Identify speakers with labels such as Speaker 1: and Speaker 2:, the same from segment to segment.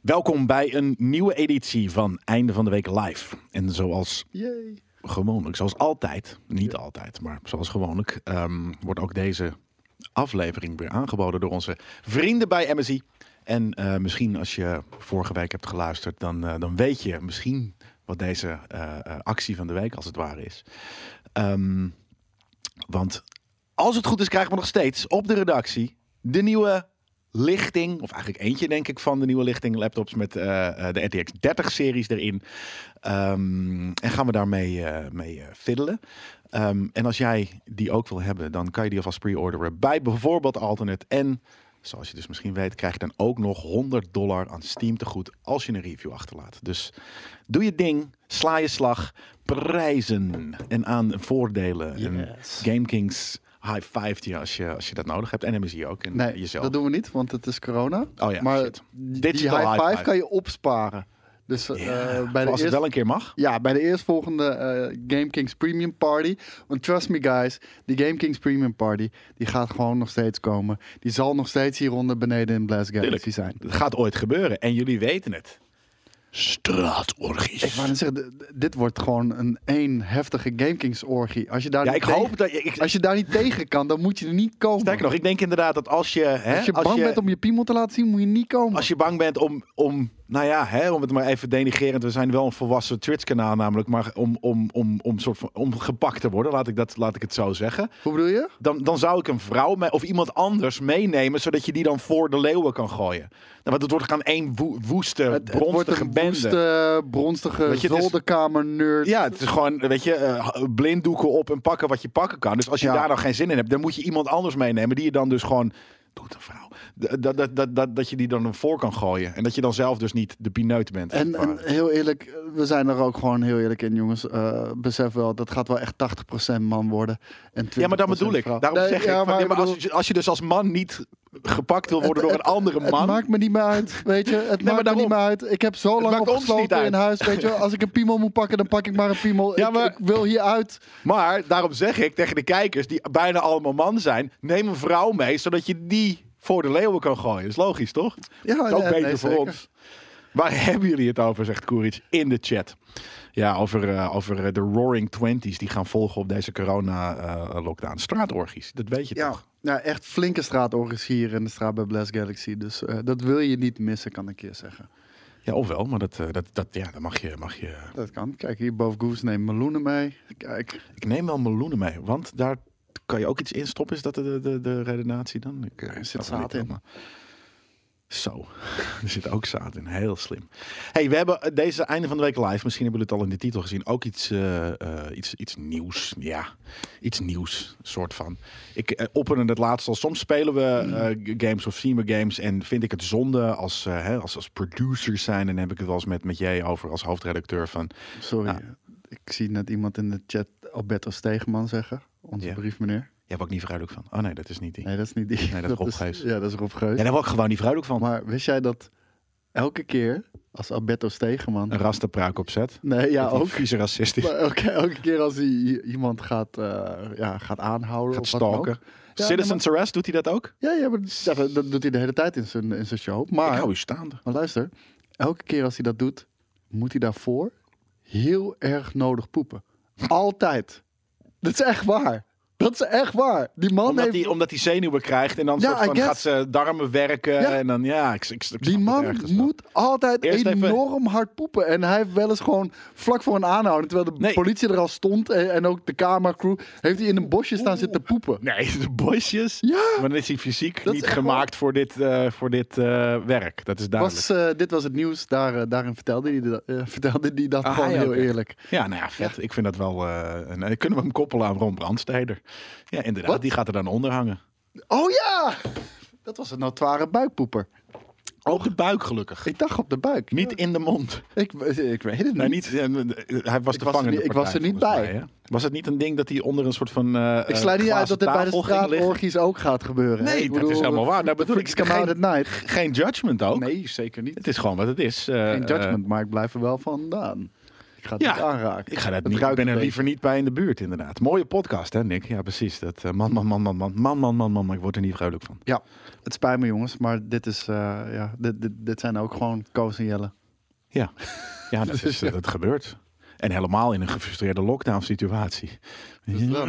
Speaker 1: Welkom bij een nieuwe editie van Einde van de Week Live. En zoals
Speaker 2: Yay.
Speaker 1: gewoonlijk, zoals altijd, niet altijd, maar zoals gewoonlijk, ehm, wordt ook deze aflevering weer aangeboden door onze vrienden bij MSI. En eh, misschien als je vorige week hebt geluisterd, dan, eh, dan weet je misschien wat deze eh, eh, actie van de week als het ware is. Ehm, want als het goed is, krijgen we nog steeds op de redactie de nieuwe lichting, of eigenlijk eentje denk ik van de nieuwe lichting laptops met eh, eh, de RTX 30 series erin. Ehm, en gaan we daarmee eh, mee eh, fiddelen. Ehm, en als jij die ook wil hebben, dan kan je die alvast pre-orderen bij bijvoorbeeld Alternate. En zoals je dus misschien weet, krijg je dan ook nog 100 dollar aan Steam te goed als je een review achterlaat. Dus doe je ding, sla je slag, prijzen en aan voordelen. En
Speaker 2: Yes.
Speaker 1: GameKings high five je als je, als je dat nodig hebt. En MSI ook. En
Speaker 2: Nee,
Speaker 1: jezelf.
Speaker 2: dat doen we niet, want het is corona.
Speaker 1: Oh ja,
Speaker 2: maar
Speaker 1: shit.
Speaker 2: die
Speaker 1: Digital
Speaker 2: high
Speaker 1: high
Speaker 2: five,
Speaker 1: five.
Speaker 2: kan je opsparen. Dus eh,
Speaker 1: Ja,
Speaker 2: bij, de
Speaker 1: als het
Speaker 2: eerst,
Speaker 1: wel een keer mag.
Speaker 2: ja, bij de eerstvolgende eh Game Kings Premium Party. Want trust me guys, die Game Kings Premium Party die gaat gewoon nog steeds komen. Die zal nog steeds hieronder beneden in Blast Galaxy
Speaker 1: Tuurlijk.
Speaker 2: zijn.
Speaker 1: Het gaat ooit gebeuren. En jullie weten het.
Speaker 2: Ik
Speaker 1: Straatorgies.
Speaker 2: wou net zeggen, d- d- dit wordt gewoon een één heftige Game Kings orgie. Als je daar,
Speaker 1: Ja,
Speaker 2: niet
Speaker 1: ik hoop dat... Ik,
Speaker 2: tegen- als je daar niet tegen kan, dan moet je er niet komen.
Speaker 1: sterker nog, ik denk inderdaad dat als je... Hè,
Speaker 2: als je bang bent om je piemel te laten zien, moet je niet komen.
Speaker 1: Als je bang bent om, om nou ja, hè, om het maar even denigerend, we zijn wel een volwassen Twitch-kanaal namelijk, maar om, om, om, om, soort van, om gepakt te worden, laat ik, dat, laat ik het zo zeggen,
Speaker 2: Hoe bedoel je?
Speaker 1: dan, dan zou ik een vrouw me- of iemand anders meenemen, zodat je die dan voor de leeuwen kan gooien. Nou, want het wordt gewoon één woe- woeste,
Speaker 2: Het, het wordt
Speaker 1: bronstige
Speaker 2: een
Speaker 1: bende.
Speaker 2: woeste, bronstige
Speaker 1: Weet je, het is-
Speaker 2: zolderkamer-nerd.
Speaker 1: Ja, het is gewoon, weet je, eh, blinddoeken op en pakken wat je pakken kan. Dus als je
Speaker 2: Ja.
Speaker 1: daar dan geen zin in hebt, dan moet je iemand anders meenemen die je dan dus gewoon... Doet een vrouw. d- Dat, dat, dat, dat, dat je die dan een voor kan gooien. En dat je dan zelf dus niet de pineut bent. als
Speaker 2: En,
Speaker 1: het ware.
Speaker 2: en heel eerlijk, we zijn er ook gewoon heel eerlijk in, jongens. Eh, besef wel, dat gaat wel echt 80% man worden. en
Speaker 1: Ja, maar dat bedoel
Speaker 2: 20%
Speaker 1: ik.
Speaker 2: vrouw.
Speaker 1: Daarom
Speaker 2: Nee,
Speaker 1: zeg ik,
Speaker 2: ja,
Speaker 1: van,
Speaker 2: maar
Speaker 1: ja,
Speaker 2: ik
Speaker 1: maar
Speaker 2: bedoel,
Speaker 1: als, je, als je dus als man niet gepakt wil worden door een andere
Speaker 2: Het
Speaker 1: man...
Speaker 2: maakt me niet meer uit, weet je. Het maakt me
Speaker 1: daarom.
Speaker 2: niet meer uit. Ik heb zo lang
Speaker 1: maakt ons niet
Speaker 2: opgesloten
Speaker 1: uit.
Speaker 2: in huis, weet je. wel. Als ik een piemel moet pakken, dan pak ik maar een piemel.
Speaker 1: Ja,
Speaker 2: Ik-
Speaker 1: maar-
Speaker 2: ik, wil hier uit.
Speaker 1: Maar daarom zeg ik tegen de kijkers, die bijna allemaal man zijn... neem een vrouw mee, zodat je die voor de leeuwen kan gooien. Dat is logisch, toch?
Speaker 2: Oh, Ja,
Speaker 1: Dat is ook
Speaker 2: nee,
Speaker 1: beter
Speaker 2: nee,
Speaker 1: voor
Speaker 2: zeker.
Speaker 1: ons. Waar hebben jullie het over, zegt Koeric in de chat. Ja, over, eh, over eh, de Roaring Twenties die gaan volgen op deze corona-lockdown. Straatorgies, dat weet je
Speaker 2: Ja,
Speaker 1: toch?
Speaker 2: ja, echt flinke straatorgels hier in de straat bij Blast Galaxy. Dus eh, dat wil je niet missen, kan ik je zeggen.
Speaker 1: Ja, ofwel, maar dat, eh, dat, dat, ja, dat mag je, mag je...
Speaker 2: Dat kan. Kijk, hier boven Goose neemt meloenen mee. Kijk.
Speaker 1: Ik neem wel meloenen mee, want daar kan je ook iets in stoppen. Is dat de, de, de redenatie dan? Ik, eh,
Speaker 2: Er zit
Speaker 1: snap het
Speaker 2: zaad
Speaker 1: niet
Speaker 2: in.
Speaker 1: helemaal. Zo, er zit ook zaad in. Heel slim. hey, we hebben eh, deze einde van de week live, misschien hebben jullie het al in de titel gezien, ook iets, eh, eh, iets, iets nieuws. Ja, iets nieuws, soort van. Ik eh, opperde het laatst al. Soms spelen we eh, g- games of zien we games en vind ik het zonde als, eh, hè, als, als producers zijn. En dan heb ik het wel eens met, met jij over als hoofdredacteur van...
Speaker 2: Sorry. Ik zie net iemand in de chat Alberto Stegeman zeggen. Onze
Speaker 1: Ja.
Speaker 2: briefmeneer.
Speaker 1: Jij hebt ook niet verduidelijk van. Oh nee, dat is niet die.
Speaker 2: Nee, dat is niet die.
Speaker 1: Nee, dat is Rob
Speaker 2: is,
Speaker 1: Geus.
Speaker 2: Ja, dat is Rob Geus.
Speaker 1: En daar word ik gewoon niet vrolijk van.
Speaker 2: Maar wist jij dat elke keer als Alberto Stegeman...
Speaker 1: Een rasterpruik opzet.
Speaker 2: Nee, ja,
Speaker 1: Dat die
Speaker 2: ook.
Speaker 1: Vieze racistisch.
Speaker 2: Maar elke, elke keer als hij i- iemand gaat, eh, ja, gaat aanhouden
Speaker 1: Gaat
Speaker 2: of wat dan ook.
Speaker 1: stalken.
Speaker 2: Ja,
Speaker 1: Citizens Arrest, doet hij dat ook?
Speaker 2: Ja, ja, maar dat, dat- dat doet hij de hele tijd in zijn, in zijn show. Maar
Speaker 1: Ik hou u staande.
Speaker 2: Maar luister, elke keer als hij dat doet, moet hij daarvoor heel erg nodig poepen. Altijd. Dat is echt waar. Dat is echt waar. Die man
Speaker 1: Omdat
Speaker 2: heeft.
Speaker 1: hij, omdat hij zenuwen krijgt en dan
Speaker 2: Ja,
Speaker 1: soort van
Speaker 2: I guess.
Speaker 1: gaat zijn darmen werken.
Speaker 2: Ja.
Speaker 1: En dan, ja, ik, ik, ik snap
Speaker 2: Die
Speaker 1: het
Speaker 2: man
Speaker 1: ergens wel.
Speaker 2: moet altijd
Speaker 1: Eerst even-
Speaker 2: enorm hard poepen. En hij heeft wel eens gewoon vlak voor een aanhouding. Terwijl de
Speaker 1: Nee.
Speaker 2: politie er al stond en, en ook de cameracrew. Heeft hij in een bosje staan zitten poepen.
Speaker 1: Nee, de bosjes.
Speaker 2: Ja,
Speaker 1: Maar dan is hij fysiek
Speaker 2: Dat is
Speaker 1: niet
Speaker 2: echt
Speaker 1: gemaakt voor dit, eh, voor dit eh, werk. Dat is duidelijk.
Speaker 2: was, eh, dit was het nieuws. Daar, eh, daarin vertelde hij, dat- eh, vertelde hij dat
Speaker 1: Ah,
Speaker 2: gewoon
Speaker 1: ja,
Speaker 2: heel
Speaker 1: oké.
Speaker 2: eerlijk.
Speaker 1: Ja, nou ja, vet. Ik vind dat wel... eh een, kunnen we hem koppelen aan Ron Brandsteder? Ja, inderdaad.
Speaker 2: Wat?
Speaker 1: Die gaat er dan onder hangen.
Speaker 2: Oh ja! Dat was een notoire buikpoeper.
Speaker 1: Op de buik gelukkig.
Speaker 2: Oh. Ik dacht op de buik.
Speaker 1: Niet in de mond.
Speaker 2: Ik, ik weet het
Speaker 1: Nee,
Speaker 2: niet.
Speaker 1: niet, eh, eh, hij was de
Speaker 2: was er
Speaker 1: vangende
Speaker 2: niet- ik was
Speaker 1: partij,
Speaker 2: er niet
Speaker 1: volgens
Speaker 2: bij.
Speaker 1: hè? was het niet een ding dat hij onder een soort van eh,
Speaker 2: Ik sluit niet
Speaker 1: glazen
Speaker 2: uit dat dit bij de
Speaker 1: tafel ging liggen?
Speaker 2: straatorgies ook gaat gebeuren.
Speaker 1: Nee,
Speaker 2: hè? Ik
Speaker 1: dat is helemaal waar. Daar
Speaker 2: de
Speaker 1: bedoel ik
Speaker 2: freaks come
Speaker 1: geen-
Speaker 2: out at night.
Speaker 1: Geen judgment ook.
Speaker 2: Nee, zeker niet.
Speaker 1: Het is gewoon wat het is. Eh,
Speaker 2: Geen
Speaker 1: eh,
Speaker 2: judgment, maar ik blijf er wel vandaan. Ik ga het
Speaker 1: Ja.
Speaker 2: niet aanraken.
Speaker 1: eh, Ik, ga dat
Speaker 2: Het
Speaker 1: niet, ik
Speaker 2: ruikt
Speaker 1: ben
Speaker 2: een
Speaker 1: er
Speaker 2: beetje.
Speaker 1: liever niet bij in de buurt, inderdaad. Mooie podcast, hè, Nick? Ja, precies. Dat, eh, man, man, man, man, man, man, man, man, man, man. Ik word er niet vrolijk van.
Speaker 2: Ja, het spijt me jongens, maar dit, is, eh, ja, dit, dit, dit zijn ook gewoon Koos en Jelle.
Speaker 1: Ja, ja dat, is, dat gebeurt. En helemaal in een gefrustreerde lockdown-situatie.
Speaker 2: Dus dat.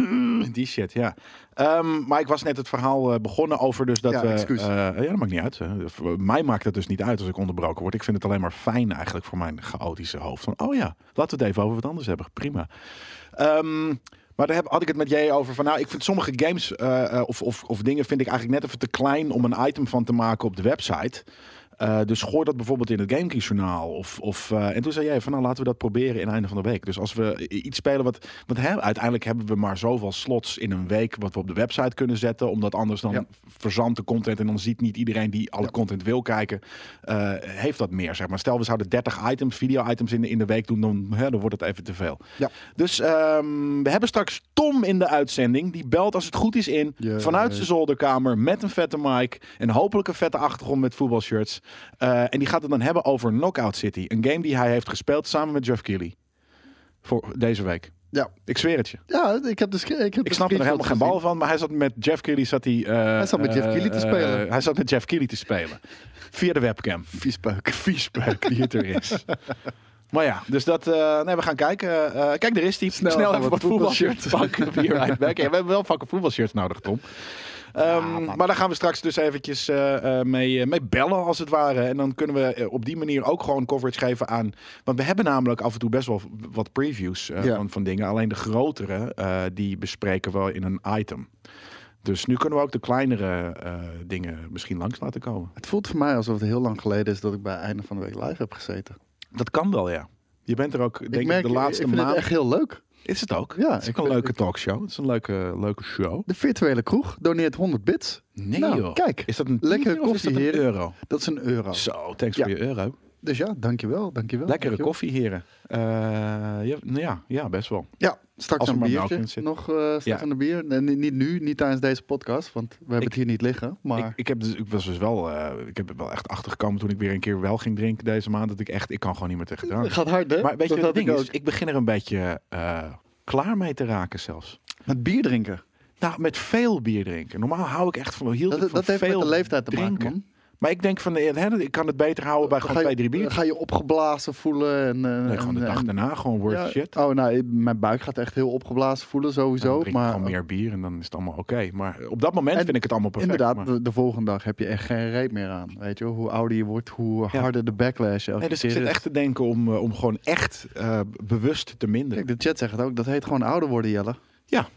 Speaker 1: Die shit, ja. Ehm, maar ik was net het verhaal eh, begonnen over dus dat
Speaker 2: Ja,
Speaker 1: we...
Speaker 2: excuus.
Speaker 1: eh, ja, dat maakt niet uit. hè. Voor Mij maakt het dus niet uit als ik onderbroken word. Ik vind het alleen maar fijn eigenlijk voor mijn chaotische hoofd. Van, oh ja, laten we het even over wat anders hebben. Prima. Ehm, maar daar heb, had ik het met jij over van, nou, ik vind sommige games eh, eh, of, of, of dingen vind ik eigenlijk net even te klein om een item van te maken op de website. Eh, dus gooi dat bijvoorbeeld in het GameKings journaal. Of, of, eh, en toen zei jij van nou laten we dat proberen in het einde van de week. Dus als we i- iets spelen wat. Want hè, uiteindelijk hebben we maar zoveel slots in een week wat we op de website kunnen zetten. Omdat anders dan
Speaker 2: Ja.
Speaker 1: verzandt de content. En dan ziet niet iedereen die alle content wil kijken. eh, heeft dat meer. Zeg maar. Stel, we zouden 30 items, video-items in de, in de week doen. Dan, hè, dan wordt het even te veel.
Speaker 2: Ja.
Speaker 1: Dus ehm, we hebben straks Tom in de uitzending. Die belt als het goed is in.
Speaker 2: Jee.
Speaker 1: Vanuit zijn zolderkamer. Met een vette mic. En hopelijk een vette achtergrond met voetbalshirts. Eh, en die gaat het dan hebben over Knockout City. Een game die hij heeft gespeeld samen met Jeff Keighley. Voor deze week.
Speaker 2: Ja,
Speaker 1: Ik zweer het je.
Speaker 2: ja ik heb dus ik, heb
Speaker 1: Ik
Speaker 2: de
Speaker 1: snap er
Speaker 2: screenshot
Speaker 1: helemaal geen
Speaker 2: gezien.
Speaker 1: bal van, maar hij zat met Jeff Keighley zat hij. eh,
Speaker 2: Hij zat met Jeff
Speaker 1: eh,
Speaker 2: Keighley te
Speaker 1: eh,
Speaker 2: spelen.
Speaker 1: hij zat met Jeff Keighley te spelen via de webcam.
Speaker 2: Viespeuk.
Speaker 1: Viespeuk die het er is. Maar ja, dus dat. eh, nee, we gaan kijken. Eh, kijk, er is die. Snel,
Speaker 2: Snel
Speaker 1: even
Speaker 2: gaan we
Speaker 1: wat voetbalshirts pakken. Be right back. Ja, we hebben wel fucking voetbalshirts nodig, Tom. Ehm,
Speaker 2: man.
Speaker 1: maar daar gaan we straks dus eventjes eh, eh, mee, eh, mee bellen, als het ware. En dan kunnen we eh, op die manier ook gewoon coverage geven aan... Want we hebben namelijk af en toe best wel v- wat previews eh,
Speaker 2: Ja.
Speaker 1: van, van dingen. Alleen de grotere, eh, die bespreken we in een item. Dus nu kunnen we ook de kleinere eh, dingen misschien langs laten komen.
Speaker 2: Het voelt voor mij alsof het heel lang geleden is dat ik bij einde van de week live heb gezeten.
Speaker 1: Dat kan wel, ja. Je bent er ook, denk ik,
Speaker 2: ik merk
Speaker 1: de laatste
Speaker 2: ik vind
Speaker 1: maand...
Speaker 2: het echt heel leuk.
Speaker 1: Is het ook?
Speaker 2: Ja,
Speaker 1: het is
Speaker 2: ik
Speaker 1: ook een
Speaker 2: vind-
Speaker 1: leuke talkshow. Het is een leuke, leuke show.
Speaker 2: De virtuele kroeg doneert 100 bits.
Speaker 1: Nee
Speaker 2: Nou,
Speaker 1: joh.
Speaker 2: kijk.
Speaker 1: Is dat een
Speaker 2: Lekkere
Speaker 1: tientje of is dat
Speaker 2: koffie,
Speaker 1: een
Speaker 2: heren.
Speaker 1: euro?
Speaker 2: Dat is een euro.
Speaker 1: Zo, thanks
Speaker 2: Ja.
Speaker 1: voor je euro.
Speaker 2: Dus ja, dankjewel,
Speaker 1: Lekkere
Speaker 2: dankjewel. dankjewel.
Speaker 1: koffie, heren. Eh, ja, nou ja, ja, best wel.
Speaker 2: Ja, straks
Speaker 1: Als er
Speaker 2: een
Speaker 1: maar melk in
Speaker 2: biertje.
Speaker 1: zit.
Speaker 2: Nog eh straks
Speaker 1: Ja.
Speaker 2: een bier. Nee, niet- niet nu, niet tijdens deze podcast, want we hebben
Speaker 1: Ik-
Speaker 2: het hier niet liggen.
Speaker 1: Ik,
Speaker 2: Maar
Speaker 1: ik, heb dus, ik was dus wel, eh, ik heb er wel echt achtergekomen toen ik weer een keer wel ging drinken deze maand. Dat ik echt, ik kan gewoon niet meer tegen
Speaker 2: het
Speaker 1: drank.
Speaker 2: gaat hard, hè?
Speaker 1: Maar weet je
Speaker 2: Dat
Speaker 1: wat het
Speaker 2: had ik
Speaker 1: ding is?
Speaker 2: ook.
Speaker 1: Ik begin er een beetje eh, klaar mee te raken zelfs.
Speaker 2: Met bier drinken.
Speaker 1: Nou, met veel bier drinken. Normaal hou ik echt van, hield
Speaker 2: Dat,
Speaker 1: ik van
Speaker 2: dat heeft
Speaker 1: veel
Speaker 2: met de leeftijd te
Speaker 1: drinken.
Speaker 2: maken, man.
Speaker 1: Maar ik denk van, eh, hè, ik kan het beter houden bij
Speaker 2: Dan
Speaker 1: gewoon
Speaker 2: ga je-
Speaker 1: twee, drie biertjes.
Speaker 2: dan Ga je opgeblazen voelen. En, eh,
Speaker 1: Nee, gewoon de
Speaker 2: en-
Speaker 1: dag
Speaker 2: en-
Speaker 1: daarna gewoon worth
Speaker 2: ja,
Speaker 1: shit.
Speaker 2: Oh, nou, ik- mijn buik gaat echt heel opgeblazen voelen,
Speaker 1: Dan
Speaker 2: sowieso.
Speaker 1: drink ik
Speaker 2: Maar
Speaker 1: gewoon meer bier en dan is het allemaal oké. Maar op dat moment
Speaker 2: En
Speaker 1: vind ik het allemaal perfect.
Speaker 2: inderdaad,
Speaker 1: maar-
Speaker 2: de, de volgende dag heb je echt geen reet meer aan. Weet je, wel. hoe ouder je wordt, hoe
Speaker 1: Ja.
Speaker 2: harder de backlash. Elke
Speaker 1: Nee, dus ik
Speaker 2: keer
Speaker 1: zit
Speaker 2: is.
Speaker 1: echt te denken om, eh, om gewoon echt eh, bewust te minderen.
Speaker 2: Kijk, de chat zegt het ook, dat heet gewoon ouder worden, Jelle.
Speaker 1: Ja.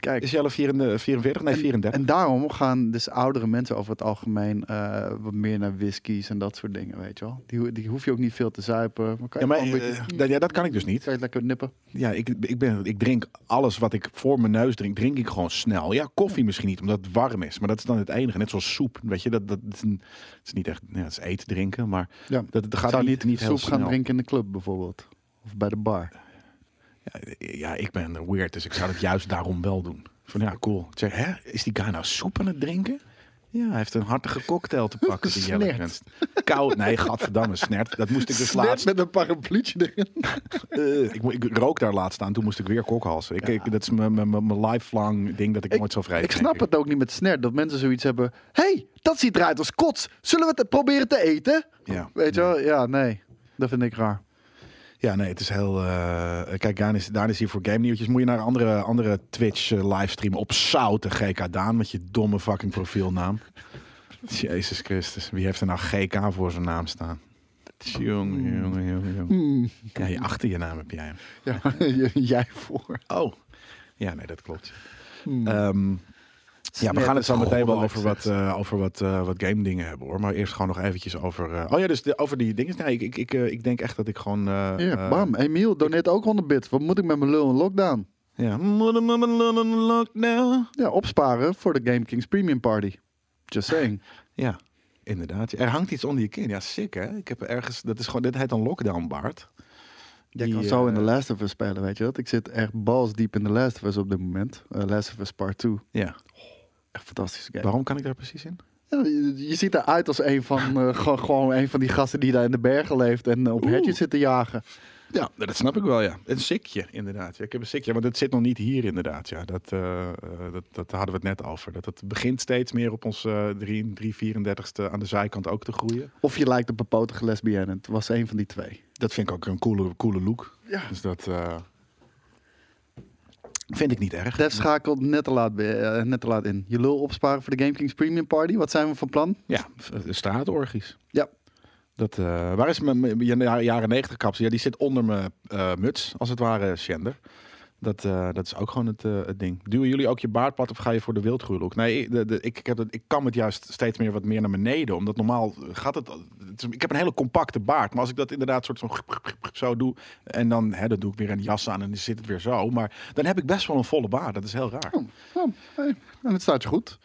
Speaker 2: Kijk,
Speaker 1: Is Jelle 44? 44? Nee, 34.
Speaker 2: en daarom gaan dus oudere mensen over het algemeen eh, wat meer naar whiskies en dat soort dingen, weet je wel. Die, ho- die hoef je ook niet veel te zuipen. Maar
Speaker 1: ja,
Speaker 2: kan je
Speaker 1: maar
Speaker 2: gewoon een
Speaker 1: eh,
Speaker 2: beetje,
Speaker 1: dat, ja, dat kan ik dus niet.
Speaker 2: kan je het lekker nippen.
Speaker 1: Ja, ik, ik, ben, ik drink alles wat ik voor mijn neus drink, drink ik gewoon snel. Ja, koffie misschien niet, omdat het warm is. Maar dat is dan het enige. Net zoals soep, weet je. Dat, dat, is, een- het is niet echt, ja, het is eten, drinken, maar
Speaker 2: Ja.
Speaker 1: dat, dat gaat
Speaker 2: Zou
Speaker 1: niet, niet heel
Speaker 2: soep
Speaker 1: snel.
Speaker 2: gaan drinken in de club bijvoorbeeld. Of bij de bar.
Speaker 1: Ja, ja, ik ben weird, dus ik zou het juist daarom wel doen. Van ja, cool. Ik zeg, hè, is die guy nou soep aan het drinken? Ja, hij heeft een hartige cocktail te pakken. die Jelle
Speaker 2: Snert.
Speaker 1: Kunst. Koud, nee, gadverdamme, snert. Dat moest ik dus laatst...
Speaker 2: met een parapluutje erin.
Speaker 1: eh, ik, mo- ik rook daar laatst aan, toen moest ik weer kokhalsen. Ik, ik- dat is mijn- mijn mijn- mijn lifelong ding dat ik, nooit zal vrij.
Speaker 2: Ik snap het ook niet met snert. Dat mensen zoiets hebben. Hé, hey, dat ziet eruit als kots. Zullen we het eh, proberen te eten?
Speaker 1: Ja.
Speaker 2: Weet je wel? Ja, nee. Dat vind ik raar.
Speaker 1: Ja, nee, het is heel... eh, kijk, Daan is, Daan is hier voor game nieuwtjes. Moet je naar een andere, andere Twitch eh, livestream op zouten GK Daan met je domme fucking profielnaam. Jezus Christus, wie heeft er nou GK voor zijn naam staan? Jongen, jongen, jongen, jongen.
Speaker 2: Hmm.
Speaker 1: Ja, je achter je naam heb jij hem.
Speaker 2: Ja, j- jij voor.
Speaker 1: Oh. Ja, nee, dat klopt.
Speaker 2: Hmm.
Speaker 1: Ehm, ja, we
Speaker 2: Snert
Speaker 1: gaan het
Speaker 2: is
Speaker 1: zo meteen wel
Speaker 2: goddelijk,
Speaker 1: over wat, eh, over wat, eh, wat game dingen hebben hoor. Maar eerst gewoon nog eventjes over... eh, oh ja, dus de, over die dingen. Nee, ik, ik, ik, eh, ik denk echt dat ik gewoon... eh,
Speaker 2: Hier,
Speaker 1: eh,
Speaker 2: bam. Emiel doneert ook 100 bits. Wat moet ik met mijn lul in lockdown?
Speaker 1: Ja. Lockdown.
Speaker 2: Ja, opsparen voor de Game Kings Premium Party. Just saying.
Speaker 1: Ja, inderdaad. Er hangt iets onder je kin. Ja, sick hè. Ik heb ergens, dat is gewoon, dit heet dan lockdown baard.
Speaker 2: Jij
Speaker 1: Die,
Speaker 2: kan zo in
Speaker 1: eh,
Speaker 2: The Last of Us spelen, weet je wat? Ik zit echt balsdiep in The Last of Us op dit moment. Eh, Last of Us Part 2.
Speaker 1: Ja.
Speaker 2: Echt fantastische game.
Speaker 1: Waarom kan ik daar precies in?
Speaker 2: Ja, je- Je ziet eruit als een van, eh, gewoon- gewoon een van die gasten die daar in de bergen leeft en eh, op
Speaker 1: Oeh.
Speaker 2: hertjes zit te jagen.
Speaker 1: Ja, dat snap ik wel, ja. Een sikje, inderdaad. Ja, ik heb een sikje, want dat zit nog niet hier, inderdaad. Ja, dat, eh, eh, dat, dat hadden we het net over. Dat het begint steeds meer op ons eh, drie- drie 34ste aan de zijkant ook te groeien.
Speaker 2: Of je lijkt op een potige lesbienne. Het was een van die twee.
Speaker 1: Dat vind ik ook een coole, coole look.
Speaker 2: Ja.
Speaker 1: Dus dat eh, vind ik niet erg.
Speaker 2: Def schakelt net te, laat, bij- eh, net te laat in. Je lul opsparen voor de Game Kings Premium Party. Wat zijn we van plan?
Speaker 1: Ja, v- eh, straatorgies.
Speaker 2: Ja.
Speaker 1: Dat, eh, waar is mijn, mijn ja- nou, jaren 90 kapsel? Ja, die zit onder mijn eh, muts, als het ware, Shender. Dat, eh, dat is ook gewoon het, eh, het ding. Duwen jullie ook je baard plat of ga je voor de wildgroeilook? Nee, de, de, ik, ik, heb het, ik kam het juist steeds meer wat meer naar beneden. Omdat normaal gaat het... het is- ik heb een hele compacte baard. Maar als ik dat inderdaad soort van zo doe... En dan hè, dat doe ik weer een jas aan en dan zit het weer zo. Maar dan heb ik best wel een volle baard. Dat is heel raar.
Speaker 2: Oh, hey. En het staat je goed.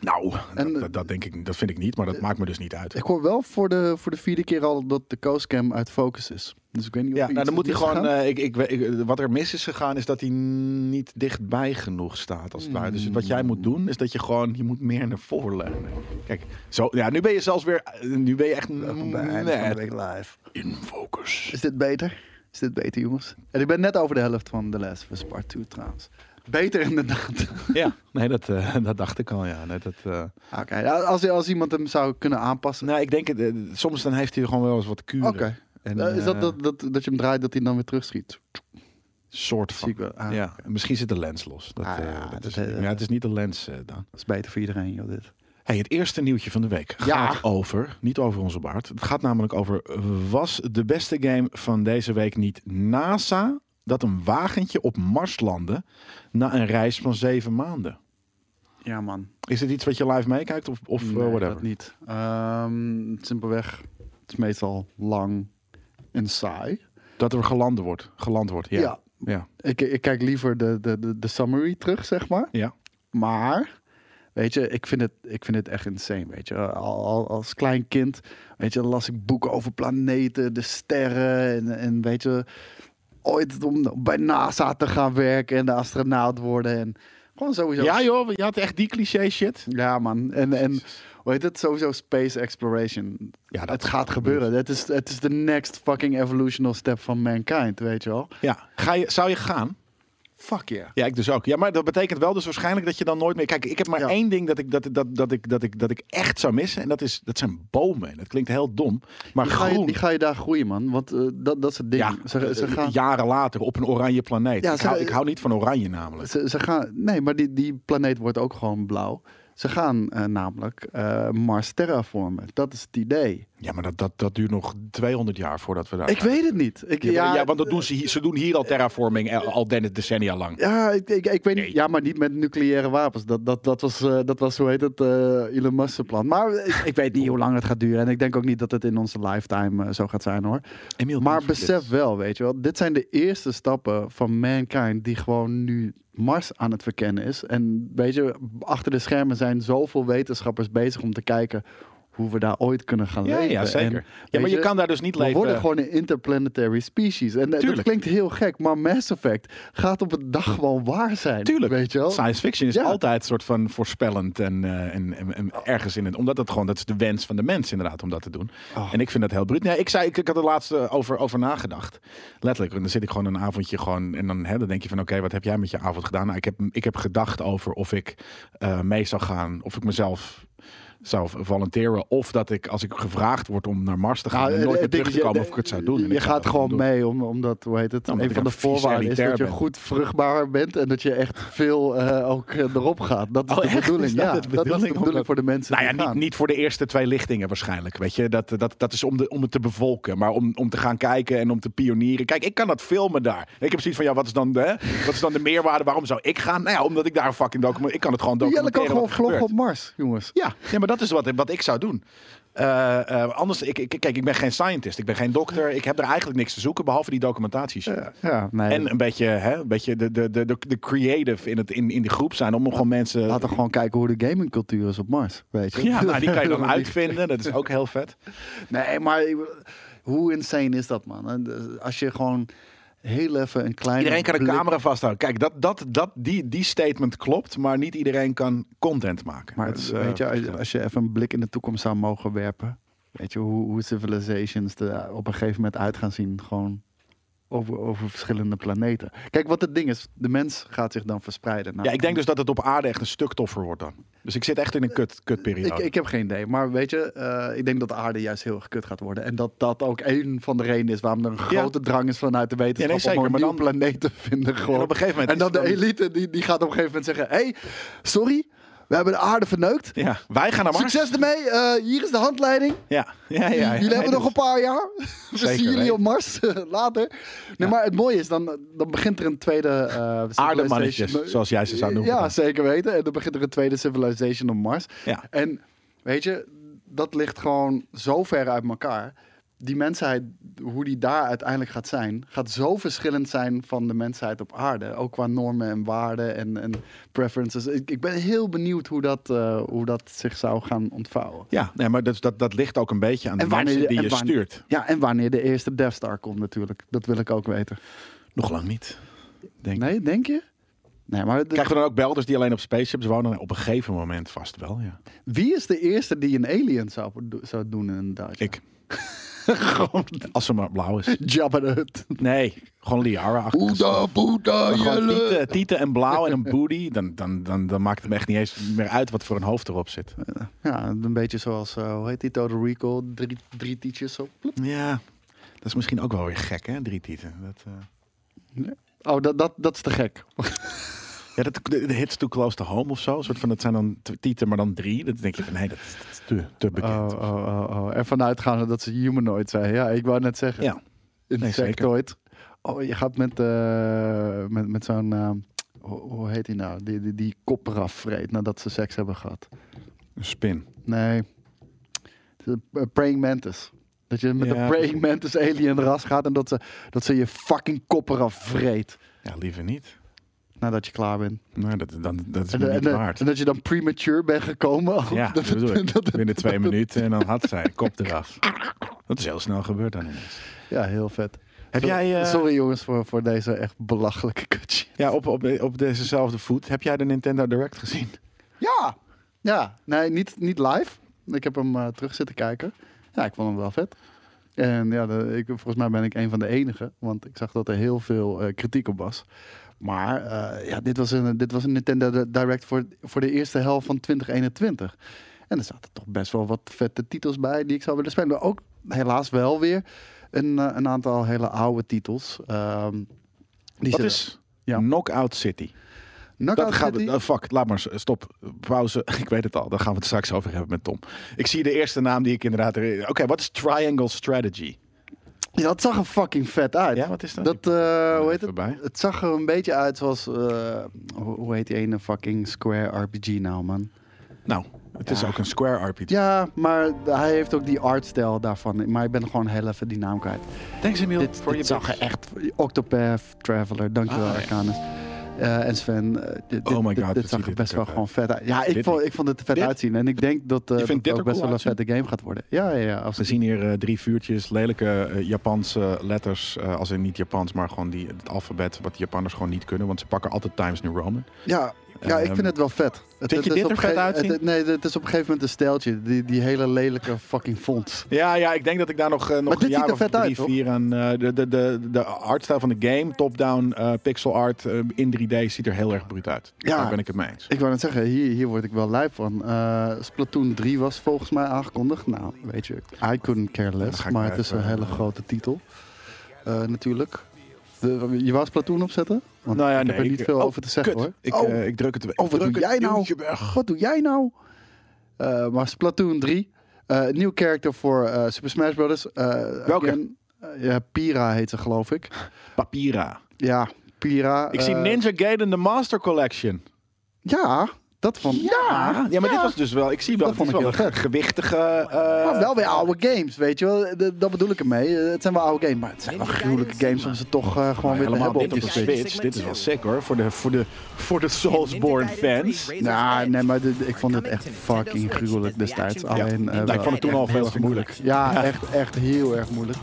Speaker 1: Nou,
Speaker 2: En, eh,
Speaker 1: dat, dat, dat denk ik, dat vind ik niet. Maar dat maakt me dus niet uit.
Speaker 2: Ik hoor wel voor de, voor de vierde keer al dat de coastcam uit focus is. Dus ik weet niet of
Speaker 1: Ja,
Speaker 2: er
Speaker 1: nou, dan
Speaker 2: iets
Speaker 1: moet hij
Speaker 2: is
Speaker 1: gewoon.
Speaker 2: gegaan.
Speaker 1: eh, ik, ik, weet- ik- wat er mis is gegaan, is dat hij niet dichtbij genoeg staat. Als het ware. Dus wat jij moet doen, is dat je gewoon. Je moet meer naar voren leunen. Kijk, zo, ja, nu ben je zelfs weer. eh, Nu ben je echt.
Speaker 2: Welkom bij Einde van de
Speaker 1: Net
Speaker 2: Week Live.
Speaker 1: in focus.
Speaker 2: Is dit beter? Is dit beter, jongens? En ik ben net over de helft van The Last of Us Part 2 trouwens. Beter inderdaad.
Speaker 1: Ja, nee, dat, eh, dat dacht ik al. Ja, nee, dat. eh,
Speaker 2: Oké, nou, als, als iemand hem zou kunnen aanpassen.
Speaker 1: nou, ik denk, het, eh, soms dan heeft hij gewoon wel eens wat kuren.
Speaker 2: Oké.
Speaker 1: En,
Speaker 2: Eh, is dat,
Speaker 1: eh,
Speaker 2: dat, dat, dat je hem draait, dat hij dan weer terugschiet?
Speaker 1: soort
Speaker 2: Zie
Speaker 1: van?
Speaker 2: ik wel. Ah,
Speaker 1: ja, misschien zit de lens los. Dat,
Speaker 2: Ah,
Speaker 1: eh,
Speaker 2: ja,
Speaker 1: dat
Speaker 2: dat,
Speaker 1: is,
Speaker 2: eh,
Speaker 1: ja, het is niet de lens eh, dan.
Speaker 2: Dat is beter voor iedereen, joh, dit.
Speaker 1: Hey, het eerste nieuwtje van de week
Speaker 2: Ja.
Speaker 1: gaat over, niet over onze baard. Het gaat namelijk over, eh, was de beste game van deze week niet NASA dat een wagentje op Mars landde na een reis van zeven maanden?
Speaker 2: Ja, man.
Speaker 1: Is dit iets wat je live meekijkt of, of eh,
Speaker 2: Nee,
Speaker 1: whatever?
Speaker 2: dat niet. Ehm, simpelweg, het is meestal lang en saai.
Speaker 1: Dat er geland wordt, geland wordt, ja. ja.
Speaker 2: Ik, ik kijk liever de, de, de, de summary terug, zeg maar.
Speaker 1: Ja.
Speaker 2: Maar, weet je, ik vind het, ik vind het echt insane, weet je. Al, al- als klein kind, weet je, las ik boeken over planeten, de sterren en, en weet je... Ooit om bij NASA te gaan werken en de astronaut worden en gewoon sowieso...
Speaker 1: Ja, joh, je had echt die cliché shit.
Speaker 2: Ja, man. En, en hoe heet het? Sowieso space exploration.
Speaker 1: Ja, dat
Speaker 2: het gaat gebeuren. Het is, het is de next fucking evolutional step van mankind, weet je wel.
Speaker 1: Ja, Ga je, zou je gaan?
Speaker 2: Fuck yeah.
Speaker 1: Ja, ik dus ook. Ja, maar dat betekent wel dus waarschijnlijk dat je dan nooit meer. Kijk, ik heb maar
Speaker 2: Ja.
Speaker 1: één ding dat ik, dat, dat, dat, ik, dat, ik, dat ik echt zou missen. En dat, is, dat zijn bomen. En dat klinkt heel dom. Maar
Speaker 2: Die ga,
Speaker 1: groen.
Speaker 2: je, die ga je daar groeien, man. Want eh, dat, dat is het ding.
Speaker 1: ja,
Speaker 2: ze, ze,
Speaker 1: eh,
Speaker 2: gaan,
Speaker 1: jaren later op een oranje planeet.
Speaker 2: Ja,
Speaker 1: ik,
Speaker 2: ze-
Speaker 1: hou, ik hou niet van oranje namelijk.
Speaker 2: ze, ze gaan... Nee, maar die, die planeet wordt ook gewoon blauw. Ze gaan eh, namelijk eh, Mars terraformen. Dat is het idee.
Speaker 1: Ja, maar dat, dat, dat duurt nog 200 jaar voordat we daar.
Speaker 2: Ik weet het niet. Ik,
Speaker 1: ja,
Speaker 2: ja,
Speaker 1: ja, want dat doen ze, hier- ze doen hier al terraforming eh, al den- decennia lang.
Speaker 2: Ja, ik, ik, ik weet niet.
Speaker 1: Nee.
Speaker 2: Ja, maar niet met nucleaire wapens. Dat, dat, dat, was, eh, dat was, hoe heet het, eh Elon Musk's plan. Maar ik, ik weet niet hoe lang het gaat duren. En ik denk ook niet dat het in onze lifetime eh, zo gaat zijn, hoor.
Speaker 1: Emiel,
Speaker 2: Maar
Speaker 1: niet
Speaker 2: besef wel, weet je wel. Dit zijn de eerste stappen van mankind die gewoon nu Mars aan het verkennen is. En weet je, achter de schermen zijn zoveel wetenschappers bezig om te kijken hoe we daar ooit kunnen gaan
Speaker 1: Ja,
Speaker 2: leven.
Speaker 1: ja,
Speaker 2: En,
Speaker 1: zeker. ja,
Speaker 2: weet
Speaker 1: maar je, kan daar dus niet
Speaker 2: we
Speaker 1: leven.
Speaker 2: worden gewoon een interplanetary species. En eh, dat
Speaker 1: Tuurlijk.
Speaker 2: klinkt heel gek, maar Mass Effect gaat op een dag gewoon waar zijn.
Speaker 1: Tuurlijk.
Speaker 2: Weet je wel?
Speaker 1: Science fiction is
Speaker 2: Ja.
Speaker 1: altijd soort van voorspellend en, eh, en, en, en ergens in het. Omdat dat gewoon, dat is de wens van de mens inderdaad om dat te doen.
Speaker 2: Oh.
Speaker 1: En ik vind dat heel bruut. Nee, ik, zei, ik, ik had er laatst eh, over, over nagedacht. Letterlijk. En dan zit ik gewoon een avondje gewoon. En dan, hè, dan denk je van oké, wat heb jij met je avond gedaan? Nou, ik, heb, ik heb gedacht over of ik eh, mee zou gaan. Of ik mezelf zou volonteren. Of dat ik, als ik gevraagd word om naar Mars te gaan,
Speaker 2: Nou,
Speaker 1: en
Speaker 2: eh,
Speaker 1: nooit meer
Speaker 2: het ding
Speaker 1: terug te
Speaker 2: is,
Speaker 1: komen
Speaker 2: je-
Speaker 1: of ik het zou doen. En
Speaker 2: Je
Speaker 1: ik zou
Speaker 2: gaat
Speaker 1: dat
Speaker 2: gewoon
Speaker 1: doen.
Speaker 2: mee om, omdat, hoe heet het,
Speaker 1: Nou, omdat
Speaker 2: een
Speaker 1: ik
Speaker 2: van de
Speaker 1: een vies
Speaker 2: voorwaarden is dat je
Speaker 1: elitair ben.
Speaker 2: goed vruchtbaar bent en dat je echt veel eh, ook eh, erop gaat. Dat is
Speaker 1: Oh,
Speaker 2: de
Speaker 1: echt? Is
Speaker 2: bedoeling.
Speaker 1: dat
Speaker 2: ja,
Speaker 1: de
Speaker 2: dat is de
Speaker 1: bedoeling?
Speaker 2: bedoeling
Speaker 1: Omdat-
Speaker 2: voor de mensen
Speaker 1: Nou
Speaker 2: die
Speaker 1: ja, niet,
Speaker 2: gaan.
Speaker 1: niet voor de eerste twee lichtingen waarschijnlijk. Weet je, dat, dat, dat is om, de, om het te bevolken, maar om, om te gaan kijken en om te pionieren. Kijk, ik kan dat filmen daar. Ik heb zoiets van, ja, wat is dan de, hè? wat is dan de meerwaarde? Waarom zou ik gaan? Nou ja, omdat ik daar een fucking document. Ik kan het gewoon
Speaker 2: Jelle
Speaker 1: documenteren.
Speaker 2: kan gewoon
Speaker 1: wat er
Speaker 2: vloggen
Speaker 1: gebeurt.
Speaker 2: op Mars, jongens.
Speaker 1: Ja, ja, maar dat is wat, wat ik zou doen. Eh, eh, anders, ik, ik, kijk, ik ben geen scientist, ik ben geen dokter. Ik heb er eigenlijk niks te zoeken, behalve die documentaties.
Speaker 2: Ja, nee.
Speaker 1: En een beetje, hè, een beetje de, de, de, de- de creative in, het, in, in de groep zijn. Om gewoon mensen
Speaker 2: Laten we gewoon kijken hoe de gamingcultuur is op Mars, weet je.
Speaker 1: Ja, nou, die kan je dan uitvinden. Dat is ook heel vet.
Speaker 2: Nee, maar ik bedoel, hoe insane is dat, man? En, eh, Als je gewoon heel even een klein.
Speaker 1: Iedereen kan de
Speaker 2: blik-
Speaker 1: camera vasthouden. Kijk, dat, dat, dat, die, die statement klopt, maar niet iedereen kan content maken.
Speaker 2: Maar
Speaker 1: Dat
Speaker 2: het,
Speaker 1: is, eh,
Speaker 2: weet je, als- als je even een blik in de toekomst zou mogen werpen, weet je hoe, hoe civilizations er op een gegeven moment uit gaan zien, gewoon over, over verschillende planeten. Kijk, wat het ding is, de mens gaat zich dan verspreiden. Nou,
Speaker 1: ja, ik denk dus dat het op aarde echt een stuk toffer wordt dan. Dus ik zit echt in een kut,
Speaker 2: ik,
Speaker 1: kutperiode.
Speaker 2: ik heb geen idee, maar weet je, eh, ik denk dat de aarde juist heel erg kut gaat worden. En dat dat ook een van de redenen is waarom er een grote drang is vanuit de
Speaker 1: Ja,
Speaker 2: wetenschap
Speaker 1: nee, zeker,
Speaker 2: om een
Speaker 1: maar
Speaker 2: nieuwe
Speaker 1: dan-
Speaker 2: planeet te vinden. Gewoon.
Speaker 1: En op een gegeven moment
Speaker 2: En dan
Speaker 1: is
Speaker 2: de
Speaker 1: dan-
Speaker 2: elite, die, die gaat op een gegeven moment zeggen, hé, hey, sorry, we hebben de aarde verneukt.
Speaker 1: ja, wij gaan naar Mars.
Speaker 2: Succes ermee, eh, hier is de handleiding.
Speaker 1: Ja, ja, ja, ja,
Speaker 2: jullie
Speaker 1: Nee,
Speaker 2: hebben
Speaker 1: dus-
Speaker 2: nog een paar jaar. We
Speaker 1: Zeker
Speaker 2: zien jullie
Speaker 1: weten.
Speaker 2: op Mars eh, later. Nee, maar het mooie is, dan, dan begint er een tweede... eh,
Speaker 1: Aardemannetjes,
Speaker 2: civilization-
Speaker 1: zoals jij ze zou noemen.
Speaker 2: Ja, zeker weten. En dan begint er een tweede civilization op Mars.
Speaker 1: Ja.
Speaker 2: En weet je, dat ligt gewoon zo ver uit elkaar. Die mensheid, hoe die daar uiteindelijk gaat zijn, gaat zo verschillend zijn van de mensheid op aarde. Ook qua normen en waarden en, en preferences. Ik, ik ben heel benieuwd hoe dat, eh, hoe dat zich zou gaan ontvouwen.
Speaker 1: Ja, nee, maar dat, dat, dat ligt ook een beetje aan de mensen die
Speaker 2: en
Speaker 1: je
Speaker 2: wanneer-
Speaker 1: stuurt.
Speaker 2: Ja, en wanneer de eerste Death Star komt natuurlijk. Dat wil ik ook weten.
Speaker 1: Nog lang niet. Denk. ik.
Speaker 2: Nee, denk je? Nee, maar de-
Speaker 1: Krijgen we dan ook belders die alleen op spaceships wonen? Op een gegeven moment vast wel, ja.
Speaker 2: wie is de eerste die een alien zou, zou doen inderdaad?
Speaker 1: Ik.
Speaker 2: Gewoon
Speaker 1: Als ze maar blauw is.
Speaker 2: Jabba the Hutt.
Speaker 1: Nee, gewoon Liara achter.
Speaker 2: Boeddha, Boeddha,
Speaker 1: Gewoon tieten, tieten en blauw en een booty. Dan, dan, dan, dan maakt het me echt niet eens meer uit wat voor een hoofd erop zit.
Speaker 2: eh, Ja, een beetje zoals, eh, hoe heet die, Total Recall. Drie, drie tietjes zo. plop.
Speaker 1: Ja, dat is misschien ook wel weer gek, hè? Drie tieten. Dat, eh,
Speaker 2: Oh, dat, dat, dat is te gek.
Speaker 1: Ja, dat, de, de hits too close to home of zo. Een soort van, dat zijn dan t- tieten, maar dan drie. Dat denk je van, nee, dat is, dat is te, te
Speaker 2: Oh,
Speaker 1: bekend.
Speaker 2: oh, oh, oh. En vanuitgaande dat ze humanoid zijn. Ja, ik wou net zeggen.
Speaker 1: Ja,
Speaker 2: Insectoid. oh, je gaat met, eh, met, met zo'n... eh, hoe, hoe heet die nou? Die, die, die kop eraf vreet nadat ze seks hebben gehad.
Speaker 1: een spin.
Speaker 2: Nee. Het is een- een Praying mantis. Dat je met
Speaker 1: Ja,
Speaker 2: een praying mantis alien ras gaat en dat ze, dat ze je fucking kop eraf vreet.
Speaker 1: Ja, liever niet.
Speaker 2: Nadat je klaar bent.
Speaker 1: Nou, dat, dan, dat is
Speaker 2: En,
Speaker 1: me
Speaker 2: en-
Speaker 1: niet
Speaker 2: en-
Speaker 1: waard.
Speaker 2: en dat je dan premature bent gekomen.
Speaker 1: Ja, dat
Speaker 2: het-
Speaker 1: bedoel ik.
Speaker 2: dat het-
Speaker 1: Binnen twee minuten en dan had zij kop eraf. Dat is heel snel gebeurd dan ineens.
Speaker 2: ja, heel vet.
Speaker 1: Heb
Speaker 2: Zo-
Speaker 1: jij... eh,
Speaker 2: Sorry jongens voor, voor deze echt belachelijke kutje.
Speaker 1: Ja, op, op, op dezezelfde voet. Heb jij de Nintendo Direct gezien?
Speaker 2: Ja! Ja, nee, niet, niet live. Ik heb hem eh, terug zitten kijken. Ja, ik vond hem wel vet. En ja, de- ik, volgens mij ben ik een van de enigen, want ik zag dat er heel veel eh, kritiek op was. Maar eh, ja, dit was een, dit was een Nintendo Direct voor, voor de eerste helft van 2021. En er zaten toch best wel wat vette titels bij die ik zou willen spelen. Maar ook helaas wel weer een, eh, een aantal hele oude titels. Ehm, die
Speaker 1: Dat
Speaker 2: ze-
Speaker 1: is
Speaker 2: Ja.
Speaker 1: Knockout City.
Speaker 2: Knockout
Speaker 1: Dat gaat,
Speaker 2: City?
Speaker 1: eh, fuck, laat maar s- stop. Pauze. Ik weet het al. Daar gaan we het straks over hebben met Tom. Ik zie de eerste naam die ik inderdaad. er- Oké, wat is Triangle Strategy?
Speaker 2: Ja, dat zag er fucking vet uit.
Speaker 1: Ja, wat is dat?
Speaker 2: Dat, eh, hoe heet
Speaker 1: even
Speaker 2: het?
Speaker 1: bij.
Speaker 2: Het zag er een beetje uit zoals, eh, hoe, hoe heet die ene fucking Square RPG nou, man?
Speaker 1: Nou, het is
Speaker 2: Ja.
Speaker 1: ook een Square RPG.
Speaker 2: Ja, maar hij heeft ook die artstijl daarvan. Maar ik ben gewoon heel even die naam kwijt.
Speaker 1: Thanks Emil
Speaker 2: dit
Speaker 1: voor
Speaker 2: dit
Speaker 1: je
Speaker 2: zag er
Speaker 1: bericht.
Speaker 2: echt... Octopath Traveler, dankjewel
Speaker 1: Ah, ja.
Speaker 2: Arcanus. Eh, en Sven, eh, dit,
Speaker 1: Oh my
Speaker 2: dit-
Speaker 1: God,
Speaker 2: dit,
Speaker 1: wat ziet
Speaker 2: zag er
Speaker 1: dit
Speaker 2: best
Speaker 1: er
Speaker 2: wel
Speaker 1: vet
Speaker 2: gewoon vet uit. Ja, ik
Speaker 1: Dit
Speaker 2: vond,
Speaker 1: niet.
Speaker 2: ik vond het er vet
Speaker 1: Dit?
Speaker 2: uitzien. En ik denk dat eh,
Speaker 1: vindt
Speaker 2: dat
Speaker 1: dit
Speaker 2: het ook
Speaker 1: er
Speaker 2: best
Speaker 1: cool
Speaker 2: wel een vette game gaat worden. Ja, ja, ja. Als
Speaker 1: We zien hier eh, drie vuurtjes, lelijke eh, Japanse letters, eh, als in niet Japans, maar gewoon die, het alfabet wat de Japanners gewoon niet kunnen, want ze pakken altijd Times New Roman.
Speaker 2: Ja, ja ik
Speaker 1: Ehm,
Speaker 2: vind het wel vet. Het,
Speaker 1: je
Speaker 2: het is
Speaker 1: dit
Speaker 2: op
Speaker 1: er
Speaker 2: een
Speaker 1: vet
Speaker 2: gege-
Speaker 1: uitzien?
Speaker 2: het- nee, het is op een gegeven moment een steltje. Die, die hele lelijke fucking font.
Speaker 1: Ja, ja, ik denk dat ik daar nog, eh, nog
Speaker 2: dit
Speaker 1: een
Speaker 2: ziet
Speaker 1: jaar
Speaker 2: er
Speaker 1: of
Speaker 2: vet
Speaker 1: drie,
Speaker 2: uit, toch?
Speaker 1: vier aan... eh, de, de, de, de artstijl van de game, top-down, eh, pixel art eh, in 3D, ziet er heel erg bruut uit.
Speaker 2: Ja.
Speaker 1: Daar ben ik het mee eens.
Speaker 2: Ik wou net zeggen, hier, hier word ik wel lijp van. Eh Splatoon 3 was volgens mij aangekondigd. Nou, weet je, I couldn't care
Speaker 1: Dan ga
Speaker 2: less.
Speaker 1: ik
Speaker 2: Maar
Speaker 1: maar
Speaker 2: het is een
Speaker 1: even,
Speaker 2: hele
Speaker 1: eh,
Speaker 2: grote titel. Eh, natuurlijk. De- je wou Splatoon opzetten? Want
Speaker 1: Nou ja,
Speaker 2: ik heb
Speaker 1: nee,
Speaker 2: er niet
Speaker 1: ik-
Speaker 2: veel
Speaker 1: oh,
Speaker 2: over te zeggen
Speaker 1: Kut,
Speaker 2: hoor.
Speaker 1: Ik,
Speaker 2: oh,
Speaker 1: eh, ik druk het
Speaker 2: Oh, wat
Speaker 1: druk
Speaker 2: doe
Speaker 1: het
Speaker 2: jij nou?
Speaker 1: duwtje weg.
Speaker 2: wat doe jij nou? Eh, maar Splatoon 3, eh, nieuw character voor eh, Super Smash Bros. Eh, again, eh, ja, Pira heet ze geloof ik.
Speaker 1: Papira.
Speaker 2: Ja, Pira.
Speaker 1: Ik zie
Speaker 2: eh,
Speaker 1: Ninja Gaiden The Master Collection.
Speaker 2: Ja, dat van.
Speaker 1: ja, ja, maar dit was dus wel... Ik zie wel,
Speaker 2: Dat
Speaker 1: dat
Speaker 2: vond
Speaker 1: het is
Speaker 2: ik
Speaker 1: wel een
Speaker 2: heel
Speaker 1: ge- gewichtige...
Speaker 2: Maar
Speaker 1: eh,
Speaker 2: wel weer oude games, weet je wel. De- Dat bedoel ik ermee. Eh, Het zijn wel oude games, maar het zijn wel gruwelijke games om ze toch eh, gewoon weer te
Speaker 1: helemaal
Speaker 2: hebben
Speaker 1: dit
Speaker 2: op de
Speaker 1: op de
Speaker 2: Switch.
Speaker 1: Switch. Dit is wel sick hoor, voor de, voor de, voor de Soulsborne fans.
Speaker 2: Nou, nee, maar dit- ik vond het echt fucking gruwelijk destijds. Alleen, eh,
Speaker 1: Nou, ik vond het toen al veel te moeilijk.
Speaker 2: Ja, echt, echt heel erg moeilijk.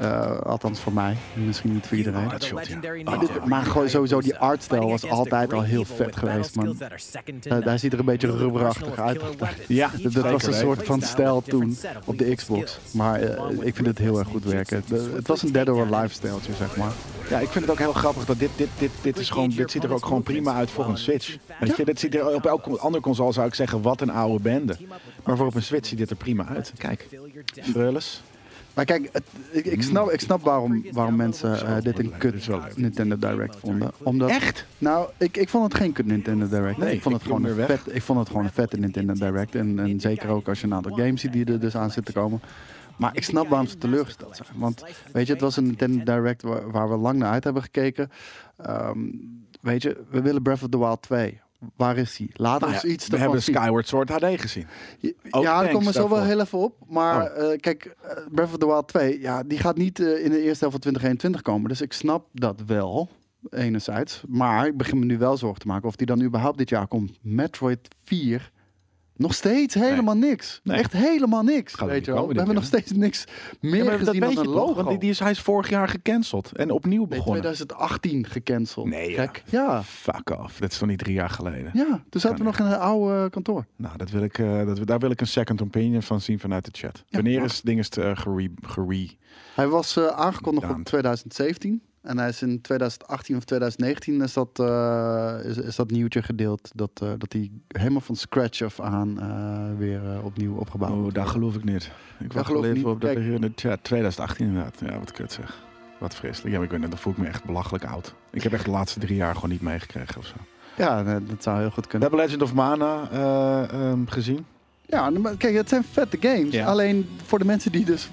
Speaker 2: Eh, althans voor mij. Misschien niet voor iedereen.
Speaker 1: dat shot, ja.
Speaker 3: Maar
Speaker 1: Oh,
Speaker 3: dit-
Speaker 1: ja.
Speaker 3: Maar gewoon sowieso, die artstijl was altijd al heel vet geweest, man.
Speaker 2: Eh, hij ziet er een beetje rubberachtig uit.
Speaker 1: Ja,
Speaker 2: Dat, dat was een soort van stijl toen op de Xbox. Maar eh, ik vind het heel erg goed werken. De- het was een Dead or Alive stijltje, zeg maar.
Speaker 1: Ja, ik vind het ook heel grappig dat dit, dit, dit, dit, is gewoon, dit ziet er ook gewoon prima uit voor een Switch. Weet je, dit ziet er op elke andere console zou ik zeggen, wat een oude bende. Maar voor op een Switch ziet dit er prima uit. Kijk, Freules.
Speaker 2: Maar kijk, het- ik, ik, snap, ik snap waarom, waarom mensen eh, dit een kut Nintendo Direct vonden. Omdat,
Speaker 1: Echt?
Speaker 2: Nou, ik, ik vond het geen kut Nintendo Direct.
Speaker 1: Nee,
Speaker 2: ik, vond het
Speaker 1: ik doe
Speaker 2: gewoon
Speaker 1: hem
Speaker 2: een
Speaker 1: weer weg.
Speaker 2: vet, ik vond het gewoon een vette Nintendo Direct. En, en zeker ook als je een aantal games ziet die er dus aan zitten te komen. Maar ik snap waarom ze teleurgesteld zijn. Want weet je, het was een Nintendo Direct waar, waar we lang naar uit hebben gekeken. Ehm, weet je, we willen Breath of the Wild 2. Waar is die? Laat
Speaker 1: Nou
Speaker 2: ons
Speaker 1: ja,
Speaker 2: iets
Speaker 1: we
Speaker 2: ervan
Speaker 1: hebben
Speaker 2: zien.
Speaker 1: Skyward Sword HD gezien. Ook
Speaker 2: Ja, daar
Speaker 1: thanks
Speaker 2: komen we zo wel
Speaker 1: daarvoor. Oh.
Speaker 2: heel even op. Maar eh, kijk, eh, Breath of the Wild 2, ja, die gaat niet eh, in de eerste helft van 2021 komen. Dus ik snap dat wel, enerzijds. Maar ik begin me nu wel zorgen te maken of die dan überhaupt dit jaar komt. Metroid 4, nog steeds helemaal niks.
Speaker 1: Nee.
Speaker 2: Echt helemaal niks.
Speaker 1: Gaat er
Speaker 2: weet
Speaker 1: niet
Speaker 2: je wel. We
Speaker 1: komen
Speaker 2: hebben nog
Speaker 1: dit
Speaker 2: steeds niks meer
Speaker 1: Ja, maar dat
Speaker 2: gezien
Speaker 1: weet
Speaker 2: dan
Speaker 1: je
Speaker 2: een
Speaker 1: toch?
Speaker 2: logo.
Speaker 1: Want die, die is, hij is vorig jaar gecanceld en opnieuw
Speaker 2: Nee,
Speaker 1: begonnen.
Speaker 2: 2018 gecanceld.
Speaker 1: Nee, ja.
Speaker 2: Kijk, ja.
Speaker 1: Fuck off, dat is toch niet drie jaar geleden?
Speaker 2: Ja, toen zaten we
Speaker 1: Kan
Speaker 2: nog in een oude kantoor.
Speaker 1: Nou, dat wil ik, eh, dat, daar wil ik een second opinion van zien vanuit de chat. Wanneer is ding is te, eh, gere, gere-
Speaker 2: Hij was eh, aangekondigd
Speaker 1: Gedaan.
Speaker 2: op 2017. En hij is in 2018 of 2019 is dat, eh, is, is dat nieuwtje gedeeld. Dat, eh, dat hij helemaal van scratch af aan eh, weer eh, opnieuw opgebouwd
Speaker 1: Oh,
Speaker 2: wordt.
Speaker 1: daar geloof ik niet. Ik wacht
Speaker 2: geloof
Speaker 1: wel
Speaker 2: ik
Speaker 1: even
Speaker 2: niet.
Speaker 1: op dat
Speaker 2: Kijk.
Speaker 1: er in de chat. 2018 inderdaad. Ja, wat kut zeg. Wat vreselijk. Ja, maar ik weet niet, dan voel ik me echt belachelijk oud. Ik heb echt de laatste drie jaar gewoon niet meegekregen of zo.
Speaker 2: Ja, nee, dat zou heel goed
Speaker 1: We
Speaker 2: kunnen.
Speaker 1: hebben Legend of Mana eh, ehm, gezien.
Speaker 2: Ja, maar kijk, het zijn vette games.
Speaker 1: Ja.
Speaker 2: Alleen voor de mensen die dus,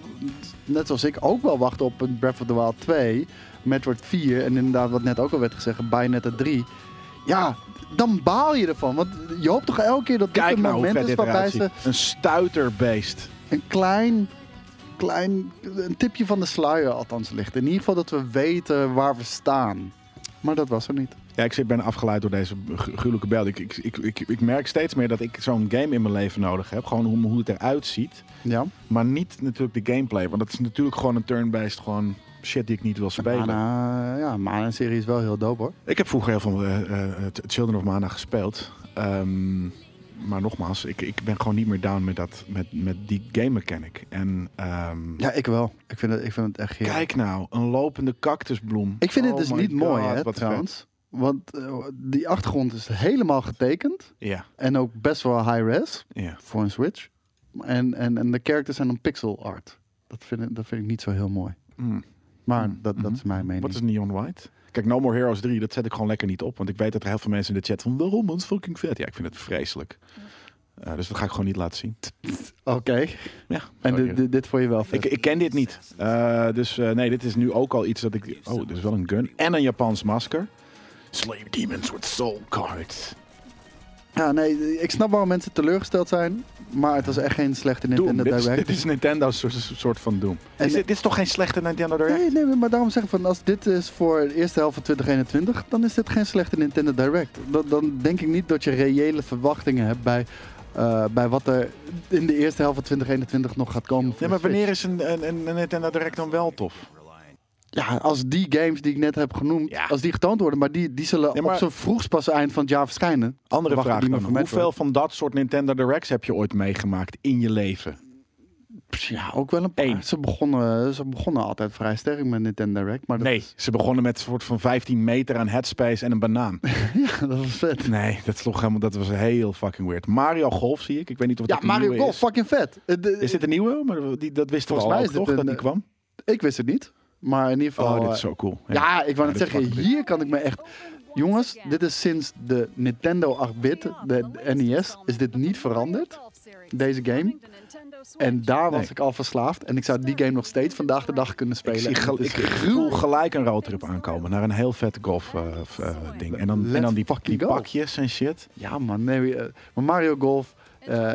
Speaker 2: net zoals ik, ook wel wachten op een Breath of the Wild 2, Metroid 4 en inderdaad wat net ook al werd gezegd, Bayonetta 3. Ja, dan baal je ervan. Want je hoopt toch elke keer dat dit
Speaker 1: Kijk
Speaker 2: een
Speaker 1: nou hoe
Speaker 2: moment
Speaker 1: vet
Speaker 2: is
Speaker 1: dit
Speaker 2: waarbij
Speaker 1: eruit
Speaker 2: ze
Speaker 1: ziet. Een stuiterbeest.
Speaker 2: een klein, klein een tipje van de sluier althans ligt. In ieder geval dat we weten waar we staan. Maar dat was er niet.
Speaker 1: Ja, ik zit bijna afgeleid door deze gu- gruwelijke beelden. Ik, ik, ik, ik, ik merk steeds meer dat ik zo'n game in mijn leven nodig heb. Gewoon hoe, hoe het eruit ziet.
Speaker 2: Ja.
Speaker 1: Maar niet natuurlijk de gameplay. Want dat is natuurlijk gewoon een turn-based gewoon shit die ik niet wil spelen.
Speaker 2: Mana, ja, Mana-serie is wel heel dope hoor.
Speaker 1: Ik heb vroeger heel veel eh, eh, eh, Children of Mana gespeeld. Ehm, maar nogmaals, ik, ik ben gewoon niet meer down met, dat, met, met die game mechanic. En ehm,
Speaker 2: Ja, ik wel. Ik vind het, ik vind het echt heerlijk.
Speaker 1: kijk nou, een lopende cactusbloem.
Speaker 2: ik vind
Speaker 1: Oh
Speaker 2: het dus
Speaker 1: my
Speaker 2: niet mooi
Speaker 1: God,
Speaker 2: hè,
Speaker 1: wat
Speaker 2: trouwens. Want eh, die achtergrond is helemaal getekend.
Speaker 1: vet. Ja,
Speaker 2: En ook best wel high-res
Speaker 1: ja.
Speaker 2: voor een Switch. En, en, en de characters zijn dan pixel art. Dat vind ik, dat vind ik niet zo heel mooi.
Speaker 1: Mm.
Speaker 2: Maar
Speaker 1: Mm,
Speaker 2: dat, dat
Speaker 1: mhm.
Speaker 2: is mijn mening.
Speaker 1: Wat is Neon White? Kijk, No More Heroes 3, dat zet ik gewoon lekker niet op. Want ik weet dat er heel veel mensen in de chat van... waarom, man? Het is fucking vet. Ja, ik vind het vreselijk. Eh, dus dat ga ik gewoon niet laten zien.
Speaker 2: Oké.
Speaker 1: Ja,
Speaker 2: En
Speaker 1: sorry.
Speaker 2: dit, dit, dit vond je wel vet.
Speaker 1: Ik, ik ken dit niet. Eh, dus eh, nee, dit is nu ook al iets dat ik... Oh, dit is wel een gun. En een Japans masker. Slay demons with soul cards.
Speaker 2: Ja, nee, ik snap waarom mensen teleurgesteld zijn. Maar het was echt geen slechte
Speaker 1: Doom.
Speaker 2: Nintendo
Speaker 1: dit, is,
Speaker 2: Direct.
Speaker 1: dit is Nintendo's soort, soort van Doom.
Speaker 2: En-
Speaker 1: Is dit, dit is toch geen slechte Nintendo Direct?
Speaker 2: Nee, nee, maar daarom zeg ik van als dit is voor de eerste helft van 2021, dan is dit geen slechte Nintendo Direct. Dan, dan denk ik niet dat je reële verwachtingen hebt bij, eh, bij wat er in de eerste helft van 2021 nog gaat komen. voor
Speaker 1: Nee, maar
Speaker 2: de Switch.
Speaker 1: wanneer is een, een, een- een Nintendo Direct dan wel tof?
Speaker 2: Ja, als die games die ik net heb genoemd,
Speaker 1: Ja.
Speaker 2: als die getoond worden, maar die, die zullen
Speaker 1: Ja, maar-
Speaker 2: op zo'n vroegst pas eind van het jaar verschijnen.
Speaker 1: Andere
Speaker 2: Wacht,
Speaker 1: vraag
Speaker 2: die
Speaker 1: dan.
Speaker 2: maar vermeld
Speaker 1: Hoeveel van dat soort Nintendo Directs heb je ooit meegemaakt in je leven?
Speaker 2: Pff, Ja, ook wel een paar.
Speaker 1: Eén.
Speaker 2: Ze begonnen, ze begonnen altijd vrij sterk met Nintendo Direct, maar dat,
Speaker 1: Nee, ze begonnen met een soort van 15 meter aan headspace en een banaan.
Speaker 2: dat was vet.
Speaker 1: Nee, dat, is toch helemaal, dat was heel fucking weird. Mario Golf zie ik. Ik weet niet of
Speaker 2: Ja,
Speaker 1: dat een
Speaker 2: Mario
Speaker 1: nieuwe
Speaker 2: Golf,
Speaker 1: is.
Speaker 2: fucking vet. Eh, de-
Speaker 1: Is dit een nieuwe? Maar die, dat wisten we al
Speaker 2: Volgens mij
Speaker 1: ook,
Speaker 2: is dit
Speaker 1: toch,
Speaker 2: een,
Speaker 1: dat die
Speaker 2: eh,
Speaker 1: kwam?
Speaker 2: Ik wist het niet. Maar in ieder
Speaker 1: Oh,
Speaker 2: geval...
Speaker 1: dit
Speaker 2: eh,
Speaker 1: is zo cool.
Speaker 2: Ja, ik wou net
Speaker 1: dit
Speaker 2: zeggen,
Speaker 1: fucking
Speaker 2: hier kan ik me echt... Jongens, dit is sinds de Nintendo 8-bit, de NES, is dus dit niet veranderd. Deze game. En daar was
Speaker 1: Nee.
Speaker 2: ik al verslaafd. En ik zou die game nog steeds vandaag de dag kunnen spelen.
Speaker 1: Ik, zie
Speaker 2: En
Speaker 1: gel-
Speaker 2: het is
Speaker 1: ik voel gelijk een roadtrip aankomen naar een heel vette golf eh, f- eh, ding. En dan, en
Speaker 2: Oh Let's
Speaker 1: dan die, die
Speaker 2: fucking go.
Speaker 1: pakjes en shit.
Speaker 2: Ja man, nee, eh, maar Mario Golf... eh,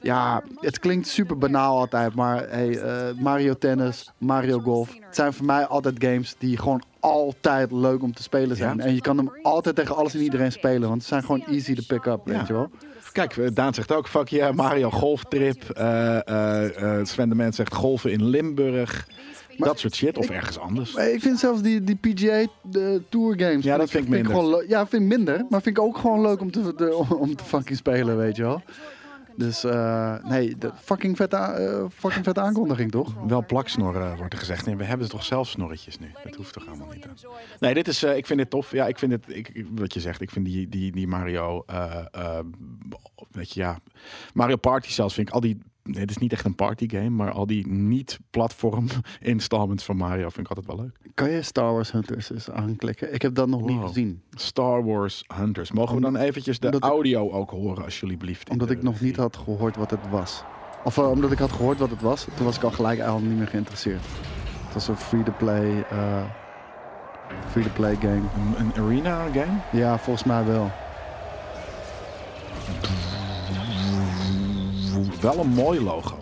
Speaker 2: ja, het klinkt super banaal altijd, maar hey, eh, Mario Tennis, Mario Golf. Het zijn voor mij altijd games die gewoon altijd leuk om te spelen zijn.
Speaker 1: Ja.
Speaker 2: En je kan hem altijd tegen alles en iedereen spelen, want ze zijn gewoon easy to pick up,
Speaker 1: Ja.
Speaker 2: weet je wel.
Speaker 1: Kijk, eh, Daan zegt ook, fuck yeah, Mario golftrip. Eh eh eh, Sven de Mens zegt golven in Limburg. dat soort shit. Of ergens anders.
Speaker 2: Maar ik vind zelfs die, die PGA de Tour games.
Speaker 1: Ja, dat vind ik minder.
Speaker 2: gewoon le- ja, vind ik minder. Maar vind ik ook gewoon leuk om te, de- om te fucking spelen, weet je wel. Dus eh, nee, de fucking vette, a- eh, fucking vette aankondiging toch?
Speaker 1: Wel plaksnorren eh, wordt er gezegd. Nee, we hebben toch zelf snorretjes nu. Dat hoeft toch allemaal niet. Hè? Nee, dit is, eh, ik vind dit tof. Ja, ik vind het, ik, ik- wat je zegt, ik vind die, die, die Mario, eh, eh, weet je, ja, Mario Party zelfs vind ik al die, nee, het is niet echt een party game, maar al die niet-platform installments van Mario vind ik altijd wel leuk.
Speaker 2: Kan je Star Wars Hunters eens aanklikken? Ik heb dat nog niet
Speaker 1: Wow.
Speaker 2: gezien.
Speaker 1: Star Wars Hunters. Mogen we dan eventjes de
Speaker 2: omdat ik-
Speaker 1: audio ook horen, alsjeblieft? in
Speaker 2: Omdat
Speaker 1: de
Speaker 2: ik nog niet
Speaker 1: regie?
Speaker 2: had gehoord wat het was. Of eh, omdat ik had gehoord wat het was, toen was ik al gelijk al niet meer geïnteresseerd. Het was een free-to-play eh, free-to-play game.
Speaker 1: Een, een arena game?
Speaker 2: Ja, volgens mij wel.
Speaker 1: Wel een mooi logo.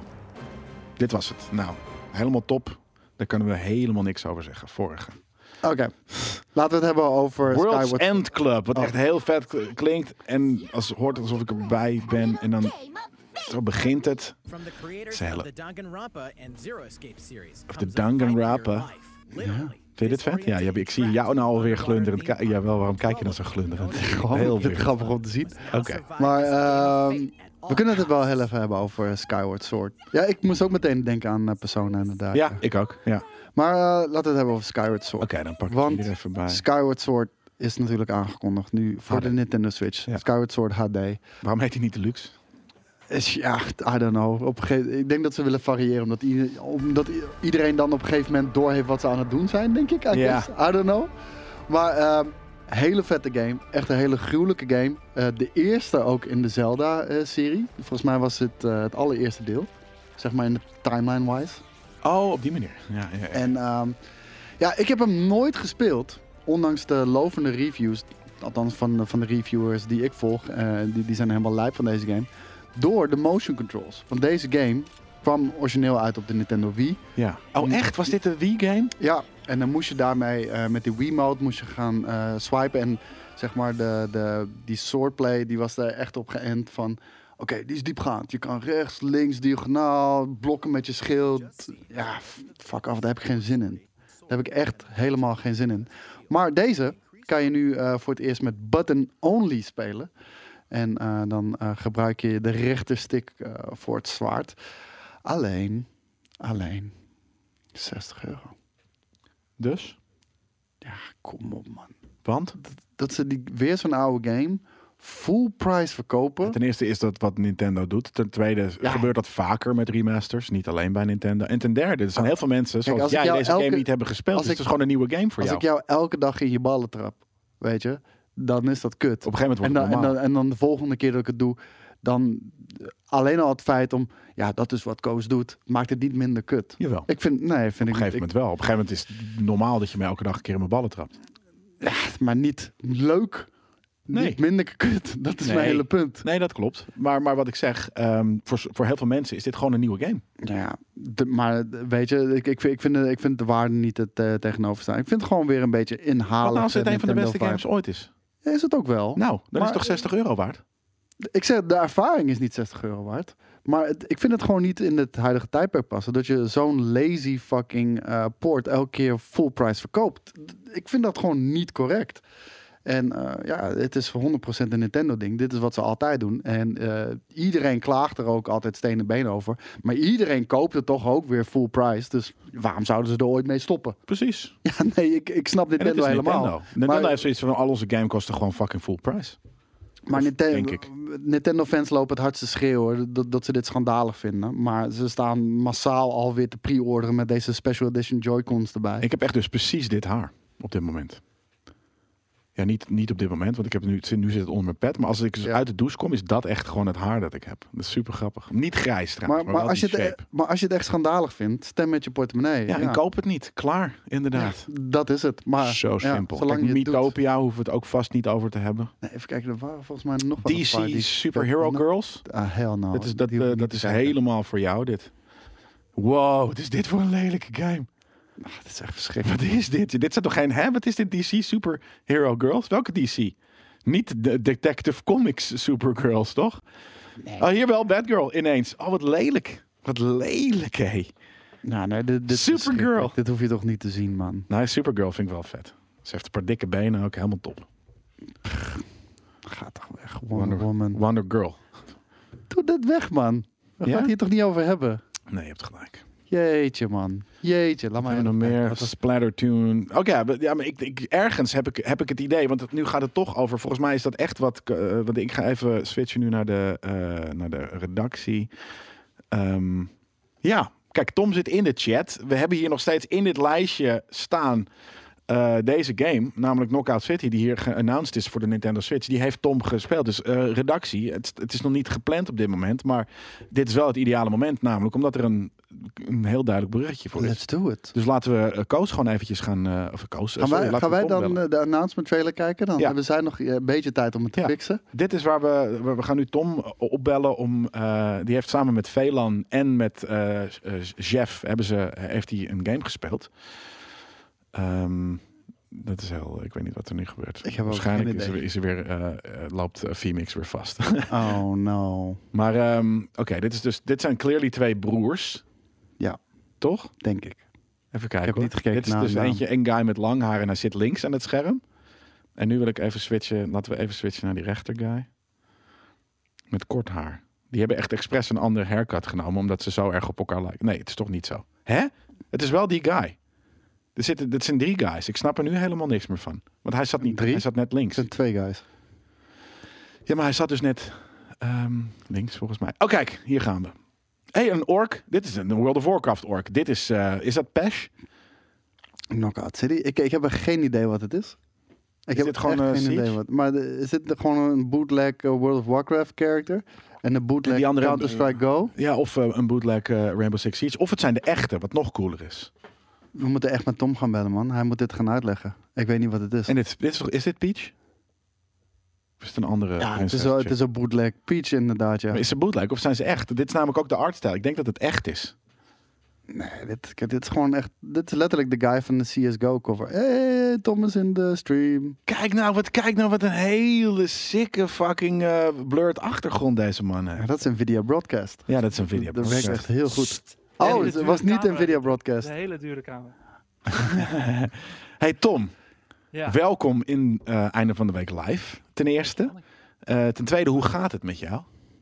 Speaker 1: Dit was het. Nou, helemaal top. Daar kunnen we helemaal niks over zeggen. Vorige.
Speaker 2: Oké, laten we het hebben over
Speaker 1: World's
Speaker 2: Skyward.
Speaker 1: End Club. Wat
Speaker 2: Oh.
Speaker 1: echt heel vet k- klinkt. En als, hoort alsof ik erbij ben. En dan zo begint het.
Speaker 4: From the creators
Speaker 1: Ze hele-
Speaker 4: of the Danganronpa and Zero Escape series.
Speaker 1: Of de
Speaker 4: comes a fight for your
Speaker 1: Danganronpa.
Speaker 4: life, literally.
Speaker 1: Vind je dit vet? Ja, je- ik zie jou nou alweer glunderend. ki- Jawel, waarom kijk je dan zo glunderend?
Speaker 2: Gewoon, ik
Speaker 1: Heel
Speaker 2: vind het
Speaker 1: weird.
Speaker 2: grappig om te zien.
Speaker 1: Oké.
Speaker 2: Maar ehm, we kunnen het wel heel even hebben over Skyward Sword. Ja, ik moest ook meteen denken aan eh, Persona inderdaad.
Speaker 1: Ja, ik ook. Ja. Oké,
Speaker 2: Maar eh, laten we het hebben over Skyward Sword.
Speaker 1: dan pak ik
Speaker 2: Want
Speaker 1: die er even bij.
Speaker 2: Skyward Sword is natuurlijk aangekondigd nu voor
Speaker 1: HD.
Speaker 2: de Nintendo Switch.
Speaker 1: Ja.
Speaker 2: Skyward Sword HD.
Speaker 1: Waarom heet hij niet deluxe?
Speaker 2: Is, ja, I don't know. Op een gegeven, ik denk dat ze willen variëren. Omdat, ieder- omdat i- iedereen dan op een gegeven moment doorheeft wat ze aan het doen zijn, denk ik. I,
Speaker 1: Ja.
Speaker 2: guess. I don't know. Maar ehm, hele vette game. Echt een hele gruwelijke game. Eh, de eerste ook in de Zelda-serie. Volgens mij was het eh, het allereerste deel. Zeg maar in de timeline-wise.
Speaker 1: Oh, op die manier. Ja, ja, ja.
Speaker 2: En ehm, ja, ik heb hem nooit gespeeld. Ondanks de lovende reviews. Althans van, de- van de reviewers die ik volg. eh, die, die zijn helemaal lijp van deze game. Door de motion controls. Want deze game kwam origineel uit op de Nintendo Wii.
Speaker 1: ja. Oh, echt? Was dit een Wii-game?
Speaker 2: Ja, en dan moest je daarmee eh, met die Wiimote moest je gaan eh, swipen. En zeg maar, de, de, die swordplay die was daar echt op geënt van... Oké, die is diepgaand. Je kan rechts, links, diagonaal, blokken met je schild. Ja, f- fuck af, daar heb ik geen zin in. Daar heb ik echt helemaal geen zin in. Maar deze kan je nu eh, voor het eerst met button-only spelen. En eh, dan eh, gebruik je de rechterstick eh, voor het zwaard. Alleen, alleen, 60 euro.
Speaker 1: Dus?
Speaker 2: Ja, kom op man.
Speaker 1: Want?
Speaker 2: Dat ze die, weer zo'n oude game full price verkopen.
Speaker 1: Ten eerste is dat wat Nintendo doet. Ten tweede
Speaker 2: Ja.
Speaker 1: gebeurt dat vaker met remasters. Niet alleen bij Nintendo. En ten derde, er zijn heel veel mensen zoals
Speaker 2: Ah. als ik
Speaker 1: jij
Speaker 2: jou
Speaker 1: deze
Speaker 2: elke-
Speaker 1: game niet hebben gespeeld.
Speaker 2: als
Speaker 1: Dus
Speaker 2: ik-
Speaker 1: het is gewoon een nieuwe game voor
Speaker 2: Als
Speaker 1: jou.
Speaker 2: ik jou elke dag in je ballen trap, weet je, dan is dat kut.
Speaker 1: Op een gegeven
Speaker 2: en
Speaker 1: moment wordt
Speaker 2: dan,
Speaker 1: het
Speaker 2: en,
Speaker 1: normaal.
Speaker 2: dan, en dan de volgende keer dat ik het doe, dan eh, alleen al het feit om, ja, dat is wat Koos doet, maakt het niet minder kut.
Speaker 1: Jawel.
Speaker 2: Ik vind, nee,
Speaker 1: Op
Speaker 2: vind ik,
Speaker 1: een
Speaker 2: niet.
Speaker 1: gegeven moment wel. Op een gegeven moment is het normaal dat je mij elke dag een keer in mijn ballen trapt.
Speaker 2: Ik- maar niet leuk.
Speaker 1: Nee.
Speaker 2: Niet minder kut. Dat is
Speaker 1: Nee.
Speaker 2: mijn hele punt.
Speaker 1: Nee, dat klopt. Maar, maar wat ik zeg, ehm, voor, voor heel veel mensen is dit gewoon een nieuwe game.
Speaker 2: Nou Ja, de- maar weet je, ik, ik, vind- ik, vind, de- ik vind de waarde niet het eh, tegenover staan. Ik vind het gewoon weer een beetje inhalen.
Speaker 1: Wat nou als dit een van de beste games ooit is?
Speaker 2: Is het ook wel.
Speaker 1: Nou, dan is
Speaker 2: Maar-
Speaker 1: het toch 60 euro waard?
Speaker 2: Ik zeg, de ervaring is niet 60 euro waard. Maar het- ik vind het gewoon niet in het huidige tijdperk passen. Dat je zo'n lazy fucking eh, port elke keer full price verkoopt. D- Ik vind dat gewoon niet correct. En eh, ja, het is voor 100% een Nintendo-ding. Dit is wat ze altijd doen. En eh, iedereen klaagt er ook altijd stenen been over. Maar iedereen koopt het toch ook weer full price. Dus waarom zouden ze er ooit mee stoppen?
Speaker 1: Precies.
Speaker 2: Ja, nee, ik, ik snap
Speaker 1: En dat
Speaker 2: Nintendo
Speaker 1: is
Speaker 2: helemaal.
Speaker 1: Nintendo. Nintendo heeft zoiets van, al onze game kosten gewoon fucking full price.
Speaker 2: Maar
Speaker 1: Of,
Speaker 2: Nintendo,
Speaker 1: denk ik.
Speaker 2: Nintendo-fans lopen het hardste schreeuwen dat, dat ze dit schandalig vinden. Maar ze staan massaal alweer te pre-orderen met deze special edition Joy-Cons erbij.
Speaker 1: Ik heb echt dus precies dit haar op dit moment. Ja, niet, niet op dit moment, want ik heb nu, het zit- nu zit het onder mijn pet. Maar als ik dus
Speaker 2: Ja.
Speaker 1: uit de douche kom, is dat echt gewoon het haar dat ik heb. Dat is super grappig. Niet grijs trouwens,
Speaker 2: maar,
Speaker 1: maar,
Speaker 2: maar,
Speaker 1: wel
Speaker 2: als je
Speaker 1: die
Speaker 2: het, e-
Speaker 1: shape.
Speaker 2: maar als je het echt schandalig vindt, stem met je portemonnee.
Speaker 1: Ja, en koop het niet. Klaar, inderdaad.
Speaker 2: Dat is het. Maar,
Speaker 1: Zo
Speaker 2: ja,
Speaker 1: simpel.
Speaker 2: zolang
Speaker 1: Kijk,
Speaker 2: je het doet-
Speaker 1: Mythopia hoeven we het ook vast niet over te hebben.
Speaker 2: Nee, even kijken, er waren volgens mij nog wel een paar
Speaker 1: DC
Speaker 2: die-
Speaker 1: Superhero
Speaker 2: dat-
Speaker 1: Girls.
Speaker 2: Ah, hell no.
Speaker 1: Dat is, dat,
Speaker 2: Die hoef
Speaker 1: eh,
Speaker 2: ik niet
Speaker 1: dat
Speaker 2: te
Speaker 1: is
Speaker 2: kijken.
Speaker 1: helemaal voor jou dit. Wow, wat is dit voor een lelijke game?
Speaker 2: Ah, dat is echt verschrikkelijk.
Speaker 1: Wat is dit? Dit zijn toch geen... Hè? Wat is dit DC Superhero Girls? Welke DC? Niet de Detective Comics Supergirls, toch? Oh, hier wel Batgirl ineens. Oh, wat lelijk. Wat lelijk, hé.
Speaker 2: Nou, nee, dit, dit is
Speaker 1: Supergirl.
Speaker 2: verschrikkelijk. Dit hoef je toch niet te zien, man.
Speaker 1: Nee, Nou, Supergirl vind ik wel vet. Ze heeft een paar dikke benen ook, helemaal top.
Speaker 2: Ga toch weg, Wonder Woman.
Speaker 1: Wonder Girl.
Speaker 2: Doe dit weg, man. We gaan
Speaker 1: Ja?
Speaker 2: het hier toch niet over hebben?
Speaker 1: Nee, je hebt gelijk.
Speaker 2: Jeetje, man. Jeetje, laat
Speaker 1: Maar
Speaker 2: maar
Speaker 1: en nog meer Splattertune. Oké, ja, maar- ja, maar ik, ik, ergens heb ik, heb ik het idee, want het- nu gaat het toch over. Volgens mij is dat echt wat. eh, want ik ga even switchen nu naar de, eh, naar de redactie. Ehm, ja, kijk, Tom zit in de chat. We hebben hier nog steeds in dit lijstje staan. eh, deze game, namelijk Knockout City, die hier geannounced is voor de Nintendo Switch, die heeft Tom gespeeld. Dus eh, redactie, het, het is nog niet gepland op dit moment, maar dit is wel het ideale moment, namelijk omdat er een, een heel duidelijk bruggetje voor is.
Speaker 2: Let's do it.
Speaker 1: Dus laten we eh, Koos gewoon eventjes gaan... eh, of Koos, eh,
Speaker 2: Gaan
Speaker 1: sorry,
Speaker 2: wij,
Speaker 1: laten
Speaker 2: gaan
Speaker 1: we
Speaker 2: wij
Speaker 1: Tom
Speaker 2: dan
Speaker 1: bellen.
Speaker 2: eh, de announcement trailer kijken? Dan
Speaker 1: Ja.
Speaker 2: hebben zij nog eh, een beetje tijd om het te
Speaker 1: Ja.
Speaker 2: fixen.
Speaker 1: Dit is waar we... We we gaan nu Tom eh, opbellen om... eh, die heeft samen met Velan en met eh, eh, Jeff... Hebben ze, eh, heeft hij een game gespeeld. Ehm, dat is heel... Ik weet niet wat er nu gebeurt.
Speaker 2: Ik heb ook
Speaker 1: Waarschijnlijk
Speaker 2: geen
Speaker 1: is
Speaker 2: idee.
Speaker 1: er, is er weer... eh, eh, loopt eh, Phoenix weer vast.
Speaker 2: Oh, no.
Speaker 1: maar ehm, oké, dit is dus... Dit zijn clearly twee broers.
Speaker 2: Ja.
Speaker 1: Toch?
Speaker 2: Denk ik.
Speaker 1: Even kijken.
Speaker 2: heb
Speaker 1: hoor.
Speaker 2: niet gekeken
Speaker 1: Dit is
Speaker 2: naar
Speaker 1: dus
Speaker 2: een naam.
Speaker 1: eentje, een guy met lang haar en hij zit links aan het scherm. En nu wil ik even switchen. Laten we even switchen naar die rechter guy. Met kort haar. Die hebben echt expres een ander haircut genomen omdat ze zo erg op elkaar lijken. Nee, het is toch niet zo. Hè? Het is wel die guy. Er zitten, dit zijn drie guys. Ik snap er nu helemaal niks meer van. Want hij zat niet
Speaker 2: Drie?
Speaker 1: Hij zat net
Speaker 2: Het
Speaker 1: links.
Speaker 2: zijn twee guys.
Speaker 1: Ja, maar hij zat dus net ehm, links volgens mij. Oh kijk, hier gaan we. hey, een ork. Dit is een World of Warcraft ork. Dit is, eh, is dat Pesh?
Speaker 2: Knockout City. Ik, ik heb er geen idee wat het is. Ik heb
Speaker 1: dit gewoon,
Speaker 2: echt
Speaker 1: eh,
Speaker 2: geen
Speaker 1: Siege?
Speaker 2: idee wat. Maar de- is dit de- gewoon een bootleg eh, World of Warcraft character? En een bootleg
Speaker 1: die andere-
Speaker 2: Counter-Strike Go?
Speaker 1: Ja, of eh, een bootleg eh, Rainbow Six Siege. Of het zijn de echte, wat nog cooler is.
Speaker 2: We moeten echt met Tom gaan bellen, man. Hij moet dit gaan uitleggen. Ik weet niet wat het is.
Speaker 1: En dit, dit is, is dit Peach? Of is het een andere
Speaker 2: ja, het is,
Speaker 1: prinses
Speaker 2: wel,
Speaker 1: chick?
Speaker 2: het is een bootleg Peach inderdaad, ja.
Speaker 1: Maar Is het bootleg of zijn ze echt? Dit is namelijk ook de artstijl. Ik denk dat het echt is.
Speaker 2: Nee, dit, kijk, dit is gewoon echt... Dit is letterlijk de guy van de CSGO cover. Hey, Tom is in de stream.
Speaker 1: Kijk nou, wat, kijk nou wat een hele sikke fucking eh, blurred achtergrond deze man
Speaker 2: Ja,
Speaker 1: heeft.
Speaker 2: dat is Nvidia Broadcast.
Speaker 1: Ja, dat is een video.
Speaker 2: Dat werkt echt heel goed.
Speaker 5: Sst.
Speaker 2: Oh,
Speaker 5: Hele
Speaker 2: het
Speaker 5: dure
Speaker 2: was niet
Speaker 5: kamer.
Speaker 2: Nvidia
Speaker 5: Dat is
Speaker 2: Broadcast.
Speaker 5: Een hele dure kamer.
Speaker 1: Hey Tom,
Speaker 5: Ja.
Speaker 1: welkom in eh, Einde van de Week Live, ten eerste. Eh, ten tweede, hoe gaat het met jou?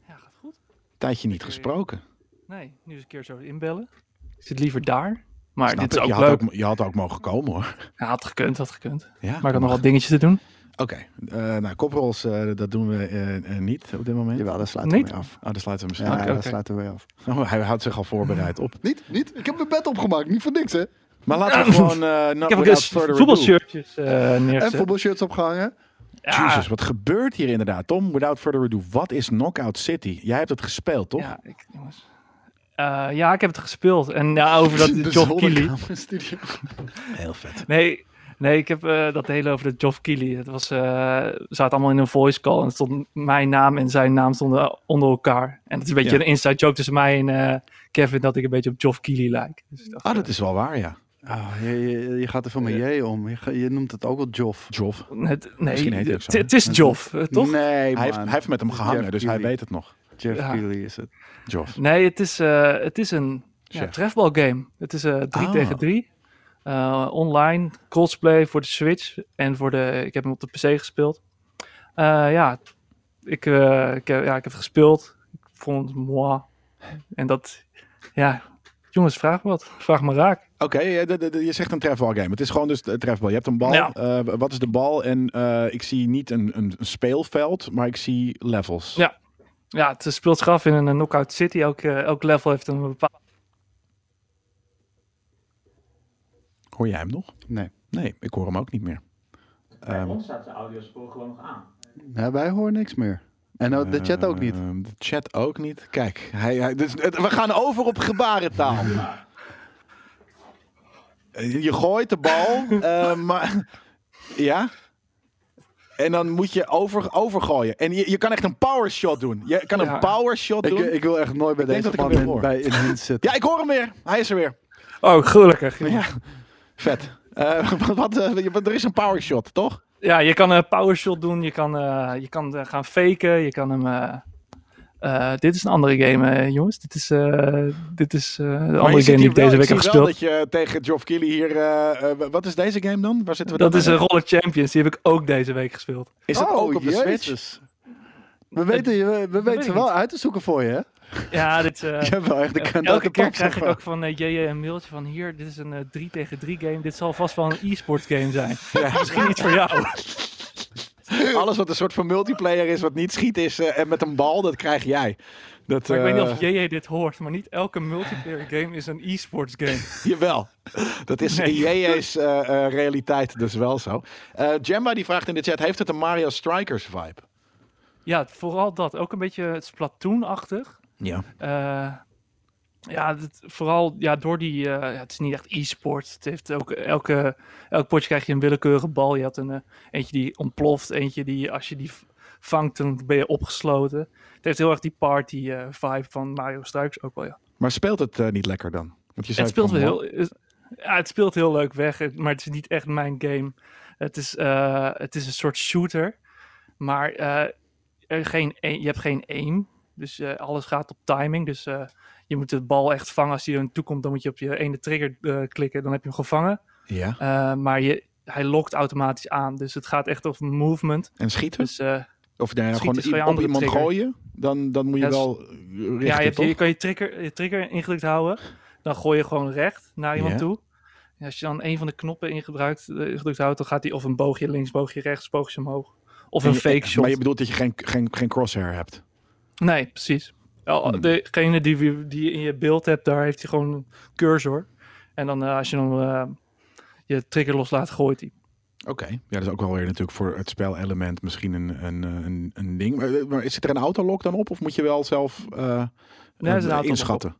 Speaker 5: ja, gaat goed.
Speaker 1: Tijdje niet
Speaker 5: Ik, eh,
Speaker 1: gesproken.
Speaker 5: Nee, nu eens een keer zo inbellen. Ik zit liever daar. Maar
Speaker 1: Snap
Speaker 5: dit is
Speaker 1: ik.
Speaker 5: ook
Speaker 1: je, had
Speaker 5: leuk.
Speaker 1: ook, je had ook mogen komen hoor.
Speaker 5: Ja, had gekund, had gekund.
Speaker 1: Ja,
Speaker 5: Maar ik had nog
Speaker 1: mag.
Speaker 5: wat dingetjes te doen.
Speaker 1: Oké, eh, nou koprolls, eh, dat doen we eh, eh, niet op dit moment.
Speaker 2: Jawel, daar sluiten we
Speaker 5: Niet?
Speaker 2: mee af.
Speaker 1: Oh, daar sluiten we
Speaker 2: Ja,
Speaker 1: misschien.
Speaker 2: daar
Speaker 5: oké.
Speaker 2: sluiten we mee af.
Speaker 1: Oh, hij houdt zich al voorbereid op.
Speaker 2: Niet, niet. Ik heb mijn bed opgemaakt, niet voor niks, hè.
Speaker 1: Maar laten we gewoon. eh
Speaker 5: Ik
Speaker 1: not
Speaker 5: heb ook
Speaker 1: without
Speaker 5: eens
Speaker 1: further ado.
Speaker 5: voetbalshirtjes eh neergezet.
Speaker 2: En voetbalshirts opgehangen.
Speaker 5: Ja,
Speaker 1: Jezus, wat gebeurt hier inderdaad? Tom, without further ado, wat is Knockout City? Jij hebt het gespeeld, toch?
Speaker 5: Ja, ik, jongens. Eh, ja, ik heb het gespeeld. En ja, over dat Joff Keely.
Speaker 2: studio.
Speaker 1: Heel vet.
Speaker 5: Nee, nee, ik heb eh, dat hele over de Joff Keely. Het was, eh we zaten allemaal in een voice call. En het stond mijn naam en zijn naam stonden onder elkaar. En het is een beetje
Speaker 1: Ja.
Speaker 5: een inside joke tussen mij en eh, Kevin dat ik een beetje op Joff Keely lijk. Dus ik dacht,
Speaker 1: Ah, dat is wel waar, ja.
Speaker 2: Oh, je, je, je gaat er veel met J om. Je, ga- je noemt het ook wel Joff.
Speaker 1: Joff.
Speaker 5: Het, nee,
Speaker 1: Misschien heet hij ook
Speaker 5: het,
Speaker 1: zo, hè?
Speaker 5: het is Joff, eh, toch? Nee,
Speaker 2: Nee,
Speaker 1: Hij heeft,
Speaker 2: man.
Speaker 1: hij heeft met hem gehangen,
Speaker 2: Jeff
Speaker 1: dus hij
Speaker 2: Keighley.
Speaker 1: weet het nog.
Speaker 2: Jeff
Speaker 5: Ja.
Speaker 2: Keighley is het.
Speaker 1: Joff.
Speaker 5: het, is, eh, het is een ja,
Speaker 1: Chef.
Speaker 5: trefbalgame. Het is 3
Speaker 1: Ah.
Speaker 5: tegen 3. online, crossplay voor de Switch en voor de... Ik heb hem op de PC gespeeld. Eh, ja, ik, eh, ik, heb- ja, ik heb het gespeeld. Ik vond het moi. En dat... Ja, jongens, vraag me wat. Vraag me raak.
Speaker 1: Oké, eh, de- de- de- je zegt een trefbal game. Het is gewoon dus een trefbal. Je hebt een bal.
Speaker 5: Ja.
Speaker 1: Eh, wat is de bal? En eh, ik zie niet een, een speelveld, maar ik zie levels.
Speaker 5: Ja. Ja, het speelt zich af in een eh, knockout city. Elk, eh, elk level heeft een bepaalde...
Speaker 1: Hoor jij hem nog?
Speaker 2: Nee.
Speaker 1: Nee, ik hoor hem ook niet meer.
Speaker 6: Bij ons staat de audiospoor gewoon nog aan.
Speaker 2: Ja, wij horen niks meer. En ook de chat ook niet.
Speaker 1: Eh, de chat ook niet. Kijk, hij, hij, dus, het- we gaan over op gebarentaal. Eh, je gooit de bal, eh, maar... Ja? En dan moet je over, overgooien. En je, je kan echt een powershot doen. Je kan een
Speaker 5: Ja.
Speaker 1: powershot
Speaker 2: Ik, eh,
Speaker 1: doen.
Speaker 2: ik wil echt nooit bij
Speaker 1: denk
Speaker 2: deze
Speaker 1: dat ik hem weer
Speaker 2: man in,
Speaker 1: hoor.
Speaker 2: bij in hun zitten.
Speaker 1: ja, ik hoor hem weer. Hij is er weer.
Speaker 5: Oh, gelukkig.
Speaker 1: Ja, vet. Eh, wat, wat, eh, je- er is een powershot, toch?
Speaker 5: Ja, je kan een powershot doen, je kan, eh, je kan eh, gaan faken, je kan hem eh, eh, dit is een andere game, eh, jongens. Dit is, eh, dit is eh, de
Speaker 1: Maar je zit
Speaker 5: andere game die
Speaker 1: hier
Speaker 5: ik
Speaker 1: wel-
Speaker 5: deze week
Speaker 1: zie
Speaker 5: heb
Speaker 1: wel
Speaker 5: gespeeld.
Speaker 1: dat je tegen Geoff Keighley hier... eh, eh, wat is deze game dan? Waar zitten we
Speaker 5: Dat
Speaker 1: dan
Speaker 5: is
Speaker 1: aan?
Speaker 5: een Roller Champions. Die heb ik ook deze week gespeeld.
Speaker 1: Is dat
Speaker 2: Oh,
Speaker 1: ook op de Switch?
Speaker 2: jezus. We weten, je- we, we weten
Speaker 5: ik
Speaker 2: ze wel uit te zoeken voor je, hè?
Speaker 5: Ja, dit... eh,
Speaker 2: Je hebt wel echt de
Speaker 5: eh,
Speaker 2: kant uit
Speaker 5: elke
Speaker 2: de
Speaker 5: keer
Speaker 2: pap,
Speaker 5: krijg
Speaker 2: zeg
Speaker 5: ik
Speaker 2: maar.
Speaker 5: ook van eh JJ een mailtje van... Hier, dit is een eh, 3 tegen 3 game. Dit zal vast wel een e-sport game zijn. Misschien iets voor jou.
Speaker 1: Alles wat een soort van multiplayer is, wat niet schiet is eh, en met een bal, dat krijg jij. Dat,
Speaker 5: Maar ik weet niet of
Speaker 1: eh,
Speaker 5: JJ dit hoort, maar niet elke multiplayer game is een e-sports game.
Speaker 1: Jawel. Dat is in JJ's eh, eh, realiteit dus wel zo. Eh Jemba die vraagt in de chat, heeft het een Mario Strikers vibe?
Speaker 5: Ja, vooral dat. Ook een beetje Splatoon-achtig.
Speaker 1: Ja.
Speaker 5: Eh, ja, dit- vooral ja, door die... eh, ja, het is niet echt e-sport. Het heeft ook elke... Elk potje krijg je een willekeurige bal. Je had een eh, eentje die ontploft. Eentje die, als je die v- vangt, dan ben je opgesloten. Het heeft heel erg die party-vibe van Mario Strikers ook wel, ja.
Speaker 1: Maar speelt het eh, niet lekker dan? Want je zei
Speaker 5: Het speelt
Speaker 1: van,
Speaker 5: wel heel, is- ja, het speelt heel leuk weg, het- maar het is niet echt mijn game. Het is, eh, het is een soort shooter, maar eh, er geen, aim- je hebt geen aim. Dus eh, alles gaat op timing. Dus eh, je moet de bal echt vangen. Als hij er naartoe komt, dan moet je op je ene trigger eh, klikken. Dan heb je hem gevangen.
Speaker 1: Ja.
Speaker 5: Eh, maar je, hij lokt automatisch aan. Dus het gaat echt over movement.
Speaker 1: En schieten?
Speaker 5: Dus eh,
Speaker 1: of nou ja,
Speaker 5: schieten is
Speaker 1: gewoon i-
Speaker 5: gewoon je
Speaker 1: op
Speaker 5: andere
Speaker 1: iemand
Speaker 5: trigger.
Speaker 1: gooien? Dan, dan moet je
Speaker 5: Ja, dus-
Speaker 1: wel eh, richten,
Speaker 5: ja, je, hebt-
Speaker 1: toch?
Speaker 5: je kan je trigger, je trigger ingedrukt houden. Dan gooi je gewoon recht naar iemand
Speaker 1: Ja.
Speaker 5: toe. En als je dan een van de knoppen ingedrukt, eh, ingedrukt houdt, dan gaat hij of een boogje links, boogje rechts, boogje omhoog. Of
Speaker 1: En
Speaker 5: een
Speaker 1: je-
Speaker 5: fake shot.
Speaker 1: Maar je bedoelt dat je geen, geen, geen crosshair hebt?
Speaker 5: Nee, precies. Al-
Speaker 1: Hmm.
Speaker 5: Degene die, we- die je in je beeld hebt, daar heeft hij gewoon een cursor. En dan eh, als je dan eh, je trigger loslaat, gooit hij.
Speaker 1: Oké. Ja, dat is ook wel weer natuurlijk voor het spelelement misschien een, een, eh, een, een ding. Maar, maar zit er een autolok dan op? Of moet je wel zelf eh,
Speaker 5: Nee, er zit een
Speaker 1: eh,
Speaker 5: autolok
Speaker 1: inschatten?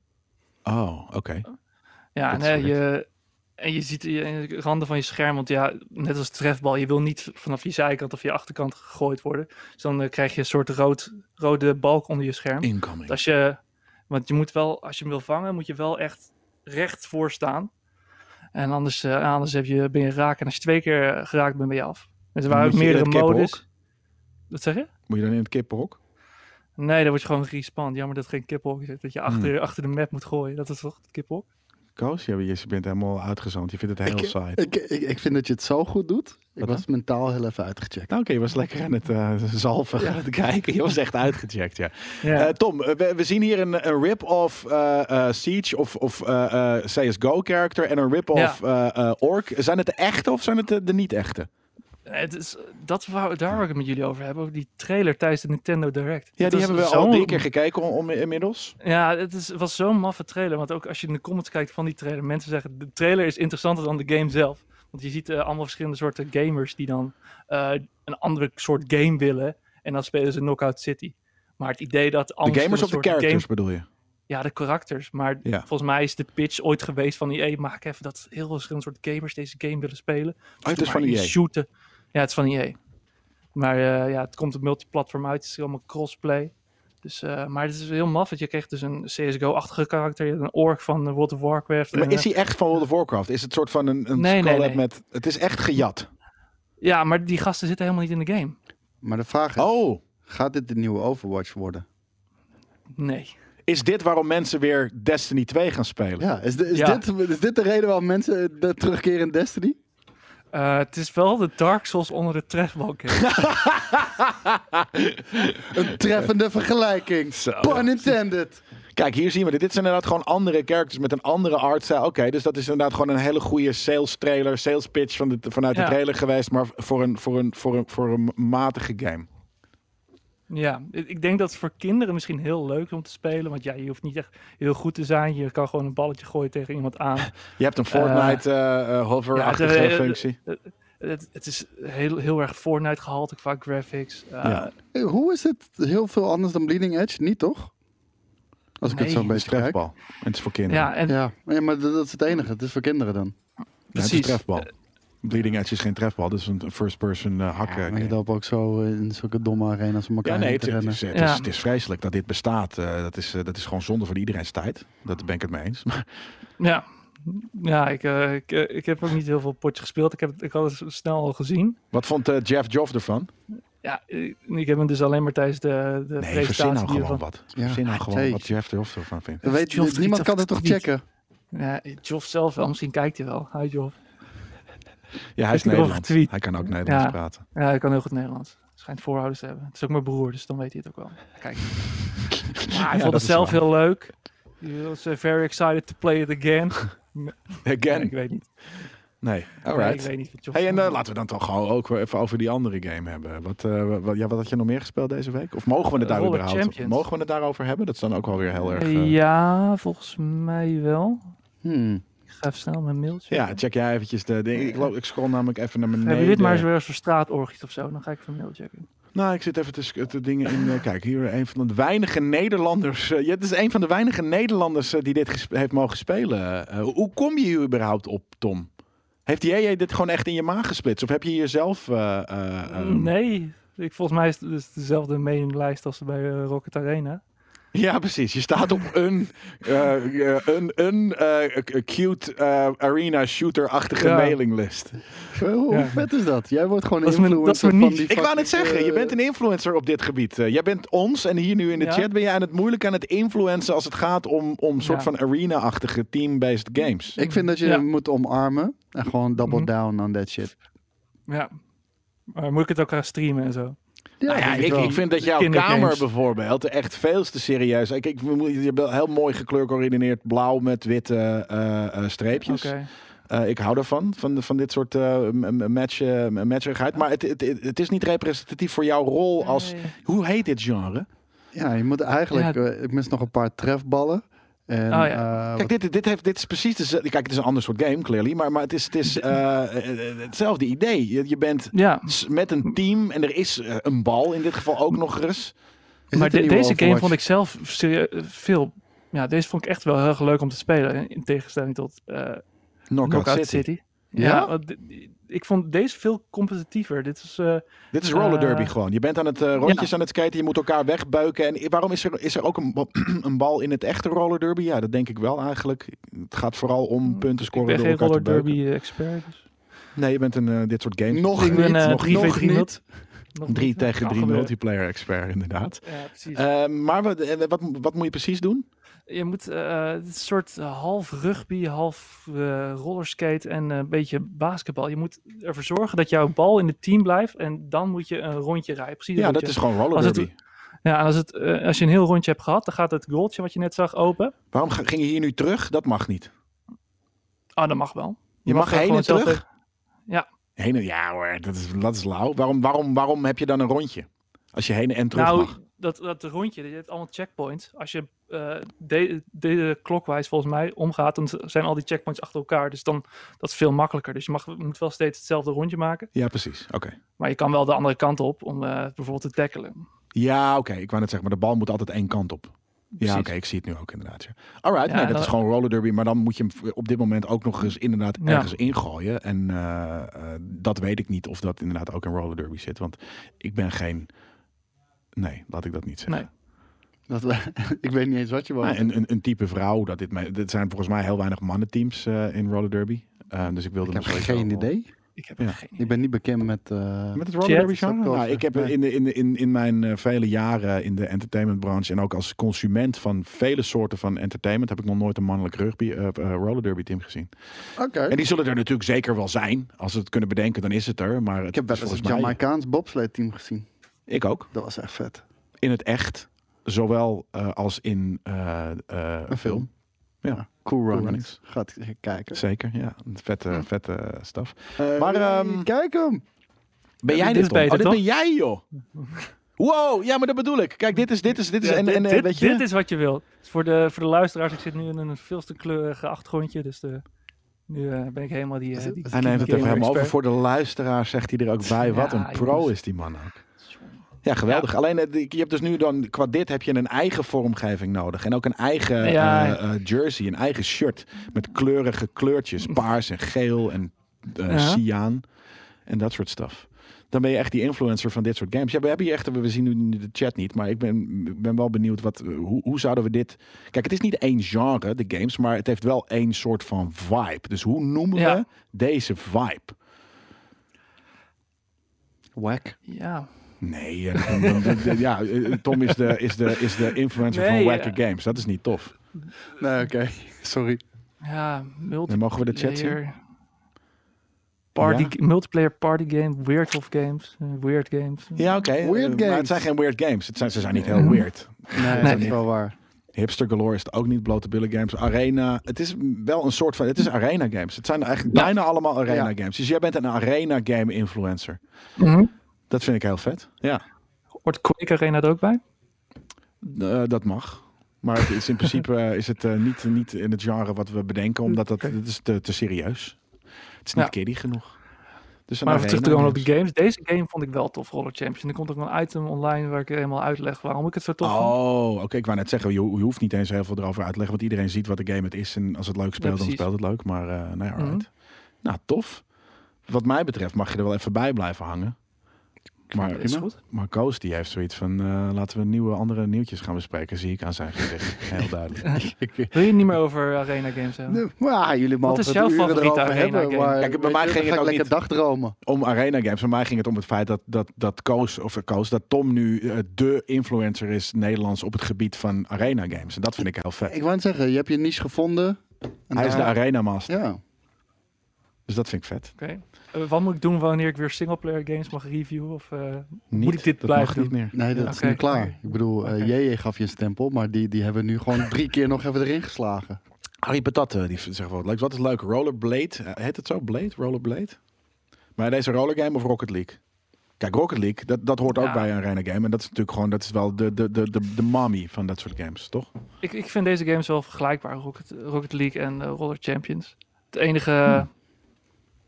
Speaker 1: Oh, oké.
Speaker 5: Ja,
Speaker 1: Dat
Speaker 5: en,
Speaker 1: is
Speaker 5: hè,
Speaker 1: correct.
Speaker 5: je, en je ziet je de randen van je scherm, want ja, net als de trefbal, je wil niet vanaf je zijkant of je achterkant gegooid worden. Dus dan eh, krijg je een soort rood, rode balk onder je scherm.
Speaker 1: Incoming.
Speaker 5: Als je, want je moet wel, als je hem wil vangen, moet je wel echt recht voor staan. En anders, eh, anders heb je, ben je raak. En als je twee keer eh, geraakt bent, ben je af. Dus er
Speaker 1: Dan
Speaker 5: waren ook
Speaker 1: moet je in
Speaker 5: meerdere
Speaker 1: het kippenhok.
Speaker 5: modus. Wat zeg je?
Speaker 1: Moet je dan in het kippenhok?
Speaker 5: Nee, dan word je gewoon gerespawnd. Jammer dat er geen kippenhok zit.
Speaker 1: Hmm.
Speaker 5: Dat je achter, achter de map moet gooien. Dat is toch het kippenhok?
Speaker 1: Koos, je, je bent helemaal uitgezond. Je vindt het heel saai.
Speaker 2: Ik, ik, ik vind dat je het zo goed doet. Ik
Speaker 1: Wat
Speaker 2: was mentaal heel even uitgecheckt.
Speaker 1: Nou, oké, je was lekker aan het eh, zalven, aan het kijken. Je was echt uitgecheckt, ja.
Speaker 5: Ja.
Speaker 1: Eh, Tom, eh, we, we zien hier een, een rip-off eh, eh, Siege of, of eh, eh, CSGO-character en een rip-off eh, eh, Orc. Zijn het de echte of zijn het de, de niet-echte?
Speaker 5: Het is, dat wou, daar wou ik het met jullie over hebben. Over die trailer tijdens de Nintendo Direct.
Speaker 1: Ja,
Speaker 5: Het
Speaker 1: die
Speaker 5: was
Speaker 1: hebben we al
Speaker 5: zo'n-
Speaker 1: drie keer gekeken om, om- inmiddels.
Speaker 5: Ja, het is, was zo'n maffe trailer. Want ook als je in de comments kijkt van die trailer. Mensen zeggen, de trailer is interessanter dan de game zelf. Want je ziet eh, allemaal verschillende soorten gamers die dan eh, een andere soort game willen. En dan spelen ze Knockout City. Maar het idee dat... allemaal
Speaker 1: de gamers of de
Speaker 5: verschillende soorten
Speaker 1: characters
Speaker 5: games-
Speaker 1: bedoel je?
Speaker 5: ja, de karakters. Maar
Speaker 1: Ja.
Speaker 5: volgens mij is de pitch ooit geweest van EA. Maak even dat heel veel verschillende soorten gamers deze game willen spelen.
Speaker 1: Oh, het
Speaker 5: doe
Speaker 1: is van E
Speaker 5: maar iets
Speaker 1: EA.
Speaker 5: Shooten. Ja, het is van EA. Maar eh, ja, het komt op multiplatform uit. Het is allemaal crossplay. Dus, eh, maar het is heel maf. Want je kreeg dus een CSGO-achtige karakter. je had Een ork van eh, World of Warcraft. en,
Speaker 1: Maar is
Speaker 5: eh,
Speaker 1: hij echt van World of Warcraft? Is het soort van een, een
Speaker 5: Nee, nee,
Speaker 1: collab
Speaker 5: nee.
Speaker 1: met... Het is echt gejat.
Speaker 5: Ja, maar die gasten zitten helemaal niet in de game.
Speaker 2: Maar de vraag is,
Speaker 1: Oh,
Speaker 2: gaat dit de nieuwe Overwatch worden?
Speaker 5: Nee.
Speaker 1: is dit waarom mensen weer Destiny 2 gaan spelen?
Speaker 2: Ja, is, di- is,
Speaker 5: Ja.
Speaker 2: Dit, is dit de reden waarom mensen eh, de terugkeren in Destiny?
Speaker 5: Eh, het is wel de Dark Souls onder de trefbalk.
Speaker 2: Een treffende vergelijking. Pun intended.
Speaker 1: Kijk, hier zien we dit. Dit zijn inderdaad gewoon andere characters met een andere artstijl. Oké, dus dat is inderdaad gewoon een hele goede sales trailer, sales pitch van de, vanuit de
Speaker 5: Ja.
Speaker 1: trailer geweest, maar voor een, voor, een, voor, een, voor een matige game.
Speaker 5: Ja, ik ik denk dat het voor kinderen misschien heel leuk is om te spelen. Want ja, je hoeft niet echt heel goed te zijn. Je kan gewoon een balletje gooien tegen iemand aan.
Speaker 1: Je hebt een Fortnite eh, eh, hover-achtige
Speaker 5: Ja, het, eh,
Speaker 1: functie.
Speaker 5: het, het is heel, heel erg Fortnite gehalte qua graphics. Eh,
Speaker 1: Ja.
Speaker 2: Eh, Hoe is dit heel veel anders dan Bleeding Edge? Niet toch? Als ik het
Speaker 5: Nee.
Speaker 2: zo een
Speaker 1: Het is
Speaker 2: beetje kijk.
Speaker 1: trefbal. En het is voor kinderen. eh, Ja,
Speaker 5: ja, en
Speaker 2: Ja, ja, maar dat dat is het enige. Het is voor kinderen dan.
Speaker 1: precies.
Speaker 5: precies.
Speaker 1: het is trefbal. Bleeding Edge is geen trefbal, dat is een first-person eh, hakken.
Speaker 2: Maar
Speaker 1: game.
Speaker 2: je loopt ook zo eh, in zulke domme arenas om elkaar
Speaker 1: Ja,
Speaker 2: heen
Speaker 1: nee, het,
Speaker 2: te
Speaker 1: het
Speaker 2: rennen.
Speaker 1: is, het, is,
Speaker 5: Ja.
Speaker 1: het is vreselijk dat dit bestaat. Eh, dat, is, eh, dat is gewoon zonde voor iedereen's tijd. Dat ben ik het mee eens.
Speaker 5: Ja, ja ik, eh, ik, eh, ik heb ook niet heel veel potjes gespeeld. Ik heb het ik had het s- snel al gezien.
Speaker 1: Wat vond eh, Jeff Joff ervan?
Speaker 5: Ja, eh, ik heb hem dus alleen maar tijdens de, de
Speaker 1: Nee, verzin nou
Speaker 5: hiervan.
Speaker 1: gewoon wat.
Speaker 2: Ja,
Speaker 1: Verzin nou gewoon
Speaker 2: zeker.
Speaker 1: wat Jeff Droft ervan vindt.
Speaker 2: Dat weet,
Speaker 5: Joff Friet
Speaker 2: niemand
Speaker 5: zag
Speaker 2: kan
Speaker 5: het
Speaker 2: dat toch
Speaker 5: niet.
Speaker 2: checken?
Speaker 5: Ja, Joff zelf wel, misschien kijkt hij wel. Hi Joff.
Speaker 1: Ja, hij
Speaker 5: heeft
Speaker 1: is
Speaker 5: hij erover
Speaker 1: Nederlands.
Speaker 5: getweet?
Speaker 1: Hij kan ook Nederlands
Speaker 5: Ja.
Speaker 1: praten.
Speaker 5: Ja, hij kan heel goed Nederlands. Schijnt voorouders te hebben. Het is ook mijn broer, dus dan weet hij het ook wel. Kijk. Maar hij
Speaker 1: dat
Speaker 5: vond het
Speaker 1: is
Speaker 5: zelf
Speaker 1: waar.
Speaker 5: heel leuk. He was eh, very excited to play it again.
Speaker 1: Again.
Speaker 5: Ik weet niet.
Speaker 1: Nee,
Speaker 5: Nee, ik
Speaker 1: alright.
Speaker 5: weet niet wat Joff
Speaker 1: Hey, en
Speaker 5: vond.
Speaker 1: eh, laten we dan toch gewoon ook weer even over die andere game hebben. Wat, eh, wat, ja, wat had je nog meer gespeeld deze week? Of mogen we het
Speaker 5: Eh,
Speaker 1: daar
Speaker 5: Roller
Speaker 1: überhaupt
Speaker 5: Champions.
Speaker 1: Mogen we het daarover hebben? Dat is dan ook wel weer heel erg... eh,
Speaker 5: Eh, Ja, volgens mij wel.
Speaker 2: Hmm.
Speaker 5: Ik ga even snel mijn mailtje.
Speaker 1: ja, check jij eventjes de ding. Ik, loop- ik scroll namelijk even naar beneden.
Speaker 5: Hebben jullie dit maar eens weer voor straatorgies of zo? Dan ga ik even een mail checken.
Speaker 1: Nou, ik zit even te, sc- te dingen in. eh, kijk, hier een van de weinige Nederlanders. eh, ja, het is een van de weinige Nederlanders eh, die dit gesp- heeft mogen spelen. Eh, hoe kom je hier überhaupt op, Tom? Heeft jij dit gewoon echt in je maag gesplitst? Of heb je jezelf... eh, eh, ehm,
Speaker 5: nee, ik, volgens mij is het dus dezelfde mailinglijst als bij eh, Rocket Arena.
Speaker 1: Ja, precies. Je staat op een, eh, eh, een, een eh, k- cute eh, arena shooter-achtige
Speaker 5: Ja.
Speaker 1: mailinglist.
Speaker 2: Hoe, hoe
Speaker 5: Ja.
Speaker 2: vet is dat? Jij wordt gewoon
Speaker 5: Dat is mijn- dat is
Speaker 2: influencer
Speaker 5: mijn
Speaker 2: van
Speaker 5: niche.
Speaker 2: die
Speaker 1: Ik wou net
Speaker 2: fucking,
Speaker 1: zeggen, je
Speaker 2: eh,
Speaker 1: bent een influencer op dit gebied. Eh, jij bent ons en hier nu in de
Speaker 5: Ja.
Speaker 1: chat ben jij aan het moeilijk aan het influencen als het gaat om, om soort
Speaker 5: Ja.
Speaker 1: van arena-achtige team-based games.
Speaker 2: Ik vind dat je
Speaker 5: Ja.
Speaker 2: hem moet omarmen en gewoon double
Speaker 5: Mhm.
Speaker 2: down on that shit.
Speaker 5: Ja. Maar moet ik het ook gaan streamen en zo?
Speaker 2: Ja,
Speaker 1: Nou ja,
Speaker 2: denk het
Speaker 1: ik,
Speaker 2: wel.
Speaker 1: ik vind dat jouw
Speaker 5: Kindergames.
Speaker 1: kamer bijvoorbeeld echt veel te serieus. Ik, ik, je hebt wel heel mooi gekleurcoördineerd blauw met witte eh, eh, streepjes.
Speaker 5: Oké.
Speaker 1: Eh, ik hou daarvan, van, de- van dit soort eh, m- m- match, eh, m- matcherigheid. Maar het, het, het het is niet representatief voor jouw rol als...
Speaker 5: Nee.
Speaker 1: Hoe heet dit genre?
Speaker 2: Ja, je moet eigenlijk...
Speaker 5: Ja. Oh,
Speaker 2: eh, ik mis nog een paar trefballen. En,
Speaker 5: ja.
Speaker 2: eh,
Speaker 1: Kijk, dit, dit, heeft, dit is precies... de- Kijk, het is een ander soort game, clearly. Maar, maar het is, het is eh, eh, hetzelfde idee. Je, je bent
Speaker 5: Ja,
Speaker 1: s- met een team en er is eh, een bal in dit geval ook nog eens.
Speaker 2: is
Speaker 5: maar
Speaker 2: dit een
Speaker 5: de-
Speaker 2: nieuwe
Speaker 5: deze game
Speaker 2: Overwatch?
Speaker 5: vond ik zelf serie- eh, veel... Ja, deze vond ik echt wel heel erg leuk om te spelen. in- In tegenstelling tot eh Knockout,
Speaker 1: Knockout,
Speaker 5: City.
Speaker 1: City.
Speaker 5: Ja?
Speaker 2: Ja?
Speaker 5: want di- di- ik vond deze veel competitiever. Dit is... eh,
Speaker 1: Dit is roller
Speaker 5: Eh,
Speaker 1: derby gewoon. Je bent aan het eh, rondjes aan het skaten, je moet elkaar wegbeuken. En i- waarom is er, is er ook een, ba- een bal in het echte roller derby? Ja, dat denk ik wel eigenlijk. Het gaat vooral om punten
Speaker 5: Hmm, ik
Speaker 1: scoren
Speaker 5: ben
Speaker 1: door
Speaker 5: geen
Speaker 1: elkaar
Speaker 5: roller
Speaker 1: te beuken.
Speaker 5: derby eh, expert. Dus
Speaker 1: Nee, je bent een eh, dit soort games.
Speaker 2: Nog
Speaker 5: ik ben eh,
Speaker 2: nog
Speaker 5: 3 v 3
Speaker 2: niet.
Speaker 5: not. Nog
Speaker 1: 3 tegen
Speaker 5: niet, nou, kan
Speaker 1: 3
Speaker 5: gebeuren.
Speaker 1: multiplayer expert, inderdaad.
Speaker 5: Ja, precies.
Speaker 1: Eh, maar wat, eh, wat, wat moet je precies doen?
Speaker 5: Je moet eh, het is een soort eh, half rugby, half eh, rollerskate en een beetje basketbal. Je moet ervoor zorgen dat jouw bal in het team blijft en dan moet je een rondje rijden. Precies
Speaker 1: Ja,
Speaker 5: wat
Speaker 1: dat
Speaker 5: je-
Speaker 1: is gewoon roller
Speaker 5: als het-
Speaker 1: derby.
Speaker 5: Ja, en als, het, eh, als je een heel rondje hebt gehad, dan gaat het goaltje wat je net zag open.
Speaker 1: Waarom ga- ging je hier nu terug? Dat mag niet.
Speaker 5: Ah, dat mag wel.
Speaker 1: Je mag
Speaker 5: er
Speaker 1: heen en
Speaker 5: gewoon zelf
Speaker 1: terug?
Speaker 5: Ja.
Speaker 1: Heen en, ja hoor, dat is, dat is lauw. Waarom, waarom, waarom heb je dan een rondje? Als je heen en terug
Speaker 5: Nou,
Speaker 1: mag.
Speaker 5: dat, dat rondje, je hebt allemaal checkpoints. Als je eh, de- deze klokwijs volgens mij omgaat, dan zijn al die checkpoints achter elkaar. Dus dan, dat is veel makkelijker. Dus je mag, moet wel steeds hetzelfde rondje maken.
Speaker 1: Ja, precies. Oké.
Speaker 5: Maar je kan wel de andere kant op om eh, bijvoorbeeld te tackelen.
Speaker 1: Ja, oké. Ik wou net zeggen, maar de bal moet altijd één kant op. Ja,
Speaker 5: Precies.
Speaker 1: oké, ik zie het nu ook inderdaad. Ja. Alright,
Speaker 5: Ja,
Speaker 1: nee,
Speaker 5: en
Speaker 1: dat
Speaker 5: dan-
Speaker 1: is gewoon roller derby, maar dan moet je hem op dit moment ook nog eens inderdaad
Speaker 5: Ja.
Speaker 1: ergens ingooien. En eh, eh, dat weet ik niet of dat inderdaad ook in roller derby zit, want ik ben geen. Nee, laat ik dat niet zeggen.
Speaker 5: Nee.
Speaker 2: Dat, ik weet niet eens wat je wou.
Speaker 1: Maar een, een, een type vrouw, dat dit, mij- dit zijn volgens mij heel weinig mannenteams eh, in roller derby. Eh, dus ik wilde
Speaker 2: ik heb
Speaker 1: hem sowieso
Speaker 2: geen
Speaker 1: wel-
Speaker 2: idee.
Speaker 5: Ik heb
Speaker 1: Ja.
Speaker 5: er geen idee.
Speaker 2: Ik ben niet bekend met... eh,
Speaker 1: Met het roller
Speaker 5: Chat?
Speaker 1: derby
Speaker 2: Is dat
Speaker 1: genre?
Speaker 2: tof,
Speaker 1: Nou, ik heb
Speaker 2: nee.
Speaker 1: in, de- in, de- in, in mijn eh, vele jaren in de entertainmentbranche en ook als consument van vele soorten van entertainment heb ik nog nooit een mannelijk rugby, eh, eh, roller derby team gezien.
Speaker 2: Oké.
Speaker 1: En die zullen er natuurlijk zeker wel zijn. Als ze het kunnen bedenken, dan is het er. Maar het
Speaker 2: Ik heb
Speaker 1: is
Speaker 2: wel eens het
Speaker 1: volgens mij-
Speaker 2: Jamaicaans bobsleigh-team gezien.
Speaker 1: Ik ook.
Speaker 2: Dat was echt vet.
Speaker 1: In het echt, zowel eh, als in eh, eh, een film.
Speaker 2: Cool Runnings.
Speaker 1: Runnings.
Speaker 2: Gaat kijken.
Speaker 1: Zeker, ja. Een Vette, vette staf.
Speaker 2: Eh,
Speaker 1: Maar, ehm,
Speaker 2: kijk hem.
Speaker 1: Ben jij
Speaker 5: dit
Speaker 1: dit,
Speaker 5: is
Speaker 1: Tom?
Speaker 5: beter,
Speaker 1: oh, dit
Speaker 5: toch?
Speaker 1: ben jij, joh. Wow, ja, maar dat bedoel ik. Kijk, dit is, dit is, dit is,
Speaker 5: Ja,
Speaker 1: en,
Speaker 5: dit,
Speaker 1: en, eh,
Speaker 5: dit-
Speaker 1: weet je,
Speaker 5: dit is wat je wilt. Dus voor, de, voor de luisteraars, ik zit nu in een veel te kleurige achtergrondje. Dus de, nu eh, ben ik helemaal die. eh, die
Speaker 1: Hij neemt het
Speaker 5: gamer
Speaker 1: even helemaal over
Speaker 5: expert.
Speaker 1: voor de luisteraar, zegt hij er ook bij. Wat
Speaker 5: Ja,
Speaker 1: een pro
Speaker 5: jongens.
Speaker 1: is die man ook. Ja, geweldig. Alleen, eh, die- je hebt dus nu dan, qua dit heb je een eigen vormgeving nodig. En ook een eigen
Speaker 5: Ja.
Speaker 1: eh, eh, jersey, een eigen shirt. Met kleurige kleurtjes. Paars en geel en eh
Speaker 5: Ja.
Speaker 1: cyaan. En dat soort stuff. Dan ben je echt die influencer van dit soort games. Ja, we hebben hier echt, we zien nu de chat niet, maar ik ben, ik ben wel benieuwd wat, hoe, hoe zouden we dit. Kijk, het is niet één genre, de games, maar het heeft wel één soort van vibe. Dus hoe noemen we
Speaker 5: Ja.
Speaker 1: deze vibe?
Speaker 2: Wack.
Speaker 5: Ja,
Speaker 1: Nee, ja, dan- dan- dan- dan- ja, eh, Tom is de, is de, is de influencer
Speaker 5: Nee, eh,
Speaker 1: van
Speaker 5: ja.
Speaker 1: Wacker Games. Dat is niet tof.
Speaker 2: Nee, oké. Sorry.
Speaker 5: Ja,
Speaker 1: En
Speaker 5: multiplayer.
Speaker 1: mogen we de chat zien?
Speaker 5: Party,
Speaker 1: Ja?
Speaker 5: Multiplayer party game, weird of games, eh, weird games.
Speaker 1: Ja, oké. eh,
Speaker 2: Weird
Speaker 1: Maar het
Speaker 2: games.
Speaker 1: zijn geen weird games. Het zijn, ze zijn niet heel weird.
Speaker 2: Nee, dat is wel waar.
Speaker 1: Hipster Galore is het ook niet. Blote billen games. Arena. Het is wel een soort van... Het is arena games. Het zijn eigenlijk
Speaker 5: Ja.
Speaker 1: bijna allemaal arena
Speaker 2: Ja.
Speaker 1: games. Dus jij bent een arena game influencer.
Speaker 5: Mhm.
Speaker 1: Dat vind ik heel vet. Ja,
Speaker 5: Hoort Quake Arena er ook bij?
Speaker 1: eh, dat mag. Maar het is in principe eh, is het eh, niet, niet in het genre wat we bedenken. Omdat dat, het is te, te serieus. Het is niet
Speaker 5: Ja.
Speaker 1: kiddie genoeg. Dus een
Speaker 5: Maar even terug te
Speaker 1: arena
Speaker 5: komen op
Speaker 1: games.
Speaker 5: de games. Deze game vond ik wel tof, Roller Champions. En er komt ook wel een item online waar ik helemaal uitleg waarom ik het zo tof vond.
Speaker 1: Oh, oké. Ik wou net zeggen, je, ho- je hoeft niet eens heel veel erover uit te leggen. Want iedereen ziet wat de game het is. En als het leuk speelt, dan
Speaker 5: precies.
Speaker 1: speelt het leuk. Maar eh nou ja,
Speaker 5: Mhm.
Speaker 1: alright. Nou, tof. Wat mij betreft mag je er wel even bij blijven hangen. Maar,
Speaker 5: Is goed.
Speaker 1: maar Koos die heeft zoiets van, eh, laten we nieuwe andere nieuwtjes gaan bespreken. Zie ik aan zijn gezicht. Heel duidelijk.
Speaker 5: Wil je het niet meer over Arena games hebben?
Speaker 2: Nee, maar jullie mogen
Speaker 5: is
Speaker 2: het
Speaker 5: jouw
Speaker 2: uren
Speaker 5: favoriete
Speaker 2: erover
Speaker 5: arena
Speaker 2: hebben.
Speaker 5: game?
Speaker 2: Maar,
Speaker 1: Kijk, bij
Speaker 2: weet
Speaker 1: mij
Speaker 2: je,
Speaker 1: ging
Speaker 2: dan
Speaker 1: het
Speaker 2: ga ik
Speaker 1: ook
Speaker 2: lekker
Speaker 1: niet-
Speaker 2: dagdromen.
Speaker 1: Om Arena Games. Voor mij ging het om het feit dat, dat, dat Koos, of eh, Koos, dat Tom nu eh, de influencer is Nederlands op het gebied van Arena Games. En dat vind ik heel vet.
Speaker 2: Ik wou net zeggen, je hebt je niche gevonden. En
Speaker 1: Hij is de
Speaker 2: daar-
Speaker 1: Arena Master.
Speaker 2: Ja.
Speaker 1: Dus dat vind ik vet.
Speaker 5: Oké. Eh, wat moet ik doen wanneer ik weer singleplayer games mag reviewen? Of, eh,
Speaker 1: Niet,
Speaker 5: Moet ik dit
Speaker 1: dat
Speaker 5: blijven
Speaker 1: mag niet
Speaker 5: doen?
Speaker 1: meer.
Speaker 2: Nee, dat
Speaker 5: Ja,
Speaker 2: is
Speaker 5: oké.
Speaker 2: nu klaar. Ik bedoel, eh,
Speaker 5: Oké.
Speaker 2: JJ gaf je een stempel, maar die, die hebben we nu gewoon drie keer nog even erin geslagen.
Speaker 1: Harry Patat, eh, die zegt wel wat leuk. Wat is leuk? Rollerblade. eh, Heet het zo? Blade? Rollerblade? Maar deze roller game of Rocket League? Kijk, Rocket League, dat, dat hoort ook
Speaker 5: Ja.
Speaker 1: bij een arena game. En dat is natuurlijk gewoon, dat is wel de, de, de, de, de mommy van dat soort games, toch?
Speaker 5: ik, ik vind deze games wel vergelijkbaar, Rocket, Rocket League en eh, Roller Champions. Het enige...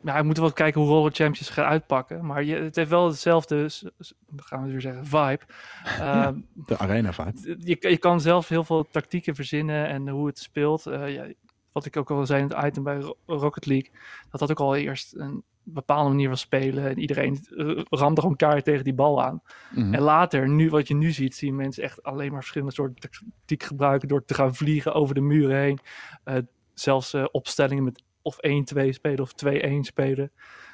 Speaker 5: Ja, we moeten wel kijken hoe Roller Champions gaat uitpakken. Maar je, het heeft wel hetzelfde, s- s- gaan we weer zeggen, vibe. Ehm,
Speaker 1: De arena vibe.
Speaker 5: je, je kan zelf heel veel tactieken verzinnen en hoe het speelt. Eh, ja, wat ik ook al zei in het item bij Ro- Rocket League, dat dat ook al eerst een bepaalde manier van spelen. En iedereen eh, ramde gewoon kaart tegen die bal aan. En later, nu, wat je nu ziet, zien mensen echt alleen maar verschillende soorten tactiek gebruiken door te gaan vliegen over de muren heen. Eh, zelfs eh, opstellingen met of 1-2 spelen of 2-1 spelen.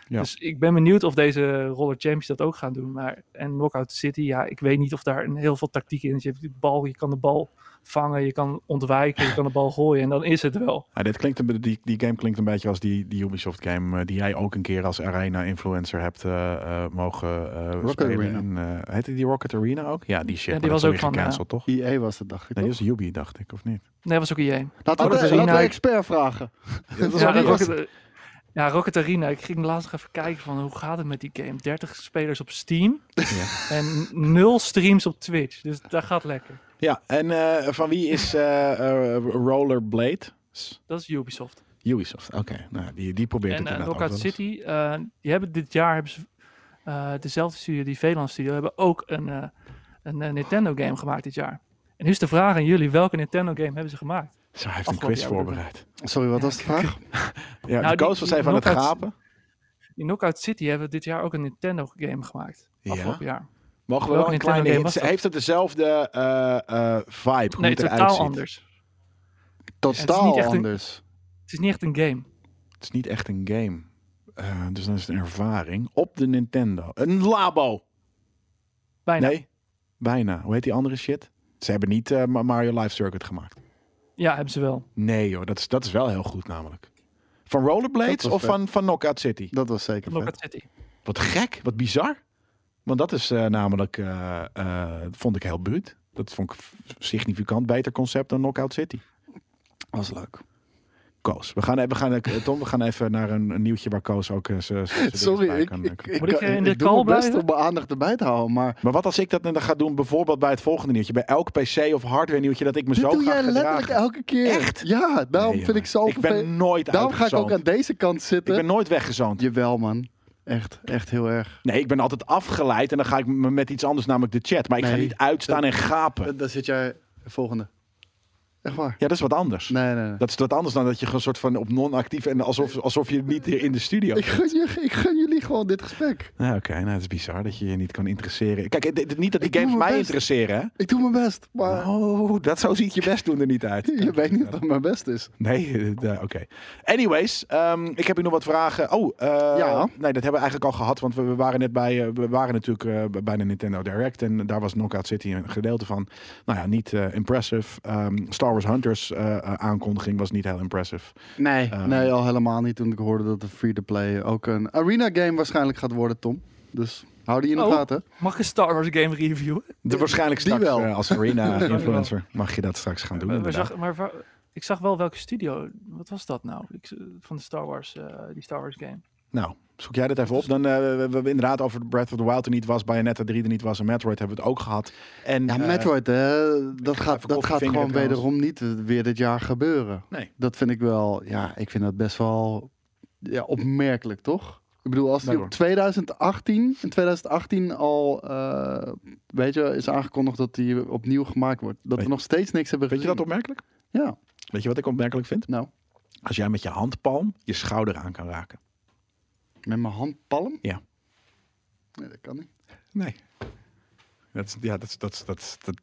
Speaker 1: Ja.
Speaker 5: Dus ik ben benieuwd of deze Roller Champions dat ook gaan doen. Maar, en Knockout City, ja, ik weet niet of daar een heel veel tactiek in is. Je, hebt de bal, je kan de bal vangen, je kan ontwijken, je kan de bal gooien en dan is het wel.
Speaker 1: Ah, dit klinkt een, be- die, die game klinkt een beetje als die, die Ubisoft game eh, die jij ook een keer als arena influencer hebt eh, eh, mogen eh
Speaker 2: Rocket
Speaker 1: spelen.
Speaker 2: Arena.
Speaker 1: En, eh, heette die Rocket Arena ook? Ja, die shit.
Speaker 5: Ja, die
Speaker 1: maar
Speaker 5: was
Speaker 1: dat is
Speaker 5: ook
Speaker 1: alweer
Speaker 5: van, eh,
Speaker 1: gecanceld, toch?
Speaker 2: IE E was dat, dacht ik.
Speaker 1: Nee,
Speaker 2: toch?
Speaker 1: die is Ubi, dacht ik, of niet?
Speaker 5: Nee, was ook IE.
Speaker 2: Laten we,
Speaker 1: Oh, dat is
Speaker 2: laten we
Speaker 1: Arena.
Speaker 2: expert vragen.
Speaker 1: Dat
Speaker 5: Ja, Rocket, ja, Rocket Arena. Ik ging laatst nog even kijken van hoe gaat het met die game. 30 spelers op Steam en 0 streams op Twitch. Dus dat gaat lekker.
Speaker 1: Ja, en eh, van wie is eh, eh, Rollerblade? S-
Speaker 5: Dat is Ubisoft.
Speaker 1: Ubisoft, oké. Nou, die, die probeert
Speaker 5: en
Speaker 1: het
Speaker 5: eh,
Speaker 1: inderdaad ook
Speaker 5: Knockout
Speaker 1: wel eens.
Speaker 5: City, eh, die hebben dit jaar hebben ze, eh, dezelfde studio, die Veland Studio, hebben ook een, eh, een eh, Nintendo game gemaakt dit jaar. En nu is de vraag aan jullie, welke Nintendo game hebben ze gemaakt?
Speaker 1: Zo, hij heeft een
Speaker 5: Afgelopen
Speaker 1: quiz
Speaker 5: jaar bedoel ik.
Speaker 1: voorbereid.
Speaker 2: Sorry, wat was de vraag?
Speaker 1: Ja,
Speaker 5: Nou,
Speaker 1: de
Speaker 5: die-
Speaker 1: coach was
Speaker 5: die
Speaker 1: even aan het
Speaker 5: Knockout-
Speaker 1: gapen.
Speaker 5: In Knockout City hebben dit jaar ook een Nintendo game gemaakt. Afgelopen jaar.
Speaker 1: Mogen we wel
Speaker 5: welke
Speaker 1: een
Speaker 5: Nintendo
Speaker 1: kleine
Speaker 5: game
Speaker 1: hint-
Speaker 5: was dat?
Speaker 1: Heeft het dezelfde eh, eh, vibe? hoe
Speaker 5: Nee,
Speaker 1: het eruit
Speaker 5: totaal
Speaker 1: ziet?
Speaker 5: anders.
Speaker 2: Totaal
Speaker 5: echt een-
Speaker 2: anders.
Speaker 5: Het is niet echt een game.
Speaker 1: Het is niet echt een game. Eh, dus dan is het een ervaring op de Nintendo. Een labo!
Speaker 5: Bijna.
Speaker 1: Nee, bijna. Hoe heet die andere shit? Ze hebben niet eh, Ma- Mario Live Circuit gemaakt.
Speaker 5: Ja, hebben ze wel.
Speaker 1: Nee joh, dat is, dat is wel heel goed namelijk. Van Rollerblades
Speaker 2: Dat was
Speaker 1: of
Speaker 2: vet.
Speaker 1: van, van Knockout City?
Speaker 2: Dat was zeker
Speaker 5: Knockout
Speaker 2: vet.
Speaker 5: City.
Speaker 1: Wat gek, wat bizar. Want dat is eh, namelijk, eh, eh, vond ik heel buurt. Dat vond ik f- significant beter concept dan Knockout City.
Speaker 2: was leuk.
Speaker 1: Koos, we gaan, e- we gaan, eh, Tom, we gaan even naar een, een nieuwtje waar Koos ook eh, zijn- zijn- zijn
Speaker 2: Sorry,
Speaker 1: dingetjes
Speaker 2: ik,
Speaker 1: bij kan-
Speaker 2: ik, ik,
Speaker 1: kan-
Speaker 5: Moet ik, eh, in de
Speaker 2: doe
Speaker 5: call
Speaker 2: mijn best
Speaker 5: blijven?
Speaker 2: om mijn aandacht erbij te houden, maar...
Speaker 1: Maar wat als ik dat dan ga doen, bijvoorbeeld bij het volgende nieuwtje, bij elk PC of hardware nieuwtje, dat ik me zo
Speaker 2: Dit doe
Speaker 1: ga
Speaker 2: jij
Speaker 1: gedragen.
Speaker 2: letterlijk elke keer.
Speaker 1: Echt?
Speaker 2: Ja, daarom
Speaker 1: Nee,
Speaker 2: vind
Speaker 1: jongen.
Speaker 2: ik zo
Speaker 1: Ik ben
Speaker 2: vervelend.
Speaker 1: nooit
Speaker 2: Daarom ga ik ook aan
Speaker 1: uitgezoond.
Speaker 2: deze kant
Speaker 1: Ik
Speaker 2: zitten.
Speaker 1: ben nooit weggezoond.
Speaker 2: Jawel, man. Echt, echt heel erg.
Speaker 1: Nee, ik ben altijd afgeleid en dan ga ik me met iets anders, namelijk de chat. Maar ik ga
Speaker 2: Nee.
Speaker 1: niet uitstaan en gapen.
Speaker 2: Dan zit jij... eh, Volgende. Echt waar.
Speaker 1: Ja, dat is wat anders.
Speaker 2: Nee, nee, nee.
Speaker 1: Dat is wat anders dan dat je gewoon soort van op non-actief en alsof, alsof je niet hier in de studio
Speaker 2: Ik gun, je, ik gun jullie gewoon dit gesprek.
Speaker 1: Nou, oké. Nou, het is bizar dat je je niet kan interesseren. Kijk, het- het- niet dat die
Speaker 2: Ik doe
Speaker 1: games mij
Speaker 2: mijn best.
Speaker 1: interesseren, hè?
Speaker 2: Ik doe mijn best, maar
Speaker 1: Oh, dat zo ziet je best doen er niet uit.
Speaker 2: je weet niet wat mijn best is.
Speaker 1: Nee, eh, eh, oké. Anyways, ehm, ik heb hier nog wat vragen. Oh, eh,
Speaker 2: Ja.
Speaker 1: nee, dat hebben we eigenlijk al gehad, want we, we waren net bij, eh, we waren natuurlijk eh, bij de Nintendo Direct en daar was Knockout City een gedeelte van. Nou ja, niet eh, impressive. Ehm, Star Wars Hunters eh, eh, aankondiging was niet heel impressive.
Speaker 2: Nee.
Speaker 1: Eh,
Speaker 2: nee, al helemaal niet toen ik hoorde dat de free-to-play ook een arena game waarschijnlijk gaat worden, Tom. Dus hou die in de
Speaker 5: Oh.
Speaker 2: gaten.
Speaker 5: Mag ik een Star Wars game reviewen?
Speaker 1: De, waarschijnlijk
Speaker 2: die
Speaker 1: straks
Speaker 2: wel.
Speaker 1: eh, als arena-influencer mag je dat straks gaan doen.
Speaker 5: Maar,
Speaker 1: inderdaad.
Speaker 5: zag, maar wa- ik zag wel welke studio. Wat was dat nou? Ik, z- van de Star Wars, eh, die Star Wars game.
Speaker 1: Nou, zoek jij dat even op. Dan eh, we, we- we inderdaad over Breath of the Wild er niet was, Bayonetta 3 er niet was en Metroid hebben we het ook gehad. En,
Speaker 2: Ja,
Speaker 1: eh,
Speaker 2: Metroid, hè, dat
Speaker 1: ga even
Speaker 2: gaat, dat
Speaker 1: koffie vingeren
Speaker 2: gaat gewoon
Speaker 1: trouwens.
Speaker 2: wederom niet eh, weer dit jaar gebeuren.
Speaker 1: Nee.
Speaker 2: Dat vind ik wel, ja, ik vind dat best wel ja, opmerkelijk, toch? Ik bedoel, als
Speaker 1: Nee,
Speaker 2: die op
Speaker 1: hoor.
Speaker 2: 2018, in 2018 al, eh, weet je, is aangekondigd dat die opnieuw gemaakt wordt. Dat
Speaker 1: Weet-
Speaker 2: we nog steeds niks hebben
Speaker 1: Vind je
Speaker 2: gezien.
Speaker 1: dat opmerkelijk?
Speaker 2: Ja,
Speaker 1: Weet je wat ik opmerkelijk vind?
Speaker 2: nou,
Speaker 1: Als jij met je handpalm je schouder aan kan raken.
Speaker 2: met mijn handpalm?
Speaker 1: Ja.
Speaker 2: Nee, dat kan niet.
Speaker 1: Nee. Dat, is- ja, dat, is- dat, is- dat, is- dat,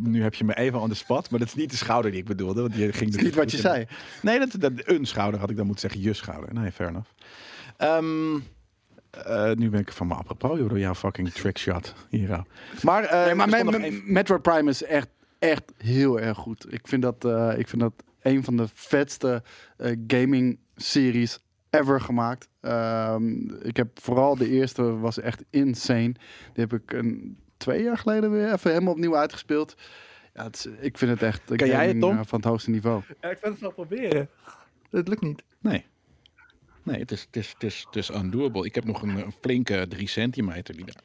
Speaker 1: nu heb je me even aan de spot, maar dat is niet de schouder die ik bedoelde. Want je ging dus
Speaker 2: Dat is niet wat je zei.
Speaker 1: Nee, dat, dat, een schouder had ik dan moeten zeggen, je schouder. Nee, fair enough. Ehm, eh, nu ben ik van me apropos, joh, door jouw fucking trickshot hier. oh. Maar, eh,
Speaker 2: Nee, maar
Speaker 1: er stond nog
Speaker 2: Me- Me-
Speaker 1: één-
Speaker 2: Metroid Prime is echt, echt heel erg goed. Ik vind dat, eh, ik vind dat een van de vetste eh, gaming series ever gemaakt. Ehm, ik heb vooral de eerste was echt insane. Die heb ik een, twee jaar geleden weer even helemaal opnieuw uitgespeeld. Ja, het is- ik vind het echt eh,
Speaker 1: Kan jij het,
Speaker 2: gaming,
Speaker 1: Tom?
Speaker 2: eh, van het hoogste niveau.
Speaker 5: ik wil het wel proberen. Dat lukt niet.
Speaker 1: Nee. Nee, het is, het is, het is, het is undoable. Ik heb nog een, een flinke drie centimeter die daar.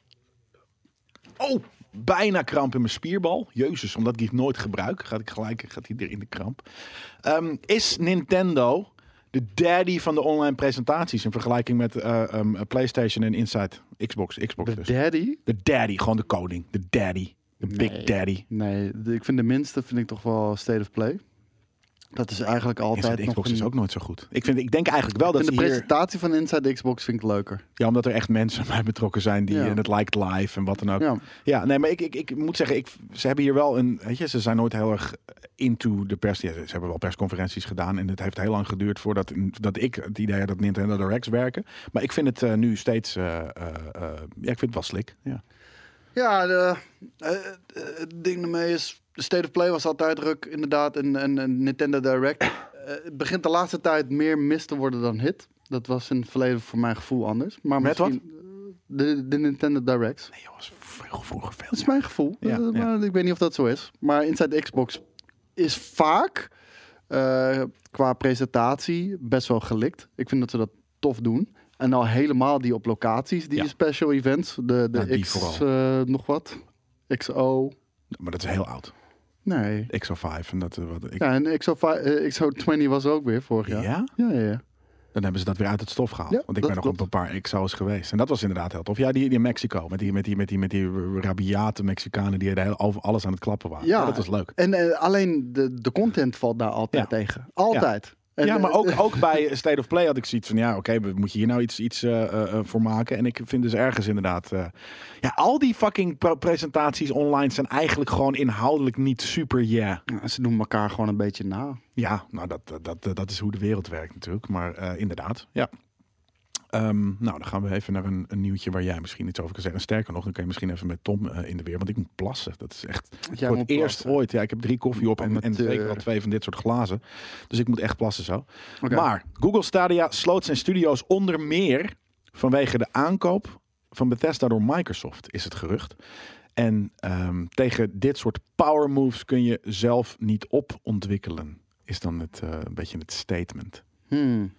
Speaker 1: Oh, bijna kramp in mijn spierbal. Jezus, omdat ik die nooit gebruik, gaat ik gelijk gaat die er in de kramp. Ehm, is Nintendo de daddy van de online presentaties in vergelijking met eh, ehm, PlayStation en Inside Xbox? Xbox
Speaker 2: De
Speaker 1: dus.
Speaker 2: Daddy?
Speaker 1: De daddy, gewoon de koning. De daddy. De big
Speaker 2: Nee.
Speaker 1: daddy.
Speaker 2: Nee, de- ik vind de minste vind ik toch wel State of Play. Dat is eigenlijk altijd
Speaker 1: Inside
Speaker 2: nog
Speaker 1: Xbox
Speaker 2: een-
Speaker 1: is ook nooit zo goed. Ik, vind, ik denk eigenlijk wel
Speaker 2: Ik
Speaker 1: dat
Speaker 2: vind
Speaker 1: ze
Speaker 2: de
Speaker 1: hier...
Speaker 2: presentatie van Inside Xbox vind ik leuker.
Speaker 1: Ja, omdat er echt mensen bij betrokken zijn die
Speaker 2: Ja.
Speaker 1: en het lijkt live en wat dan ook. Ja,
Speaker 2: Ja.
Speaker 1: nee, maar ik, ik, ik moet zeggen, ik, ze hebben hier wel een, weet je, ze zijn nooit heel erg into de pers. Ja, ze hebben wel persconferenties gedaan en het heeft heel lang geduurd voordat dat ik het idee had dat Nintendo Directs werken. Maar ik vind het eh, nu steeds, eh, eh, eh, ja, ik vind het wel slik. Ja.
Speaker 2: Ja, de, eh, eh, het ding ermee is... De State of Play was altijd druk, inderdaad. En, en, en Nintendo Direct. Eh, het begint de laatste tijd meer mis te worden dan hit. Dat was in het verleden voor mijn gevoel anders. Maar
Speaker 1: Met wat?
Speaker 2: misschien, eh, De, de Nintendo Directs.
Speaker 1: Nee, jongens, veel vroeger veel.
Speaker 2: Dat is mijn gevoel.
Speaker 1: Ja,
Speaker 2: Eh,
Speaker 1: ja.
Speaker 2: maar Ik weet niet of dat zo is. Maar Inside Xbox is vaak eh, qua presentatie best wel gelikt. Ik vind dat ze dat tof doen. En al helemaal die op locaties, die
Speaker 1: Ja.
Speaker 2: special events. De, de
Speaker 1: Ja, die
Speaker 2: X
Speaker 1: vooral.
Speaker 2: eh, nog wat. XO.
Speaker 1: Maar dat is heel oud.
Speaker 2: Nee.
Speaker 1: XO5 en dat eh, wat ik.
Speaker 2: Ja, en XO, fi- eh, XO20 was er ook weer vorig
Speaker 1: Ja?
Speaker 2: jaar. Ja, ja, ja.
Speaker 1: dan hebben ze dat weer uit het stof gehaald.
Speaker 2: Ja,
Speaker 1: Want ik
Speaker 2: dat
Speaker 1: ben nog
Speaker 2: klopt.
Speaker 1: op een paar XO's geweest. En dat was inderdaad heel tof. Ja, die, die in Mexico. Met die, met, die, met, die, met die rabiate Mexicanen die er heel- over alles aan het klappen waren. Ja,
Speaker 2: Ja.
Speaker 1: Oh, dat was leuk.
Speaker 2: En eh, alleen de, de content valt daar altijd
Speaker 1: Ja.
Speaker 2: tegen. Altijd. En,
Speaker 1: ja, maar
Speaker 2: eh,
Speaker 1: ook, ook bij State of Play had ik zoiets van... ja, oké, we moet je hier nou iets, iets eh, eh, eh, voor maken? En ik vind dus ergens inderdaad... eh, ja, al die fucking pre- presentaties online zijn eigenlijk gewoon inhoudelijk niet super yeah.
Speaker 2: eh, Ze doen elkaar gewoon een beetje na.
Speaker 1: Ja, nou, dat, dat, dat, dat is hoe de wereld werkt natuurlijk. Maar eh, inderdaad, ja. Ehm, nou, dan gaan we even naar een, een nieuwtje waar jij misschien iets over kan zeggen. En sterker nog, dan kan je misschien even met Tom eh, in de weer. Want ik moet plassen. Dat is echt
Speaker 2: Jij
Speaker 1: voor
Speaker 2: moet
Speaker 1: het eerst
Speaker 2: plassen. eh,
Speaker 1: ooit. Ja, ik heb drie koffie op en, en
Speaker 2: Amateur.
Speaker 1: zeker wel twee van dit soort glazen. Dus ik moet echt plassen zo.
Speaker 2: Oké.
Speaker 1: Maar Google Stadia sloot zijn studio's onder meer vanwege de aankoop van Bethesda door Microsoft, is het gerucht. En ehm, tegen dit soort power moves kun je zelf niet op ontwikkelen, is dan het, eh, een beetje het statement.
Speaker 2: Hmm.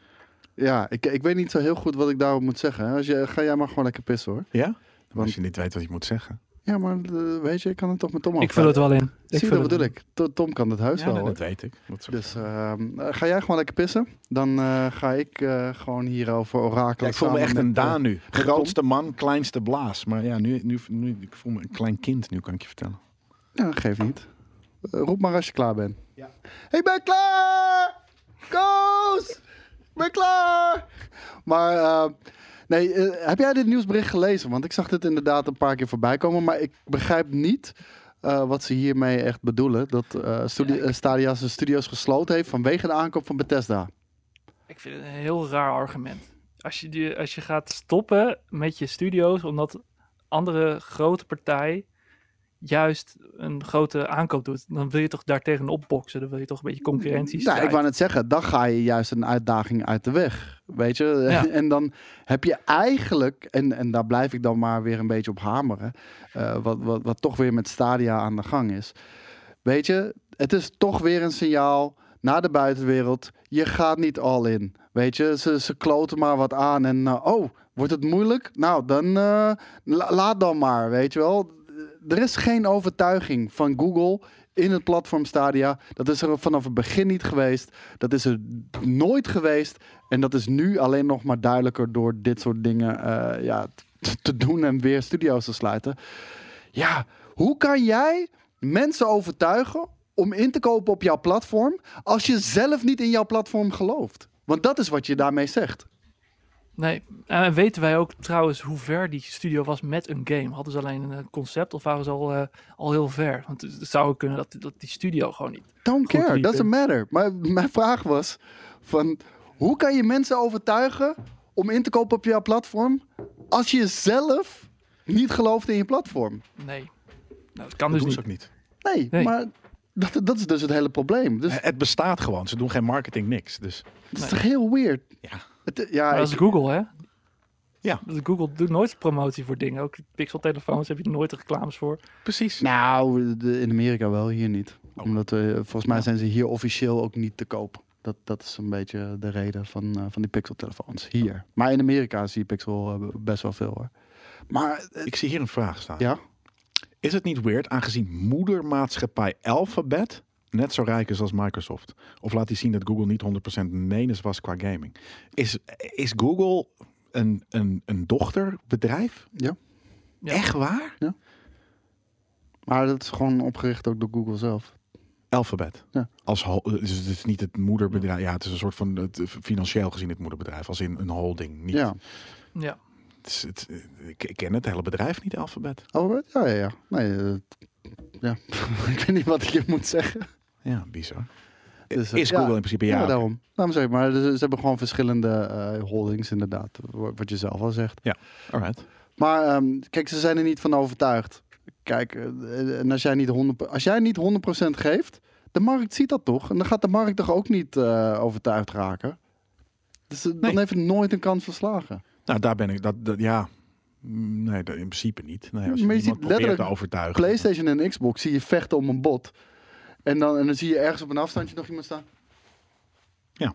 Speaker 2: Ja, ik, ik weet niet zo heel goed wat ik daarop moet zeggen. Als je, ga jij maar gewoon lekker pissen hoor.
Speaker 1: Ja? Maar
Speaker 2: Want-
Speaker 1: als je niet weet wat je moet zeggen.
Speaker 2: Ja, maar eh, weet je, ik kan het toch met Tom
Speaker 5: ik vul het wel in.
Speaker 2: Zie je,
Speaker 5: vul
Speaker 2: dat
Speaker 5: het
Speaker 2: bedoel
Speaker 5: in.
Speaker 2: ik. To- Tom kan het huis
Speaker 1: Ja,
Speaker 2: wel
Speaker 1: nee,
Speaker 2: Oh, hoor.
Speaker 1: dat weet ik. Dat soort-
Speaker 2: Dus ehm, eh, ga jij gewoon lekker pissen. Dan eh, ga ik eh, gewoon hierover orakelen.
Speaker 1: Ja, ik voel me
Speaker 2: samen
Speaker 1: echt
Speaker 2: met,
Speaker 1: een
Speaker 2: eh,
Speaker 1: Daan nu.
Speaker 2: Tom.
Speaker 1: Grootste man, kleinste blaas. Maar ja, nu, nu, nu, ik voel me een klein kind nu, kan ik je vertellen.
Speaker 2: Ja, geef niet. Eh, roep maar als je klaar bent.
Speaker 4: Ja.
Speaker 2: Ik ben klaar! Koos! Ik ben klaar! Maar eh, nee, eh, heb jij dit nieuwsbericht gelezen? Want ik zag dit inderdaad een paar keer voorbij komen, maar ik begrijp niet eh, wat ze hiermee echt bedoelen. Dat eh studi- eh, Stadia zijn studios gesloten heeft vanwege de aankoop van Bethesda.
Speaker 5: Ik vind het een heel raar argument. Als je, die, als je gaat stoppen met je studio's omdat andere grote partij juist een grote aankoop doet, dan wil je toch daartegen opboksen. Dan wil je toch een beetje concurrentie
Speaker 2: Nou, ik
Speaker 5: strijden.
Speaker 2: wou net zeggen, dan ga je juist een uitdaging uit de weg. Weet je?
Speaker 5: Ja.
Speaker 2: En dan heb je eigenlijk, en, en daar blijf ik dan maar weer een beetje op hameren, eh, wat, wat, wat toch weer met Stadia aan de gang is. Weet je, het is toch weer een signaal naar de buitenwereld. Je gaat niet al in. Weet je, ze, ze kloten maar wat aan en eh, oh, wordt het moeilijk? Nou, dan eh, la- laat dan maar, weet je wel. Er is geen overtuiging van Google in het platform Stadia. Dat is er vanaf het begin niet geweest. Dat is er nooit geweest. En dat is nu alleen nog maar duidelijker door dit soort dingen eh, ja, t- te doen en weer studio's te sluiten. Ja, hoe kan jij mensen overtuigen om in te kopen op jouw platform als je zelf niet in jouw platform gelooft? Want dat is wat je daarmee zegt.
Speaker 5: Nee, en weten wij ook trouwens hoe ver die studio was met een game? Hadden ze alleen een concept of waren ze al, eh, al heel ver? Want het het zou ook kunnen dat, dat die studio gewoon niet.
Speaker 2: Don't
Speaker 5: Goed
Speaker 2: care,
Speaker 5: liep,
Speaker 2: doesn't
Speaker 5: hè?
Speaker 2: matter. Maar mijn vraag was van hoe kan je mensen overtuigen om in te kopen op jouw platform als je zelf niet gelooft in je platform?
Speaker 5: Nee, nou, dat kan
Speaker 1: Dat
Speaker 5: dus
Speaker 1: doen ze
Speaker 5: niet.
Speaker 1: ook niet.
Speaker 2: Nee,
Speaker 5: Nee.
Speaker 2: maar dat, dat is dus het hele probleem. Dus
Speaker 1: Eh, Het bestaat gewoon. Ze doen geen marketing, niks. Dus
Speaker 2: het is toch heel weird.
Speaker 1: Ja.
Speaker 2: Het, ja,
Speaker 5: Maar
Speaker 2: ik-
Speaker 5: dat is Google, hè?
Speaker 1: Ja.
Speaker 5: Dat Google doet nooit promotie voor dingen. Ook pixeltelefoons heb je nooit reclames voor.
Speaker 1: precies.
Speaker 2: Nou, de- in Amerika wel, hier niet.
Speaker 1: Oh.
Speaker 2: Omdat eh, volgens mij zijn ze hier officieel ook niet te koop. Dat, dat is een beetje de reden van, eh, van die pixeltelefoons hier.
Speaker 1: Oh.
Speaker 2: Maar in Amerika zie je pixel eh, best wel veel hoor. Maar eh,
Speaker 1: Ik zie hier een vraag staan.
Speaker 2: ja,
Speaker 1: Is het niet weird aangezien moedermaatschappij Alphabet net zo rijk is als Microsoft? Of laat hij zien dat Google niet 100% menens was qua gaming? Is, is Google een, een, een dochterbedrijf?
Speaker 2: Ja.
Speaker 5: Ja.
Speaker 1: Echt waar?
Speaker 2: maar dat is gewoon opgericht ook door Google zelf.
Speaker 1: Alphabet.
Speaker 2: Ja.
Speaker 1: Als ho- dus het is niet het moederbedrijf. Ja, het is een soort van het, financieel gezien het moederbedrijf, als in een holding. Niet,
Speaker 2: Ja,
Speaker 5: Ja.
Speaker 1: het is- het- ik ik ken het hele bedrijf niet, Alphabet.
Speaker 2: Albert? Ja, ja, ja. Nee, eh, ja. ik weet niet wat ik je moet zeggen.
Speaker 1: Ja, bizar.
Speaker 2: Dus, eh,
Speaker 1: is
Speaker 2: ja.
Speaker 1: Google in principe
Speaker 2: Ja,
Speaker 1: ja. oké.
Speaker 2: daarom. Daarom zeg ik, maar ze, ze hebben gewoon verschillende eh, holdings inderdaad. wa- Wat je zelf al zegt.
Speaker 1: Alright.
Speaker 2: Maar ehm, kijk, ze zijn er niet van overtuigd. Kijk, eh, en als jij niet 100%, als jij niet 100 geeft, de markt ziet dat toch? En dan gaat de markt toch ook niet eh, overtuigd raken? Dus eh, dan
Speaker 1: Nee.
Speaker 2: heeft het nooit een kans verslagen.
Speaker 1: Nou, daar ben ik. Dat, dat ja. Mm, Nee, dat- in principe niet. Nee, als je,
Speaker 2: Maar
Speaker 1: iemand
Speaker 2: je ziet
Speaker 1: probeert te
Speaker 2: letterlijk
Speaker 1: overtuigen.
Speaker 2: PlayStation en Xbox zie je vechten om een bot. En dan, en dan zie je ergens op een afstandje nog iemand staan.
Speaker 1: Ja,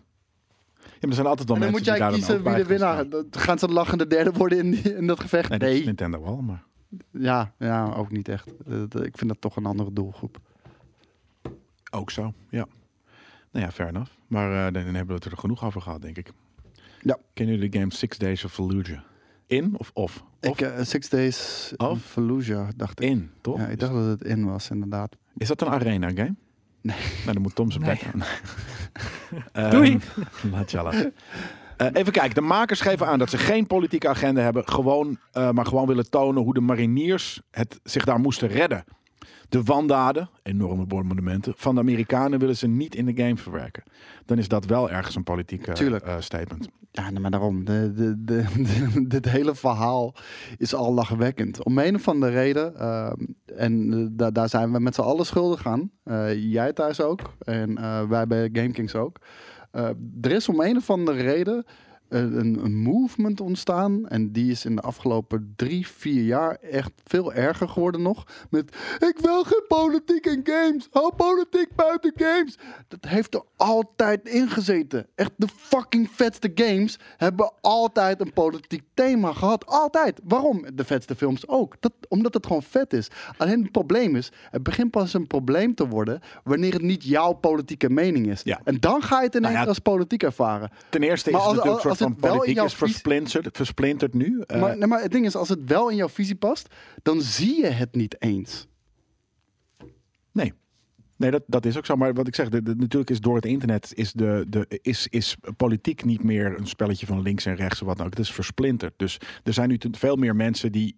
Speaker 1: maar er zijn altijd wel
Speaker 2: en
Speaker 1: mensen
Speaker 2: dan moet jij
Speaker 1: die daar dan
Speaker 2: kiezen
Speaker 1: ook
Speaker 2: wie
Speaker 1: bij
Speaker 2: de winnaar.
Speaker 1: gaan
Speaker 2: Dan gaan ze lachende derde worden in, die- in dat gevecht?
Speaker 1: staan. Nee,
Speaker 2: Nee.
Speaker 1: dat is Nintendo wel, maar
Speaker 2: Ja, ja, ook niet echt. Eh, d- ik vind dat toch een andere doelgroep.
Speaker 1: ook zo. Ja. Nou ja, fair enough. Maar eh, dan dan hebben we het er genoeg over gehad, denk ik.
Speaker 2: Ja.
Speaker 1: Kennen jullie de game Six Days of Fallujah? In of of? Of
Speaker 2: Ik, eh, Six Days in
Speaker 1: Of?
Speaker 2: Fallujah, dacht ik.
Speaker 1: in, toch?
Speaker 2: Ja, ik dacht dat het in was, inderdaad.
Speaker 1: Is dat een arena game?
Speaker 2: Nee.
Speaker 1: Nou, dan moet Tom zijn
Speaker 5: Nee.
Speaker 1: bek aan. Ehm,
Speaker 5: Doei.
Speaker 1: laat je al uit. Eh, even kijken, de makers geven aan dat ze geen politieke agenda hebben, gewoon, eh, maar gewoon willen tonen hoe de mariniers het zich daar moesten redden. De wandaden, enorme monumenten, van de Amerikanen willen ze niet in de game verwerken. Dan is dat wel ergens een politiek eh,
Speaker 2: Tuurlijk.
Speaker 1: eh, statement.
Speaker 2: Ja, nee, maar daarom. De, de, de, de- dit hele verhaal is al lachwekkend. Om een of andere reden, ehm, en eh, da- daar zijn we met z'n allen schuldig aan. Eh, jij thuis ook, en eh, wij bij GameKings ook. Eh, er is om een of andere reden eh, een, een movement ontstaan. En die is in de afgelopen drie, vier jaar echt veel erger geworden nog. Met, ik wil geen politiek in games. Hou politiek buiten games. Dat heeft er altijd in gezeten. Echt de fucking vetste games hebben altijd een politiek thema gehad. Altijd. Waarom? De vetste films ook. Dat, omdat het gewoon vet is. Alleen het probleem is, het begint pas een probleem te worden wanneer het niet jouw politieke mening is.
Speaker 1: Ja.
Speaker 2: En dan ga je het in
Speaker 1: Nou
Speaker 2: één
Speaker 1: ja,
Speaker 2: keer als politiek ervaren.
Speaker 1: Ten eerste is
Speaker 2: Maar als-
Speaker 1: het natuurlijk een
Speaker 2: als
Speaker 1: soort
Speaker 2: het
Speaker 1: van
Speaker 2: wel in
Speaker 1: politiek
Speaker 2: jouw
Speaker 1: is
Speaker 2: visie-
Speaker 1: versplinterd, versplinterd nu. Eh,
Speaker 2: maar, nee, maar het ding is, als het wel in jouw visie past, dan zie je het niet eens.
Speaker 1: nee. Nee, dat, dat is ook zo. Maar wat ik zeg, de, de- natuurlijk is door het internet is, de, de, is, is politiek niet meer een spelletje van links en rechts of wat dan ook. Het is versplinterd. Dus er zijn nu te- veel meer mensen die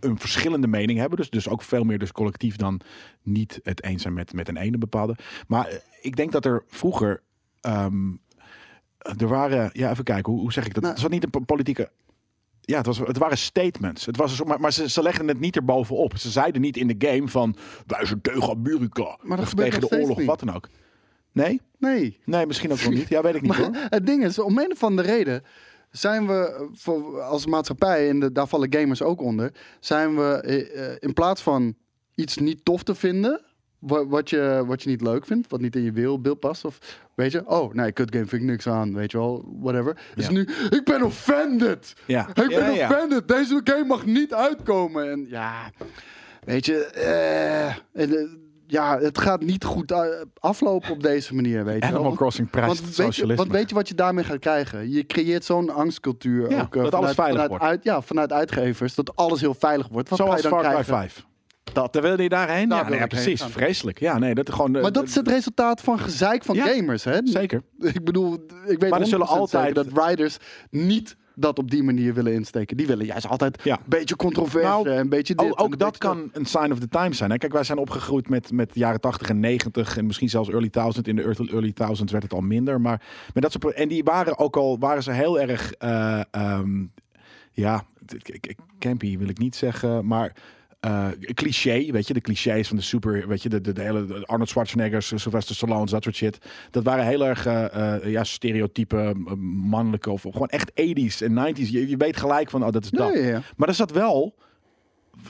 Speaker 1: een verschillende mening hebben. Dus, dus ook veel meer dus collectief dan niet het eens zijn met, met een ene bepaalde. Maar eh, ik denk dat er vroeger... ehm, er waren, ja, even kijken, hoe, hoe zeg ik dat?
Speaker 2: Nou-
Speaker 1: het was niet een po- politieke ja, het, was, het waren statements. Het was een soort, maar maar ze, ze legden het niet erbovenop. Ze zeiden niet in de game van wij zijn tegen Amerika.
Speaker 2: Maar dat
Speaker 1: of
Speaker 2: gebeurt
Speaker 1: tegen
Speaker 2: nog
Speaker 1: de
Speaker 2: steeds
Speaker 1: oorlog,
Speaker 2: niet.
Speaker 1: wat dan ook. Nee?
Speaker 2: Nee.
Speaker 1: Nee, misschien ook wel niet. Ja, weet ik niet hoor.
Speaker 2: Maar het ding is, om een of andere reden zijn we eh, voor, als maatschappij, en de, daar vallen gamers ook onder, zijn we eh, eh, in plaats van iets niet tof te vinden, wa- wat je, wat je niet leuk vindt, wat niet in je wereldbeeld past, of weet je, oh nee, kut game vind ik niks aan, weet je wel, whatever. Dus
Speaker 1: Ja.
Speaker 2: nu, ik ben offended!
Speaker 1: Ja.
Speaker 2: Ik ben
Speaker 1: Ja, ja.
Speaker 2: offended! Deze game mag niet uitkomen! En ja, weet je, eh, en, eh, ja, het gaat niet goed eh, aflopen op deze manier, weet je wel.
Speaker 1: Animal
Speaker 2: Want-
Speaker 1: Crossing prijst
Speaker 2: want weet, je,
Speaker 1: socialisme.
Speaker 2: want weet je wat je daarmee gaat krijgen? Je creëert zo'n angstcultuur.
Speaker 1: Ja,
Speaker 2: ook, eh,
Speaker 1: dat alles
Speaker 2: vanuit,
Speaker 1: veilig
Speaker 2: vanuit
Speaker 1: wordt.
Speaker 2: Uit, ja, vanuit uitgevers. Dat alles heel veilig wordt. Wat ga
Speaker 1: Zoals
Speaker 2: je dan
Speaker 1: Far Cry
Speaker 2: krijgen?
Speaker 1: 5.
Speaker 2: Dat.
Speaker 1: Daar wilde je daarheen?
Speaker 2: Daar
Speaker 1: ja, nee,
Speaker 2: wil
Speaker 1: ja,
Speaker 2: ik heen
Speaker 1: precies.
Speaker 2: gaan.
Speaker 1: Vreselijk. Ja, nee, dat gewoon... eh,
Speaker 2: Maar dat is het resultaat van gezeik van
Speaker 1: Ja,
Speaker 2: gamers. Hè?
Speaker 1: Zeker.
Speaker 2: Ik bedoel, ik weet
Speaker 1: Maar er zullen
Speaker 2: 100%
Speaker 1: altijd-
Speaker 2: zeker dat riders niet dat op die manier willen insteken. Die willen juist altijd
Speaker 1: Ja.
Speaker 2: een beetje controverse
Speaker 1: Nou,
Speaker 2: en een beetje dit.
Speaker 1: Ook,
Speaker 2: en
Speaker 1: ook
Speaker 2: een
Speaker 1: dat
Speaker 2: beetje
Speaker 1: kan een sign of the times zijn. Hè? Kijk, wij zijn opgegroeid met, met de jaren 80 en 90 en misschien zelfs early 1000. In de early, early 1000 werd het al minder. Maar, maar dat soort, pro- en die waren ook al waren ze heel erg. eh, ehm, ja, ik- ik- ik- campy wil ik niet zeggen, maar. eh, cliché, weet je, de clichés van de super, weet je, de, de, de hele de Arnold Schwarzeneggers, eh, Sylvester Stallone's, dat soort shit. Dat waren heel erg eh, eh, ja, stereotype eh, mannelijke of gewoon echt 80s en 90s. Je, je weet gelijk van, oh, dat is
Speaker 2: Ja,
Speaker 1: dat.
Speaker 2: ja, ja.
Speaker 1: Maar er zat wel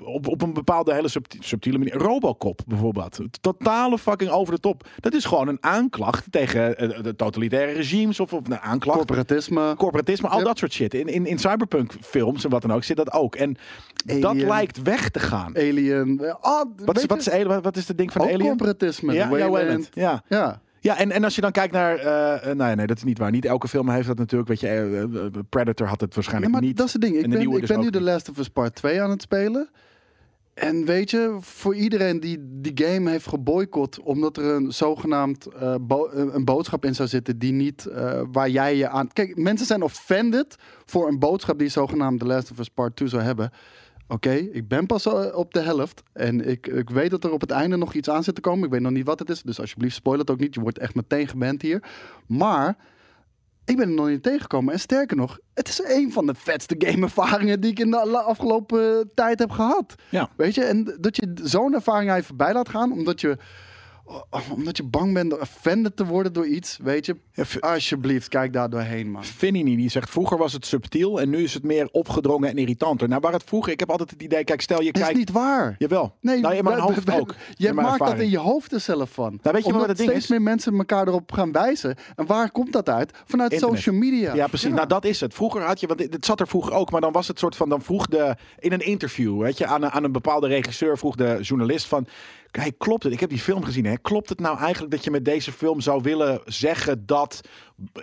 Speaker 1: op, op een bepaalde hele subti- subtiele manier. Robocop bijvoorbeeld. Totale fucking over de top. Dat is gewoon een aanklacht tegen eh, de totalitaire regimes of, of een aanklacht.
Speaker 2: Corporatisme.
Speaker 1: Corporatisme, al
Speaker 2: Yep.
Speaker 1: dat soort shit. In, in, in cyberpunk films en wat dan ook zit dat ook. En dat
Speaker 2: Alien.
Speaker 1: lijkt weg te gaan.
Speaker 2: Alien. eh, Ah,
Speaker 1: Wat is,
Speaker 2: weet
Speaker 1: wat,
Speaker 2: je,
Speaker 1: is, Alien- wat is het ding van
Speaker 2: ook
Speaker 1: Alien?
Speaker 2: corporatisme.
Speaker 1: Ja,
Speaker 2: the
Speaker 1: ja,
Speaker 2: Wayland.
Speaker 1: Wayland. Ja.
Speaker 2: ja.
Speaker 1: Ja, en, en als je dan kijkt naar... eh, eh, nee, nee, dat is niet waar. Niet elke film heeft dat natuurlijk. Weet je, eh, eh, Predator had het
Speaker 2: Ja,
Speaker 1: waarschijnlijk
Speaker 2: maar
Speaker 1: niet.
Speaker 2: dat is het ding.
Speaker 1: En
Speaker 2: Ik
Speaker 1: de
Speaker 2: ben,
Speaker 1: nieuwe
Speaker 2: ik
Speaker 1: dus
Speaker 2: ben
Speaker 1: ook
Speaker 2: nu de
Speaker 1: niet.
Speaker 2: Last of Us Part 2 aan het spelen. En weet je, voor iedereen die die game heeft geboycott... omdat er een zogenaamd eh, bo- eh, een boodschap in zou zitten... die niet eh, waar jij je aan... Kijk, mensen zijn offended voor een boodschap... die zogenaamd The Last of Us Part 2 zou hebben. Oké, ik ben pas eh, op de helft. En ik, ik weet dat er op het einde nog iets aan zit te komen. Ik weet nog niet wat het is. Dus alsjeblieft, spoil het ook niet. Je wordt echt meteen geband hier. Maar ik ben er nog niet tegengekomen. En sterker nog, het is een van de vetste gameervaringen die ik in de la- afgelopen eh, tijd heb gehad.
Speaker 1: Ja.
Speaker 2: Weet je, en dat je zo'n ervaring aan je voorbij laat gaan, omdat je, oh, omdat je bang bent offended te worden door iets, weet je.
Speaker 1: Ja, v-
Speaker 2: Alsjeblieft, kijk daar doorheen, man.
Speaker 1: Finini die zegt vroeger was het subtiel en nu is het meer opgedrongen en irritanter. Nou, waar het vroeger, ik heb altijd het idee, kijk, stel je
Speaker 2: Dat is
Speaker 1: kijkt.
Speaker 2: niet waar.
Speaker 1: Jawel.
Speaker 2: Nee,
Speaker 1: nou, in mijn
Speaker 2: wij-
Speaker 1: hoofd
Speaker 2: wij-
Speaker 1: ook.
Speaker 2: Je
Speaker 1: In mijn
Speaker 2: maakt dat in
Speaker 1: ervaring.
Speaker 2: je hoofd er zelf van.
Speaker 1: Nou, weet je wat
Speaker 2: Omdat
Speaker 1: het ding
Speaker 2: steeds
Speaker 1: is?
Speaker 2: meer mensen elkaar erop gaan wijzen. En waar komt dat uit? Vanuit
Speaker 1: Internet.
Speaker 2: social media.
Speaker 1: Ja, precies. Nou, dat is het. Vroeger had je, want dit- het zat er vroeger ook, maar dan was het soort van, dan vroeg de, in een interview, weet je, aan, een- aan een bepaalde regisseur vroeg de journalist van, hey, klopt het, ik heb die film gezien, hè, klopt het nou eigenlijk dat je met deze film zou willen zeggen dat,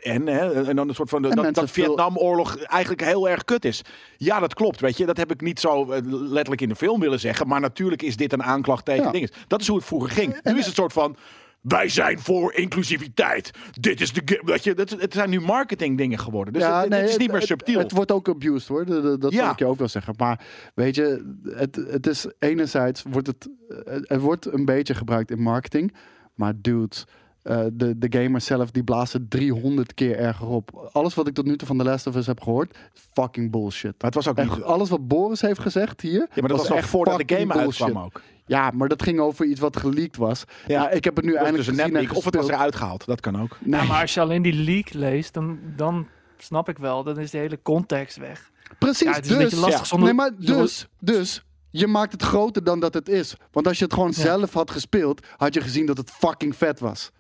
Speaker 1: en, hè, en dan een soort van, de,
Speaker 2: En
Speaker 1: dat,
Speaker 2: mensen
Speaker 1: dat
Speaker 2: veel-
Speaker 1: Vietnamoorlog eigenlijk heel erg kut is. Ja, dat klopt, weet je, dat heb ik niet zo eh, letterlijk in de film willen zeggen, maar natuurlijk is dit een aanklacht tegen
Speaker 2: Ja.
Speaker 1: dingen. Dat is hoe het vroeger ging. Nu is het soort van, wij zijn voor inclusiviteit. Dit is de... ge- Weet je, dat, het zijn nu marketing dingen geworden. Dus het,
Speaker 2: nee,
Speaker 1: het is niet
Speaker 2: het-
Speaker 1: meer
Speaker 2: het-
Speaker 1: subtiel.
Speaker 2: Het, wordt ook abused hoor, dat, dat- dat
Speaker 1: Ja.
Speaker 2: wil ik je ook wel zeggen. Maar weet je, het, het is enerzijds wordt het, eh, het wordt een beetje gebruikt in marketing. Maar dudes, eh, de, de gamers zelf die blazen 300 keer erger op. Alles wat ik tot nu toe van The Last of Us heb gehoord, is fucking bullshit.
Speaker 1: maar het was ook
Speaker 2: Echt,
Speaker 1: niet...
Speaker 2: alles wat Boris heeft gezegd hier.
Speaker 1: ja, maar dat was, nog
Speaker 2: echt
Speaker 1: voordat de
Speaker 2: fucking
Speaker 1: game uitkwam
Speaker 2: bullshit.
Speaker 1: ook.
Speaker 2: Ja, maar dat ging over iets wat geleakt was.
Speaker 1: Ja.
Speaker 2: Ja, ik heb het nu
Speaker 1: Of
Speaker 2: eindelijk
Speaker 1: Dus een
Speaker 2: gezien en
Speaker 1: nepleak, of het was
Speaker 2: gespeeld.
Speaker 1: eruit gehaald. Dat kan ook.
Speaker 2: Nee,
Speaker 5: Ja, maar als je alleen die leak leest, dan, dan snap ik wel. Dan is de hele context weg.
Speaker 2: Precies,
Speaker 5: Ja, het is
Speaker 2: dus,
Speaker 5: een beetje lastig
Speaker 1: ja.
Speaker 5: zonder...
Speaker 2: nee, maar
Speaker 5: zonder-
Speaker 2: dus, dus, je maakt het groter dan dat het is. Want als je het gewoon zelf had gespeeld, had je gezien dat het fucking vet was.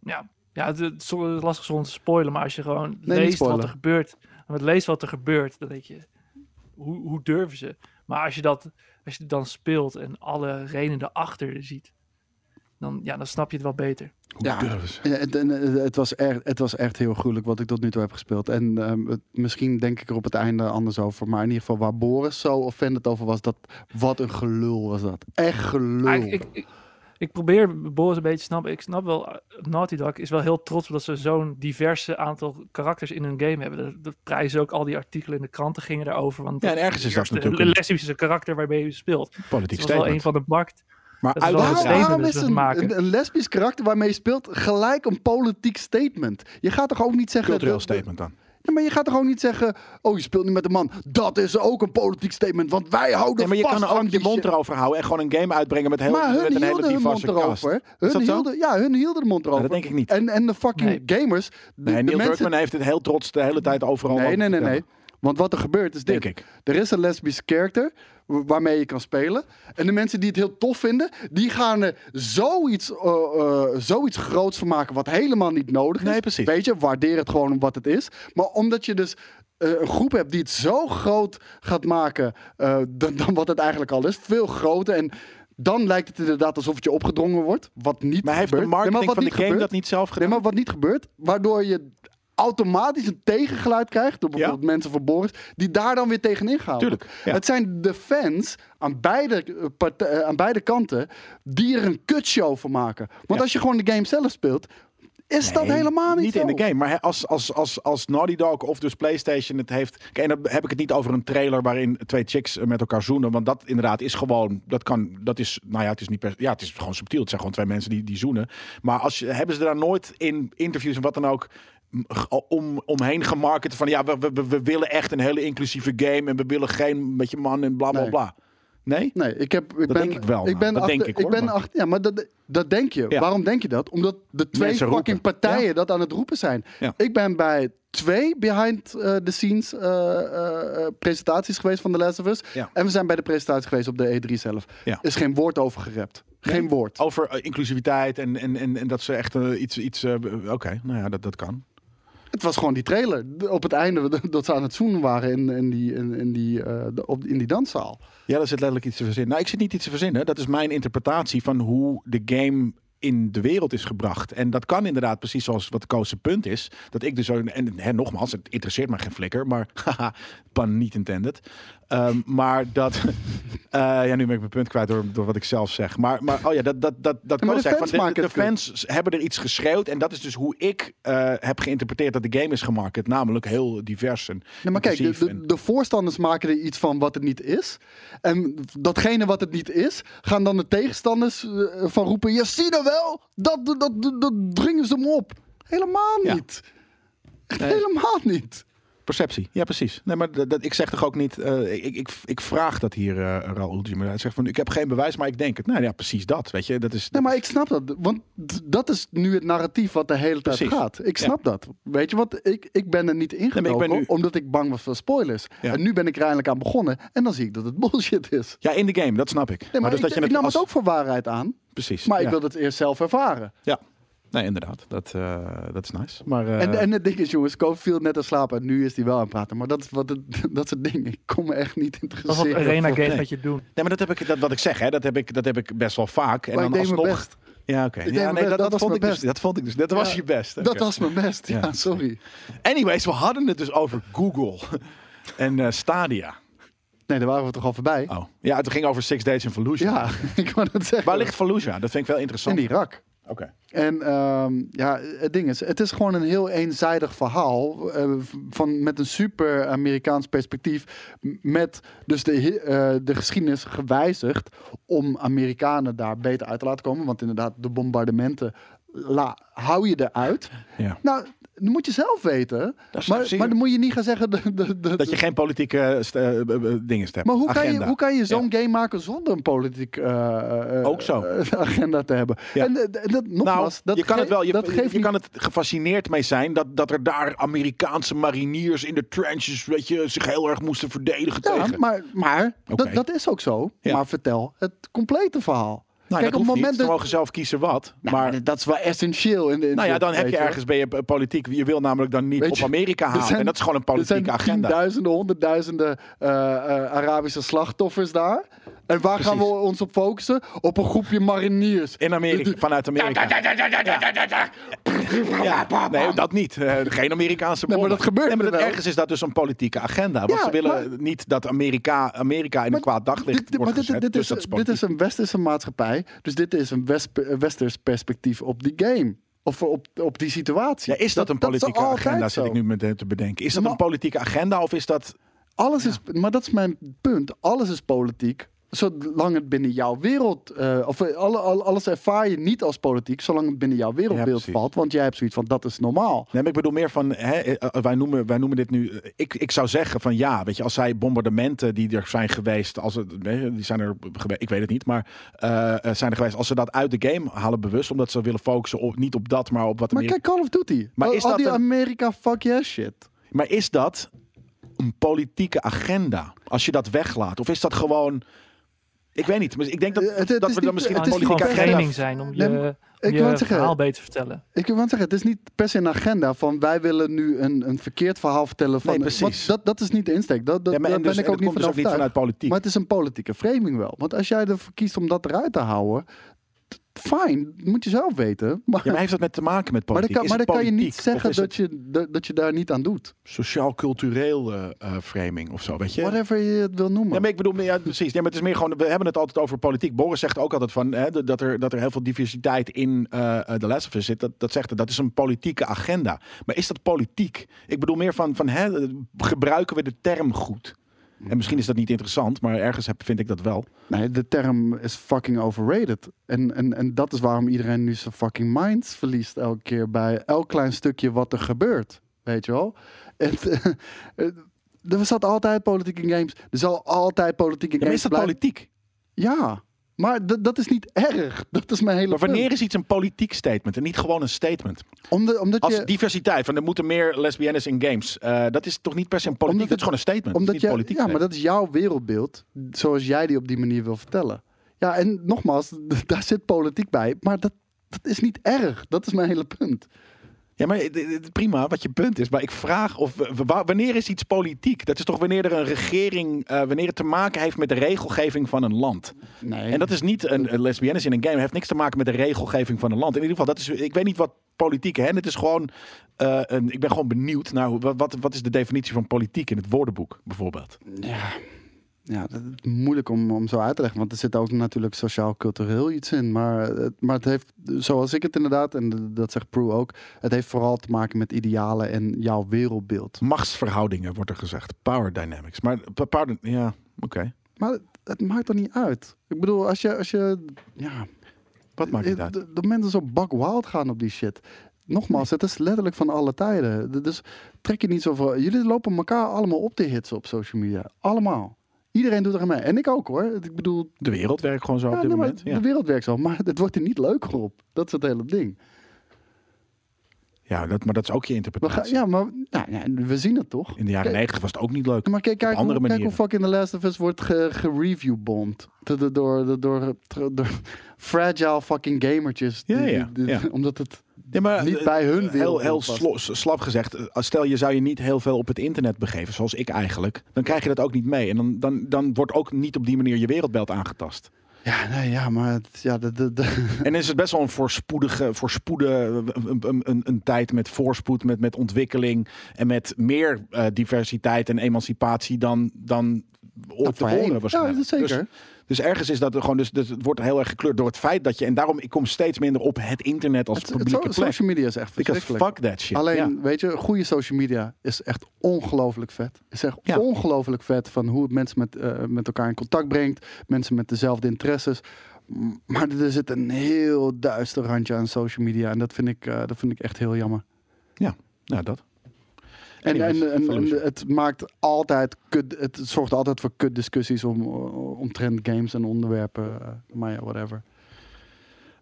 Speaker 5: Ja, ja het, het is lastig zonder te spoilen, maar als je gewoon
Speaker 2: niet
Speaker 5: leest wat
Speaker 2: spoilen.
Speaker 5: er gebeurt, want leest wat er gebeurt, dan denk je, hoe, hoe durven ze? Maar als je dat, als je het dan speelt en alle redenen erachter ziet, dan, ja, dan snap je het wel beter.
Speaker 2: Ja.
Speaker 1: durven ze?
Speaker 2: En, het- en, eh, het, was echt, het was echt heel gruwelijk wat ik tot nu toe heb gespeeld. En ehm, het- misschien denk ik er op het einde anders over. Maar in ieder geval waar Boris zo offended over was, dat, wat een gelul was dat. Echt gelul.
Speaker 5: Maar ik, ik, ik, Ik probeer Boris een beetje te snappen. Ik snap wel, eh, Naughty Dog is wel heel trots op dat ze zo'n diverse aantal karakters in hun game hebben. De, de prijzen ook, al die artikelen in de kranten gingen daarover. Want
Speaker 1: Ja, en ergens is dat
Speaker 5: de-
Speaker 1: natuurlijk
Speaker 5: De
Speaker 1: een-
Speaker 5: lesbische karakter waarmee je speelt. Dat
Speaker 1: Politiek
Speaker 5: was wel een
Speaker 1: statement.
Speaker 5: van de markt.
Speaker 1: Maar
Speaker 5: dat is wel
Speaker 1: uit-
Speaker 5: een
Speaker 2: Waarom,
Speaker 5: statement
Speaker 2: waarom
Speaker 5: dat
Speaker 2: is
Speaker 5: ze
Speaker 2: een,
Speaker 5: maken.
Speaker 2: een, een lesbisch karakter waarmee je speelt gelijk een politiek statement? Je gaat toch ook niet zeggen...
Speaker 1: cultureel
Speaker 2: de- de-
Speaker 1: statement dan.
Speaker 2: Ja, maar je gaat toch ook niet zeggen... Oh, je speelt nu met een man. Dat is ook een politiek statement. Want wij houden
Speaker 1: Nee, maar je
Speaker 2: vast
Speaker 1: kan er
Speaker 2: aan
Speaker 1: ook je
Speaker 2: die
Speaker 1: mond
Speaker 2: shit.
Speaker 1: erover houden en gewoon een game uitbrengen met, heel,
Speaker 2: eh, Maar hun
Speaker 1: met een hele
Speaker 2: hielden hun mond
Speaker 1: diverse kast.
Speaker 2: erover.
Speaker 1: Is dat
Speaker 2: Hun
Speaker 1: zo?
Speaker 2: hielden, ja, hun hielden de mond erover.
Speaker 1: dat denk ik niet.
Speaker 2: En, en de fucking gamers... De,
Speaker 1: Nee,
Speaker 2: de
Speaker 1: Neil
Speaker 2: mensen,
Speaker 1: Druckmann heeft het heel trots de hele tijd overal
Speaker 2: Nee,
Speaker 1: over
Speaker 2: nee, nee,
Speaker 1: verteld.
Speaker 2: nee. Want wat er gebeurt is dit.
Speaker 1: Denk ik.
Speaker 2: Er is een lesbische character wa- waarmee je kan spelen. En de mensen die het heel tof vinden, die gaan er zoiets, eh, eh, zoiets groots van maken wat helemaal niet nodig is.
Speaker 1: Nee, precies.
Speaker 2: Weet je, waardeer het gewoon om wat het is. Maar omdat je dus eh, een groep hebt die het zo groot gaat maken eh, dan, dan wat het eigenlijk al is. Veel groter en... Dan lijkt het inderdaad alsof het je opgedrongen wordt. Wat niet
Speaker 1: Maar heeft de
Speaker 2: gebeurt. Nee, maar
Speaker 1: marketing
Speaker 2: wat
Speaker 1: van de
Speaker 2: niet
Speaker 1: game
Speaker 2: gebeurt-
Speaker 1: dat niet zelf gedaan?
Speaker 2: Nee, maar wat niet gebeurt, waardoor je automatisch een tegengeluid krijgt door bijvoorbeeld mensen van Boris, die daar dan weer tegenin gaan.
Speaker 1: Tuurlijk, ja.
Speaker 2: Het zijn de fans aan beide, eh, parte- eh, aan beide kanten die er een kutshow van maken. Want als je gewoon de game zelf speelt, is dat
Speaker 1: Nee,
Speaker 2: helemaal niet, zo.
Speaker 1: in de game. Maar hè, als, als, als, als Naughty Dog of dus PlayStation het heeft. Kijk, en dan heb ik het niet over een trailer waarin twee chicks eh, met elkaar zoenen. Want dat inderdaad is gewoon. Dat kan. Dat is. Nou ja, het is niet per. Ja, het is gewoon subtiel. Het zijn gewoon twee mensen die, die zoenen. Maar als, je- hebben ze daar nooit in interviews en wat dan ook. m, ge- Om, omheen gemarket van ja, we, we, we- we willen echt een hele inclusieve game en we willen geen beetje man en bla bla
Speaker 2: Nee.
Speaker 1: bla. Nee?
Speaker 2: Nee, ik heb. Ik
Speaker 1: Dat
Speaker 2: ben,
Speaker 1: denk ik wel,
Speaker 2: Ik
Speaker 1: nou.
Speaker 2: ben
Speaker 1: Dat
Speaker 2: achter,
Speaker 1: denk ik, hoor,
Speaker 2: ben
Speaker 1: maar-
Speaker 2: achter, ja, maar dat, dat denk je.
Speaker 1: Ja.
Speaker 2: Waarom denk je dat? Omdat de twee
Speaker 1: Mensen roepen.
Speaker 2: fucking partijen dat aan het roepen zijn.
Speaker 1: Ja.
Speaker 2: Ik ben bij twee behind eh, the scenes eh, eh, eh, presentaties geweest van The Last of Us.
Speaker 1: Ja.
Speaker 2: En we zijn bij de presentatie geweest op de E3 zelf.
Speaker 1: Ja.
Speaker 2: Is geen woord over gerept. Geen woord.
Speaker 1: Over eh, inclusiviteit en, en, en, en dat ze echt eh, iets. iets eh, Oké, nou ja, dat, dat kan.
Speaker 2: Het was gewoon die trailer. D- Op het einde dat ze aan het zoenen waren in, in, die, in, in die, eh, de- op, in die danszaal.
Speaker 1: Ja, daar zit letterlijk iets te verzinnen. Nou, ik zit niet iets te verzinnen. Dat is mijn interpretatie van hoe de game in de wereld is gebracht. En dat kan inderdaad precies zoals wat Koos zijn punt is. Dat ik dus... zo- En hè, nogmaals, het interesseert me geen flikker. Maar haha, pan niet intended. Ehm, maar dat... eh, ja, nu ben ik mijn punt kwijt door, door wat ik zelf zeg. Maar, maar oh ja, dat, dat, dat, dat
Speaker 2: Ja, maar
Speaker 1: Koos
Speaker 2: de
Speaker 1: zegt,
Speaker 2: fans
Speaker 1: van, de,
Speaker 2: maken
Speaker 1: de
Speaker 2: het kut.
Speaker 1: fans hebben er iets geschreeuwd. En dat is dus hoe ik eh, heb geïnterpreteerd dat de game is gemarket. Namelijk heel divers en
Speaker 2: Nee, maar kijk, de,
Speaker 1: inclusief
Speaker 2: de,
Speaker 1: en-
Speaker 2: de voorstanders maken er iets van wat het niet is. En datgene wat het niet is, gaan dan de tegenstanders eh, van roepen... Je ziet er wel, dat, dat, dat, dat dringen ze hem op. Helemaal
Speaker 1: Ja.
Speaker 2: niet. Echt helemaal niet.
Speaker 1: Perceptie, ja precies. Nee, maar dat, dat- ik zeg toch ook niet, eh, ik, ik, ik vraag dat hier eh Raoul Jimmer. Hij zegt van, ik heb geen bewijs, maar ik denk het. Nou ja, precies dat, weet je. Dat is,
Speaker 2: Nee, maar ik snap dat. Want d- dat is nu het narratief wat de hele tijd
Speaker 1: Precies.
Speaker 2: gaat. Ik snap dat. Weet je wat? Ik, ik ben er niet ingedoken,
Speaker 1: ben nu-
Speaker 2: omdat ik bang was voor spoilers.
Speaker 1: Ja.
Speaker 2: En nu ben ik er eindelijk aan begonnen. En dan zie ik dat het bullshit is.
Speaker 1: Ja, in de game, dat snap ik.
Speaker 2: Nee, maar,
Speaker 1: dus
Speaker 2: ik,
Speaker 1: dat je
Speaker 2: ik nam
Speaker 1: als-
Speaker 2: het ook voor waarheid aan.
Speaker 1: Precies,
Speaker 2: Maar
Speaker 1: ja.
Speaker 2: ik wil het eerst zelf ervaren.
Speaker 1: Ja, nee, inderdaad. Dat, eh, dat is nice. Maar, eh,
Speaker 2: En, en het ding is, jongens, Koop viel net aan slapen en nu is hij wel aan het praten. Maar dat is, wat het, dat is het ding. Ik kom me echt niet
Speaker 5: Dat is wat
Speaker 2: interesseren.
Speaker 5: Arena
Speaker 2: voor-
Speaker 5: Games
Speaker 1: nee.
Speaker 5: met je doen.
Speaker 1: nee, maar dat heb ik, dat, wat ik zeg, hè, dat, heb ik, dat heb ik best wel vaak. En
Speaker 2: Maar ik
Speaker 1: dan
Speaker 2: deed
Speaker 1: alsnog...
Speaker 2: mijn best.
Speaker 1: Ja, oké.
Speaker 2: deed
Speaker 1: Ja, nee,
Speaker 2: mijn
Speaker 1: dat,
Speaker 2: best. Dat
Speaker 1: dat,
Speaker 2: was
Speaker 1: vond
Speaker 2: mijn
Speaker 1: ik dus,
Speaker 2: best.
Speaker 1: dat vond ik dus. Dat was je best.
Speaker 2: Dat
Speaker 1: Oké.
Speaker 2: was mijn best, ja,
Speaker 1: Ja.
Speaker 2: sorry.
Speaker 1: Anyways, we hadden het dus over Google en eh, Stadia.
Speaker 2: Nee, daar waren we toch al voorbij?
Speaker 1: Oh. Ja, het ging over Six Days in Fallujah.
Speaker 2: Ja, ik wou het zeggen.
Speaker 1: Waar ligt Fallujah? Dat vind ik wel interessant.
Speaker 2: In Irak.
Speaker 1: Oké.
Speaker 2: En ehm, ja, het ding is, het is gewoon een heel eenzijdig verhaal eh, van, met een super Amerikaans perspectief. m- Met dus de, hi- eh, de geschiedenis gewijzigd om Amerikanen daar beter uit te laten komen. Want inderdaad, de bombardementen la, hou je eruit.
Speaker 1: Ja.
Speaker 2: Nou, dat moet je zelf weten.
Speaker 1: Dat is
Speaker 2: Maar,
Speaker 1: precies.
Speaker 2: maar dan moet je niet gaan zeggen... De, de, de,
Speaker 1: Dat je geen politieke st- eh, b- b- dingen hebt.
Speaker 2: maar hoe kan, je,
Speaker 1: Agenda.
Speaker 2: hoe kan je zo'n game maken zonder een politiek eh, eh,
Speaker 1: Ook zo.
Speaker 2: eh, agenda te hebben?
Speaker 1: Ja.
Speaker 2: En eh, d- dat,
Speaker 1: Nou,
Speaker 2: nogmaals, dat
Speaker 1: je kan
Speaker 2: ge-
Speaker 1: het wel. Je,
Speaker 2: dat geeft
Speaker 1: je
Speaker 2: niet-
Speaker 1: kan het gefascineerd mee zijn dat, dat er daar Amerikaanse mariniers in de trenches, weet je, zich heel erg moesten verdedigen
Speaker 2: Ja,
Speaker 1: tegen.
Speaker 2: maar, maar
Speaker 1: Oké.
Speaker 2: dat, dat is ook zo.
Speaker 1: Ja.
Speaker 2: Maar vertel het complete verhaal.
Speaker 1: nou, dat
Speaker 2: Kijk, op het
Speaker 1: hoeft
Speaker 2: moment
Speaker 1: niet. Ze
Speaker 2: dat...
Speaker 1: mogen zelf kiezen wat.
Speaker 2: Nou,
Speaker 1: maar
Speaker 2: dat is wel essentieel. In de, in
Speaker 1: nou ja,
Speaker 2: dit,
Speaker 1: dan heb
Speaker 2: weet
Speaker 1: je ergens ben je eh, politiek. Je wil namelijk dan niet
Speaker 2: Weet
Speaker 1: op
Speaker 2: je,
Speaker 1: Amerika
Speaker 2: er
Speaker 1: halen.
Speaker 2: zijn-
Speaker 1: en dat is gewoon een
Speaker 2: Er zijn
Speaker 1: politieke agenda.
Speaker 2: duizenden, honderdduizenden eh, eh, Arabische slachtoffers daar. En waar gaan we
Speaker 1: Precies.
Speaker 2: ons op focussen? Op een groepje mariniers.
Speaker 1: In Amerika, vanuit Amerika. Ja, nee, dat niet. Eh, geen Amerikaanse
Speaker 2: Nee, maar
Speaker 1: bronnen.
Speaker 2: dat gebeurt
Speaker 1: Nee, maar
Speaker 2: er
Speaker 1: dat
Speaker 2: wel.
Speaker 1: ergens is dat dus een politieke agenda. Want
Speaker 2: Ja,
Speaker 1: ze willen niet dat Amerika, Amerika in een kwaad daglicht
Speaker 2: Dit- dit-
Speaker 1: wordt
Speaker 2: maar dit,
Speaker 1: gezet.
Speaker 2: dit,
Speaker 1: dus
Speaker 2: is,
Speaker 1: dat is
Speaker 2: dit is
Speaker 1: politiek.
Speaker 2: een westerse maatschappij. Dus dit is een west, westers perspectief op die game. Of op, op die situatie.
Speaker 1: Ja, is dat, een
Speaker 2: is
Speaker 1: politieke
Speaker 2: altijd
Speaker 1: agenda,
Speaker 2: zo.
Speaker 1: zit ik nu met eh, te bedenken. Is dat
Speaker 2: Maar-
Speaker 1: een politieke agenda of is dat...
Speaker 2: Alles is, maar dat is mijn punt. Alles is politiek. Zolang het binnen jouw wereld. eh, of eh, alle, alle- alles ervaar je niet als politiek. Zolang het binnen jouw wereldbeeld
Speaker 1: precies.
Speaker 2: valt. Want jij hebt zoiets van: dat is normaal.
Speaker 1: Nee, maar ik bedoel meer van, hè, eh, eh, wij, noemen, wij noemen dit nu... eh, Ik, ik zou zeggen van ja, weet je, als zij bombardementen die er zijn geweest... Als het, hè, die zijn er geweest, ik weet het niet, maar eh, eh, zijn er geweest... Als ze dat uit de game halen bewust, omdat ze willen focussen op, niet op dat, maar op wat
Speaker 2: Maar
Speaker 1: Amerika-
Speaker 2: kijk, Call of Duty.
Speaker 1: Maar
Speaker 2: al,
Speaker 1: is
Speaker 2: al
Speaker 1: dat
Speaker 2: die
Speaker 1: een-
Speaker 2: Amerika fuck yeah shit.
Speaker 1: Maar is dat een politieke agenda? Als je dat weglaat? Of is dat gewoon. Ik weet niet. maar Ik denk dat,
Speaker 2: Eh, het- het
Speaker 1: dat
Speaker 2: is
Speaker 1: we dan
Speaker 2: niet-
Speaker 1: misschien
Speaker 2: het
Speaker 1: een
Speaker 5: Het
Speaker 2: is
Speaker 5: moet gewoon
Speaker 1: politieke
Speaker 2: niet per
Speaker 1: agenda.
Speaker 5: framing zijn om
Speaker 2: Nee,
Speaker 5: je,
Speaker 2: maar
Speaker 5: om
Speaker 2: ik
Speaker 5: je
Speaker 2: wil zeggen-
Speaker 5: verhaal beter te vertellen.
Speaker 2: Ik wil zeggen, het is niet per se een agenda van wij willen nu een, een verkeerd verhaal vertellen. Van,
Speaker 1: Nee, precies.
Speaker 2: Want dat, dat is niet de insteek. Dat, dat,
Speaker 1: Ja, maar en
Speaker 2: daar
Speaker 1: dus-
Speaker 2: ben ik
Speaker 1: en dat
Speaker 2: ook niet
Speaker 1: komt
Speaker 2: van
Speaker 1: dus ook niet vanuit
Speaker 2: overtuigd.
Speaker 1: politiek.
Speaker 2: Maar het is een politieke framing wel. Want als jij ervoor kiest om dat eruit te houden, t- fijn, moet je zelf weten. Maar,
Speaker 1: Ja, maar heeft dat met te maken met
Speaker 2: maar, dan
Speaker 1: politiek?
Speaker 2: kan, maar dan kan je niet zeggen
Speaker 1: dat
Speaker 2: dat je, dat, dat je daar niet aan doet.
Speaker 1: Sociaal-cultureel eh, eh, framing of zo, weet je?
Speaker 2: Whatever je het wil noemen.
Speaker 1: Ja, maar ik bedoel, ja, precies. Nee, maar het is meer gewoon, we hebben het altijd over politiek. Boris zegt ook altijd van hè, dat, er, dat er heel veel diversiteit in eh eh, The Last of Us zit. Dat, dat zegt hij, dat is een politieke agenda. Maar is dat politiek? Ik bedoel meer van, van hè, gebruiken we de term goed? En misschien is dat niet interessant, maar ergens heb, vind ik dat wel.
Speaker 2: Nee, de term is fucking overrated. En, en, en dat is waarom iedereen nu zijn fucking minds verliest elke keer bij elk klein stukje wat er gebeurt. Weet je wel? Het, eh, er zat altijd politiek in games. Er zal altijd politiek in
Speaker 1: Ja, maar is
Speaker 2: games
Speaker 1: dat
Speaker 2: blijven.
Speaker 1: politiek?
Speaker 2: Ja, maar d- dat is niet erg. Dat is mijn hele
Speaker 1: Maar wanneer
Speaker 2: punt.
Speaker 1: is iets een politiek statement en niet gewoon een statement?
Speaker 2: Omdat, omdat
Speaker 1: Als
Speaker 2: je,
Speaker 1: diversiteit, van er moeten meer lesbiennes in games. eh, dat is toch niet per se een politiek, dat
Speaker 2: Omdat
Speaker 1: is gewoon een statement. dat
Speaker 2: omdat
Speaker 1: is
Speaker 2: je,
Speaker 1: niet politiek
Speaker 2: ja, maar dat is jouw wereldbeeld. Zoals jij die op die manier wil vertellen. Ja, en nogmaals, daar zit politiek bij. Maar dat, dat is niet erg. Dat is mijn hele punt.
Speaker 1: Ja, maar d- d- prima wat je punt is. Maar ik vraag of w- w- wa- wanneer is iets politiek? Dat is toch wanneer er een regering, eh, wanneer het te maken heeft met de regelgeving van een land.
Speaker 2: Nee.
Speaker 1: En dat is niet een, een lesbiennes in een game. Het heeft niks te maken met de regelgeving van een land. In ieder geval, dat is, ik weet niet wat politiek hè. Het is gewoon, eh, een, ik ben gewoon benieuwd naar hoe, wat- wat, wat is de definitie van politiek in het woordenboek bijvoorbeeld.
Speaker 2: Ja, ja dat is moeilijk om, om zo uit te leggen. Want er zit ook natuurlijk sociaal-cultureel iets in. Maar, het- maar het heeft, zoals ik het inderdaad, en dat zegt Prue ook... het heeft vooral te maken met idealen en jouw wereldbeeld.
Speaker 1: Machtsverhoudingen wordt er gezegd. Power dynamics. Maar, pa- pardon, ja, oké.
Speaker 2: Maar het, het maakt er niet uit. Ik bedoel, als je... Als je ja,
Speaker 1: Wat maakt
Speaker 2: eh,
Speaker 1: het uit?
Speaker 2: de, de mensen zo bak wild gaan op die shit... Nogmaals, het is letterlijk van alle tijden. D- Dus trek je niet zoveel. Jullie lopen elkaar allemaal op te hitsen op social media. Allemaal. Iedereen doet er aan mee. En ik ook hoor. Ik bedoel,
Speaker 1: De wereld werkt gewoon zo
Speaker 2: Ja,
Speaker 1: op dit
Speaker 2: nee, maar
Speaker 1: moment. Ja.
Speaker 2: De wereld werkt zo, maar het wordt er niet leuker op. Dat is het hele ding.
Speaker 1: Ja, dat, maar dat is ook je
Speaker 2: We gaan,
Speaker 1: interpretatie.
Speaker 2: ja, maar nou, ja, we zien het toch?
Speaker 1: In de jaren
Speaker 2: Kijk-
Speaker 1: negentig was het ook niet leuk.
Speaker 2: Maar kijk, kijk,
Speaker 1: andere
Speaker 2: hoe, kijk hoe
Speaker 1: manieren.
Speaker 2: fucking The Last of Us wordt ge- gereviewbomd. Ge door, door, door, door, door fragile fucking gamertjes.
Speaker 1: Ja, ja, ja.
Speaker 2: Omdat het...
Speaker 1: Nee, maar,
Speaker 2: Niet
Speaker 1: eh,
Speaker 2: bij hun
Speaker 1: Heel,
Speaker 2: wereld
Speaker 1: heel
Speaker 2: past.
Speaker 1: slo- slap gezegd, eh, stel je zou je niet heel veel op het internet begeven, zoals ik eigenlijk, dan krijg je dat ook niet mee. En dan, dan, dan wordt ook niet op die manier je wereldbeeld aangetast.
Speaker 2: Ja, nee, ja, maar... Het, ja, de, de, de-
Speaker 1: En is het best wel een voorspoedige, voorspoede, een, een, een, een tijd met voorspoed, met, met ontwikkeling en met meer eh, diversiteit en emancipatie dan, dan ooit
Speaker 2: Nou, voorheen.
Speaker 1: tevoren waarschijnlijk.
Speaker 2: Ja, dat zeker.
Speaker 1: Dus, dus ergens is dat er gewoon, dus, dus het wordt heel erg gekleurd door het feit dat je, en daarom ik kom steeds minder op het internet als
Speaker 2: het, het
Speaker 1: publieke
Speaker 2: so-
Speaker 1: plek.
Speaker 2: social media is echt
Speaker 1: Because
Speaker 2: verschrikkelijk.
Speaker 1: fuck that shit.
Speaker 2: Alleen,
Speaker 1: Ja.
Speaker 2: weet je, goede social media is echt ongelooflijk vet. Is echt
Speaker 1: Ja.
Speaker 2: ongelooflijk vet van hoe het mensen met, eh, met elkaar in contact brengt. Mensen met dezelfde interesses. M- Maar er zit een heel duister randje aan social media. En dat vind ik, eh, dat vind ik echt heel jammer.
Speaker 1: Ja, nou dat.
Speaker 2: En,
Speaker 1: Anyways,
Speaker 2: en, en- en
Speaker 1: Fallujah.
Speaker 2: het maakt altijd kut, het zorgt altijd voor kut discussies om, omtrent games en onderwerpen. eh, maar ja, whatever.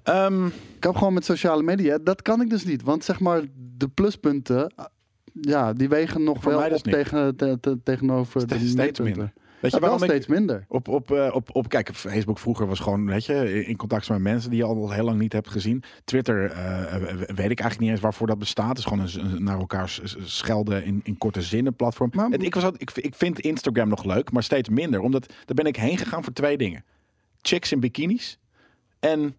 Speaker 1: Ehm,
Speaker 2: Ik heb gewoon met sociale media. Dat kan ik dus niet. Want zeg maar, de pluspunten. ah, Ja, die wegen nog
Speaker 1: Voor mij
Speaker 2: wel
Speaker 1: dus
Speaker 2: op
Speaker 1: niet.
Speaker 2: tegen, te- te- tegenover
Speaker 1: Ste-
Speaker 2: de
Speaker 1: steeds
Speaker 2: minpunten.
Speaker 1: minder.
Speaker 2: Ja,
Speaker 1: weet je
Speaker 2: Nou, wel
Speaker 1: waarom ik
Speaker 2: steeds minder.
Speaker 1: op, op, eh, op, op, kijk, Facebook vroeger was gewoon, weet je, in contact met mensen die je al heel lang niet hebt gezien. Twitter, eh, eh, weet ik eigenlijk niet eens waarvoor dat bestaat. Het is gewoon een, een naar elkaar s- s- schelden in, in korte zinnen platform.
Speaker 2: Maar-
Speaker 1: Het- ik, was, al- ik, ik vind Instagram nog leuk, maar steeds minder. Omdat, daar ben ik heen gegaan voor twee dingen. Chicks in bikinis en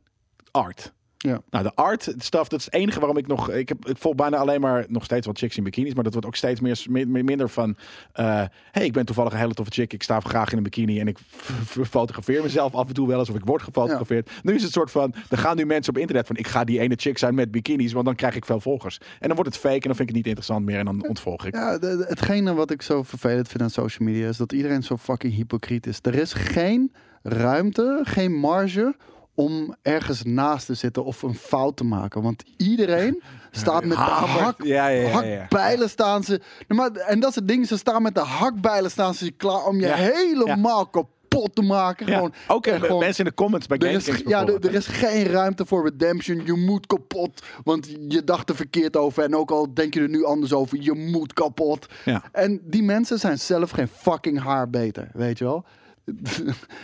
Speaker 1: art.
Speaker 2: Ja.
Speaker 1: Nou, de art stuff, dat is het enige waarom ik nog... Ik, heb, ik volg bijna alleen maar nog steeds wat chicks in bikinis. Maar dat wordt ook steeds meer, meer- meer- minder van... eh hey, ik ben toevallig een hele toffe chick. Ik sta graag in een bikini. En ik f- f- fotografeer mezelf af en toe wel eens. Of ik word gefotografeerd. Nu is het soort van... Er gaan nu mensen op internet van... Ik ga die ene chick zijn met bikinis. Want dan krijg ik veel volgers. En dan wordt het fake. En dan vind ik het niet interessant meer. En dan ontvolg ik.
Speaker 2: Ja, de- de- hetgene wat ik zo vervelend vind aan social media is dat iedereen zo fucking hypocriet is. Er is geen ruimte, geen marge om ergens naast te zitten of een fout te maken. Want iedereen staat met de
Speaker 1: Ha-
Speaker 2: hak,
Speaker 1: ja, ja, ja, ja.
Speaker 2: hakbijlen staan ze... Nou, maar, en dat is het ding, ze staan met de hakbijlen staan ze klaar om je
Speaker 1: Ja.
Speaker 2: helemaal kapot te maken.
Speaker 1: Ja,
Speaker 2: Gewoon,
Speaker 1: ook eh,
Speaker 2: en gewoon-
Speaker 1: mensen in de comments bij
Speaker 2: er is,
Speaker 1: GameKings
Speaker 2: ja, er,
Speaker 1: bijvoorbeeld.
Speaker 2: er is geen ruimte voor redemption. Je moet kapot. Want je dacht er verkeerd over. En ook al denk je er nu anders over, je moet kapot.
Speaker 1: Ja.
Speaker 2: En die mensen zijn zelf geen fucking haar beter. Weet je wel?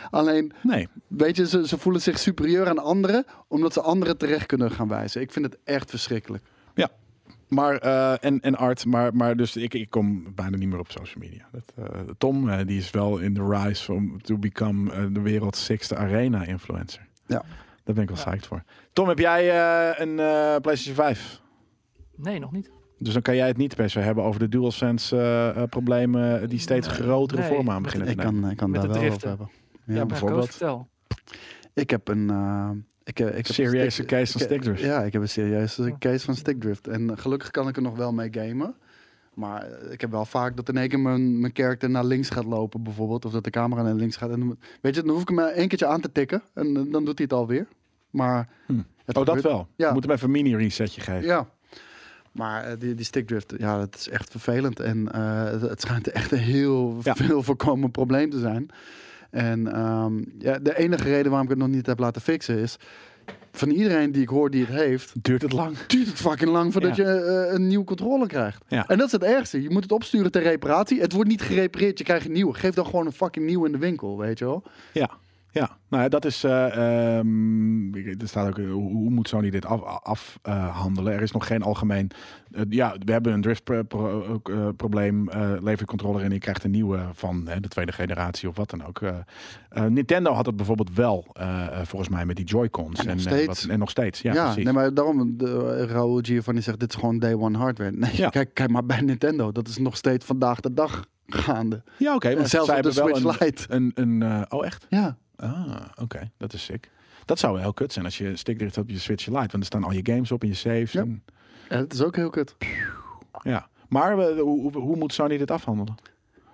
Speaker 2: Alleen,
Speaker 1: Nee.
Speaker 2: weet je, ze, ze voelen zich superieur aan anderen. Omdat ze anderen terecht kunnen gaan wijzen. Ik vind het echt verschrikkelijk.
Speaker 1: Ja. Maar, eh, en, en art, maar, maar dus ik, ik kom bijna niet meer op social media. Dat, eh, Tom, eh, die is wel in the rise om to become eh, de wereld's sixth arena influencer.
Speaker 2: Ja.
Speaker 1: Daar ben ik wel psyched voor. Tom, heb jij eh, een eh, PlayStation 5?
Speaker 5: Nee, nog niet.
Speaker 1: Dus dan kan jij het niet per se hebben over de DualSense eh, eh, problemen die steeds grotere
Speaker 5: Nee,
Speaker 1: vorm aan
Speaker 5: met
Speaker 1: beginnen te
Speaker 2: Ik
Speaker 1: nemen.
Speaker 2: kan, ik kan
Speaker 5: Met
Speaker 2: daar
Speaker 5: het
Speaker 2: wel over
Speaker 5: driften.
Speaker 2: hebben.
Speaker 5: Ja, maar
Speaker 1: bijvoorbeeld.
Speaker 5: Koos, vertel.
Speaker 2: Ik heb een. eh, ik, eh, ik heb een
Speaker 1: Serieuze
Speaker 2: stick-
Speaker 1: case van
Speaker 2: ik-
Speaker 1: stickdrift.
Speaker 2: Ja, ik heb een serieuze case van stickdrift. En eh, gelukkig kan ik er nog wel mee gamen. Maar eh, ik heb wel vaak dat in één keer mijn, mijn character naar links gaat lopen, bijvoorbeeld. Of dat de camera naar links gaat. En, dan- weet je, dan hoef ik hem maar één keertje aan te tikken. En eh, dan doet hij het alweer. Maar.
Speaker 1: Hm. Oh,
Speaker 2: het
Speaker 1: dat
Speaker 2: gebeurt-
Speaker 1: wel.
Speaker 2: Ja.
Speaker 1: Je moet hem even een mini-resetje geven.
Speaker 2: Ja. Maar eh, die, die stickdrift, ja, dat is echt vervelend. En eh, het, het schijnt echt een heel
Speaker 1: Ja.
Speaker 2: veel voorkomen probleem te zijn. En ehm, ja, de enige reden waarom ik het nog niet heb laten fixen is... van iedereen die ik hoor die het heeft...
Speaker 1: Duurt het lang?
Speaker 2: duurt het fucking lang voordat
Speaker 1: Ja.
Speaker 2: je eh, een nieuwe controller krijgt.
Speaker 1: Ja.
Speaker 2: En dat is het ergste. Je moet het opsturen ter reparatie. Het wordt niet gerepareerd, je krijgt een nieuwe. Geef dan gewoon een fucking nieuwe in de winkel, weet je wel.
Speaker 1: Ja, ja. Nou ja, dat is. eh, ehm, ik- er staat ook. eh, Hoe, hoe moet Sony dit afhandelen? Af, eh, handelen? er is nog geen algemeen. eh, ja, we hebben een driftprobleem. Pro, eh, probleem, eh, lever je controller in. Je krijgt een nieuwe van hè, de tweede generatie of wat dan ook. Eh, eh, Nintendo had het bijvoorbeeld wel. eh, eh, volgens mij met die Joy-Cons. En,
Speaker 2: nog
Speaker 1: eh,
Speaker 2: steeds.
Speaker 1: wat- en nog steeds. Ja,
Speaker 2: Ja,
Speaker 1: precies.
Speaker 2: nee, maar daarom de, Raul Giovanni zegt, dit is gewoon day one hardware. Nee,
Speaker 1: Ja.
Speaker 2: kijk, kijk maar bij Nintendo. Dat is nog steeds vandaag de dag gaande.
Speaker 1: ja, oké. maar
Speaker 2: en zelfs
Speaker 1: zij
Speaker 2: op de
Speaker 1: hebben wel
Speaker 2: Switch
Speaker 1: een,
Speaker 2: Lite.
Speaker 1: een, een eh, Oh, echt?
Speaker 2: Ja,
Speaker 1: Ah, oké. Dat is sick. Dat zou wel heel kut zijn als je stickdrift hebt op je Switch Lite. Want er staan al je games op en je saves.
Speaker 2: Ja.
Speaker 1: En,
Speaker 2: ja, dat is ook heel kut.
Speaker 1: Ja, maar eh, hoe, hoe- hoe moet Sony dit afhandelen?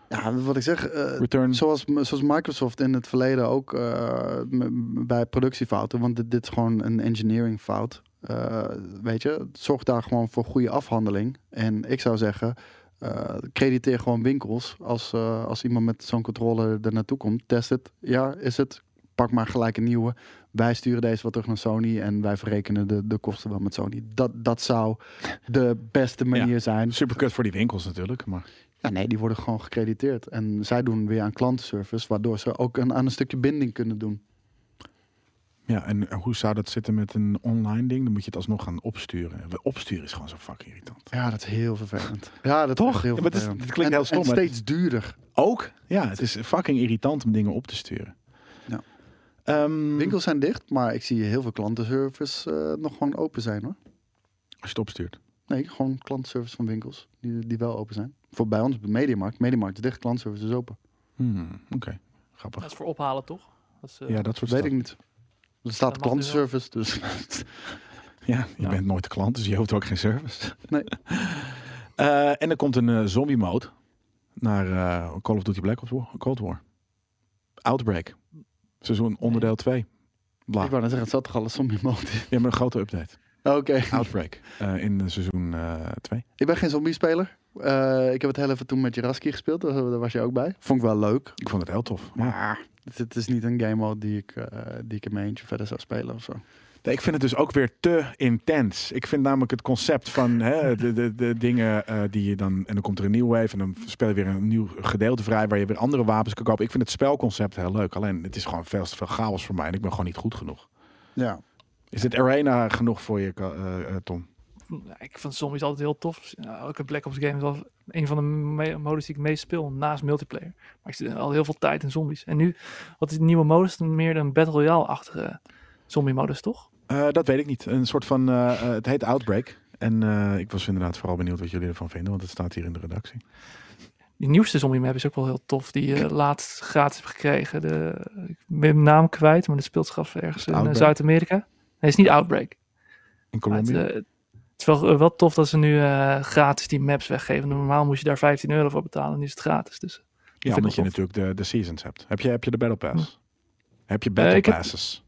Speaker 2: Ja, wat ik zeg, eh,
Speaker 1: Return.
Speaker 2: zoals, zoals Microsoft in het verleden ook eh, m- m- bij productiefouten, want dit, dit is gewoon een engineering fout. eh, weet je, zorg daar gewoon voor goede afhandeling. En ik zou zeggen, eh, crediteer gewoon winkels als, eh, als iemand met zo'n controller er naartoe komt. Test het, ja, is het. Pak maar gelijk een nieuwe. Wij sturen deze wel terug naar Sony en wij verrekenen de, de kosten wel met Sony. Dat, dat zou de beste manier zijn.
Speaker 1: Super voor die winkels natuurlijk, maar
Speaker 2: Ja, nee, die worden gewoon gecrediteerd. En zij doen weer aan klantenservice, waardoor ze ook een, aan een stukje binding kunnen doen.
Speaker 1: ja, en hoe zou dat zitten met een online ding? Dan moet je het alsnog gaan opsturen. We- Opsturen is gewoon zo fucking irritant.
Speaker 2: Ja, dat is heel vervelend. Ja, dat
Speaker 1: Toch?
Speaker 2: is heel
Speaker 1: Ja, maar het is-
Speaker 2: vervelend.
Speaker 1: het klinkt
Speaker 2: en,
Speaker 1: heel stom,
Speaker 2: en
Speaker 1: maar-
Speaker 2: steeds duurder.
Speaker 1: Ook? Ja, het is fucking irritant om dingen op te sturen.
Speaker 2: Ja.
Speaker 1: Ehm,
Speaker 2: Winkels zijn dicht, maar ik zie heel veel klantenservice eh, nog gewoon open zijn hoor.
Speaker 1: Als je het opstuurt.
Speaker 2: Nee, gewoon klantenservice van winkels die, die wel open zijn. Voor bij ons, bij Mediamarkt. Mediamarkt is dicht, klantenservice is open.
Speaker 1: Hmm, Oké, grappig.
Speaker 5: Dat is voor ophalen, toch? Dat is, eh,
Speaker 1: Ja, dat soort
Speaker 2: Weet
Speaker 1: stuff.
Speaker 2: ik niet. Er staat
Speaker 5: Dat mag nu wel.
Speaker 2: klantenservice, dus
Speaker 1: Ja, je
Speaker 5: Ja.
Speaker 1: bent nooit de klant, dus je hoeft ook geen service.
Speaker 2: Nee.
Speaker 1: Eh, en er komt een eh, zombie mode naar eh, Call of Duty Black Ops War, Cold War. Outbreak. Seizoen onderdeel 2. Bla.
Speaker 2: ik wou net zeggen, het zat toch alles zombie mode. in?
Speaker 1: Ja, maar een grote update.
Speaker 2: Oké.
Speaker 1: Outbreak eh, in eh, seizoen 2.
Speaker 2: Ik ben geen zombie-speler. Eh, ik heb het heel even toen met Jaraski gespeeld, daar daar was je ook bij. Vond ik wel leuk.
Speaker 1: ik vond het heel tof. Ja.
Speaker 2: Maar het, het Ah, is niet een game mode die ik, eh, die ik in mijn eentje verder zou spelen of zo.
Speaker 1: Nee, ik vind het dus ook weer te intens. Ik vind namelijk het concept van hè, de, de, de dingen eh, die je dan... En dan komt er een nieuw wave en dan speel je weer een nieuw gedeelte vrij... waar je weer andere wapens kan kopen. Ik vind het spelconcept heel leuk. Alleen het is gewoon veel te veel chaos voor mij en ik ben gewoon niet goed genoeg.
Speaker 2: Ja.
Speaker 1: Is dit arena genoeg voor je, Ka- eh, eh, Tom?
Speaker 5: Nou, Ik vind zombies altijd heel tof. Nou, Ook een Black Ops game is wel een van de me- modes die ik meest speel, naast multiplayer. Maar ik zit al heel veel tijd in zombies. En nu, wat is de nieuwe modus? Meer een Battle Royale-achtige zombie-modus, toch?
Speaker 1: Eh, dat weet ik niet. Een soort van, eh, eh, het heet Outbreak. En eh, ik was inderdaad vooral benieuwd wat jullie ervan vinden, want het staat hier in de redactie.
Speaker 5: Die nieuwste zombie map is ook wel heel tof. Die je laatst gratis hebt gekregen. De, ik ben de naam kwijt, maar dat speelt zich af ergens in eh,
Speaker 1: Outbreak?
Speaker 5: Zuid-Amerika. Nee, het is niet Outbreak.
Speaker 1: In
Speaker 5: Maar het,
Speaker 1: Colombia.
Speaker 5: eh, het is wel, eh, wel tof dat ze nu eh, gratis die maps weggeven. Normaal moest je daar 15 euro voor betalen. Nu is het gratis. Dus
Speaker 1: ja,
Speaker 5: ik
Speaker 1: omdat
Speaker 5: wel
Speaker 1: je
Speaker 5: tof.
Speaker 1: natuurlijk de, de seasons hebt. Heb je, heb je de Battle Pass? Heb je Battle
Speaker 5: Eh, ik heb-
Speaker 1: Passes?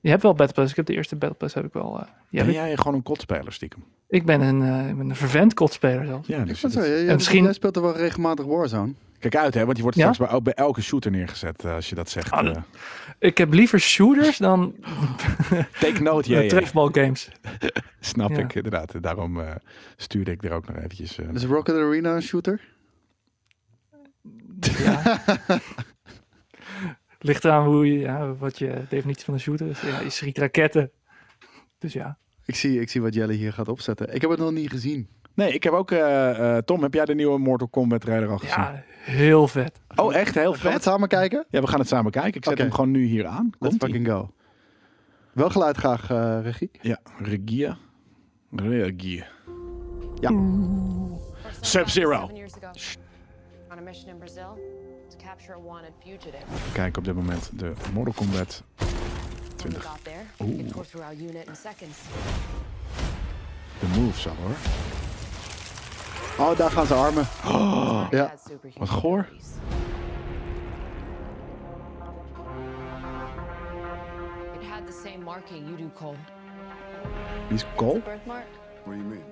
Speaker 5: je hebt wel Battle Pass. Ik heb de eerste Battle Pass heb ik wel. eh, die heb
Speaker 1: Ben
Speaker 5: ik.
Speaker 1: jij gewoon een kotspeler stiekem?
Speaker 5: ik ben een, eh, ik ben een vervent kotspeler zelfs.
Speaker 1: Ja, dus
Speaker 2: Dat is
Speaker 1: dat-
Speaker 2: wel- jij- jij-
Speaker 5: misschien-
Speaker 2: Jij speelt er wel regelmatig Warzone.
Speaker 1: Kijk uit hè, want je wordt
Speaker 5: Ja?
Speaker 1: straks bij, bij elke shooter neergezet eh, als je dat zegt.
Speaker 5: Ah,
Speaker 1: eh.
Speaker 5: Ik heb liever shooters dan eh,
Speaker 1: take note,
Speaker 5: yeah,
Speaker 1: jij.
Speaker 5: trefbalgames.
Speaker 1: Snap
Speaker 5: Ja.
Speaker 1: ik, inderdaad. Daarom eh, stuurde ik er ook nog eventjes... eh,
Speaker 2: Dus Rocket Arena een shooter?
Speaker 5: Ja. Ligt eraan hoe je, ja, wat je definitie van een shooter is. Ja, je schiet raketten. Dus ja.
Speaker 2: Ik zie, ik zie wat Jelle hier gaat opzetten. Ik heb het nog niet gezien.
Speaker 1: Nee, ik heb ook... eh, eh, Tom, heb jij de nieuwe Mortal Kombat trailer al gezien?
Speaker 5: ja, heel vet.
Speaker 1: Oh, echt? Heel
Speaker 2: Gaan we het
Speaker 1: vet?
Speaker 2: samen kijken?
Speaker 1: Ja, we gaan het samen kijken. Ik zet
Speaker 2: Oké.
Speaker 1: hem gewoon nu hier aan. Komt-ie.
Speaker 2: Let's fucking go. Wel geluid graag, eh, regie.
Speaker 1: Ja, Regia. Regia.
Speaker 2: Ja.
Speaker 1: Sub-Zero.
Speaker 7: Seven years ago, On a mission in Brazil to capture a wanted fugitive.
Speaker 1: We kijken op dit moment de Mortal Kombat.
Speaker 7: When we got there, it tore through our unit in seconds.
Speaker 1: De moves al hoor.
Speaker 2: Oh, daar gaan ze armen.
Speaker 1: Oh.
Speaker 2: Ja.
Speaker 7: Had superhuman
Speaker 1: Wat goor.
Speaker 7: abilities. It had the same marking you do, Cole.
Speaker 1: Die is Cole.
Speaker 8: birthmark.
Speaker 9: What do you mean?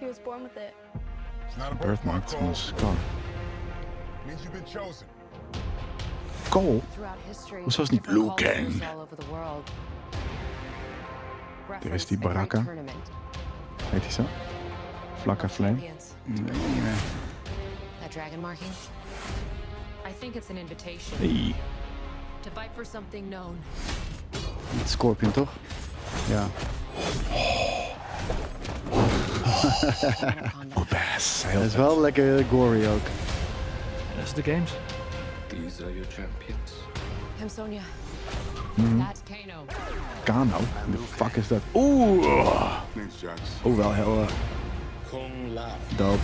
Speaker 8: He was born with it.
Speaker 9: It's not a
Speaker 1: Birthmark van een scar.
Speaker 9: means you've been chosen.
Speaker 1: Cole?
Speaker 7: Throughout history,
Speaker 1: Was dat niet
Speaker 7: different
Speaker 1: Liu Kang?
Speaker 7: cultures all over the world.
Speaker 1: Daar is die
Speaker 7: Reference a great
Speaker 1: baraka.
Speaker 7: tournament.
Speaker 1: Heet hij zo? Flakka Flame.
Speaker 7: Champions. That dragon marking? I think it's an invitation
Speaker 1: Hey.
Speaker 7: to fight for something known.
Speaker 2: Het Scorpion, toch? Ja.
Speaker 7: Anaconda.
Speaker 1: Best. Heel
Speaker 2: Dat is
Speaker 1: vet.
Speaker 2: wel lekker gory ook.
Speaker 5: Dat is de games.
Speaker 10: These are your champions.
Speaker 7: I'm Sonia. That's Kano.
Speaker 1: Kano. nou. The fuck is dat? Oeh.
Speaker 9: Thanks, Jax.
Speaker 1: Oeh, wel heel eh,
Speaker 10: Kung Lao.
Speaker 1: dope.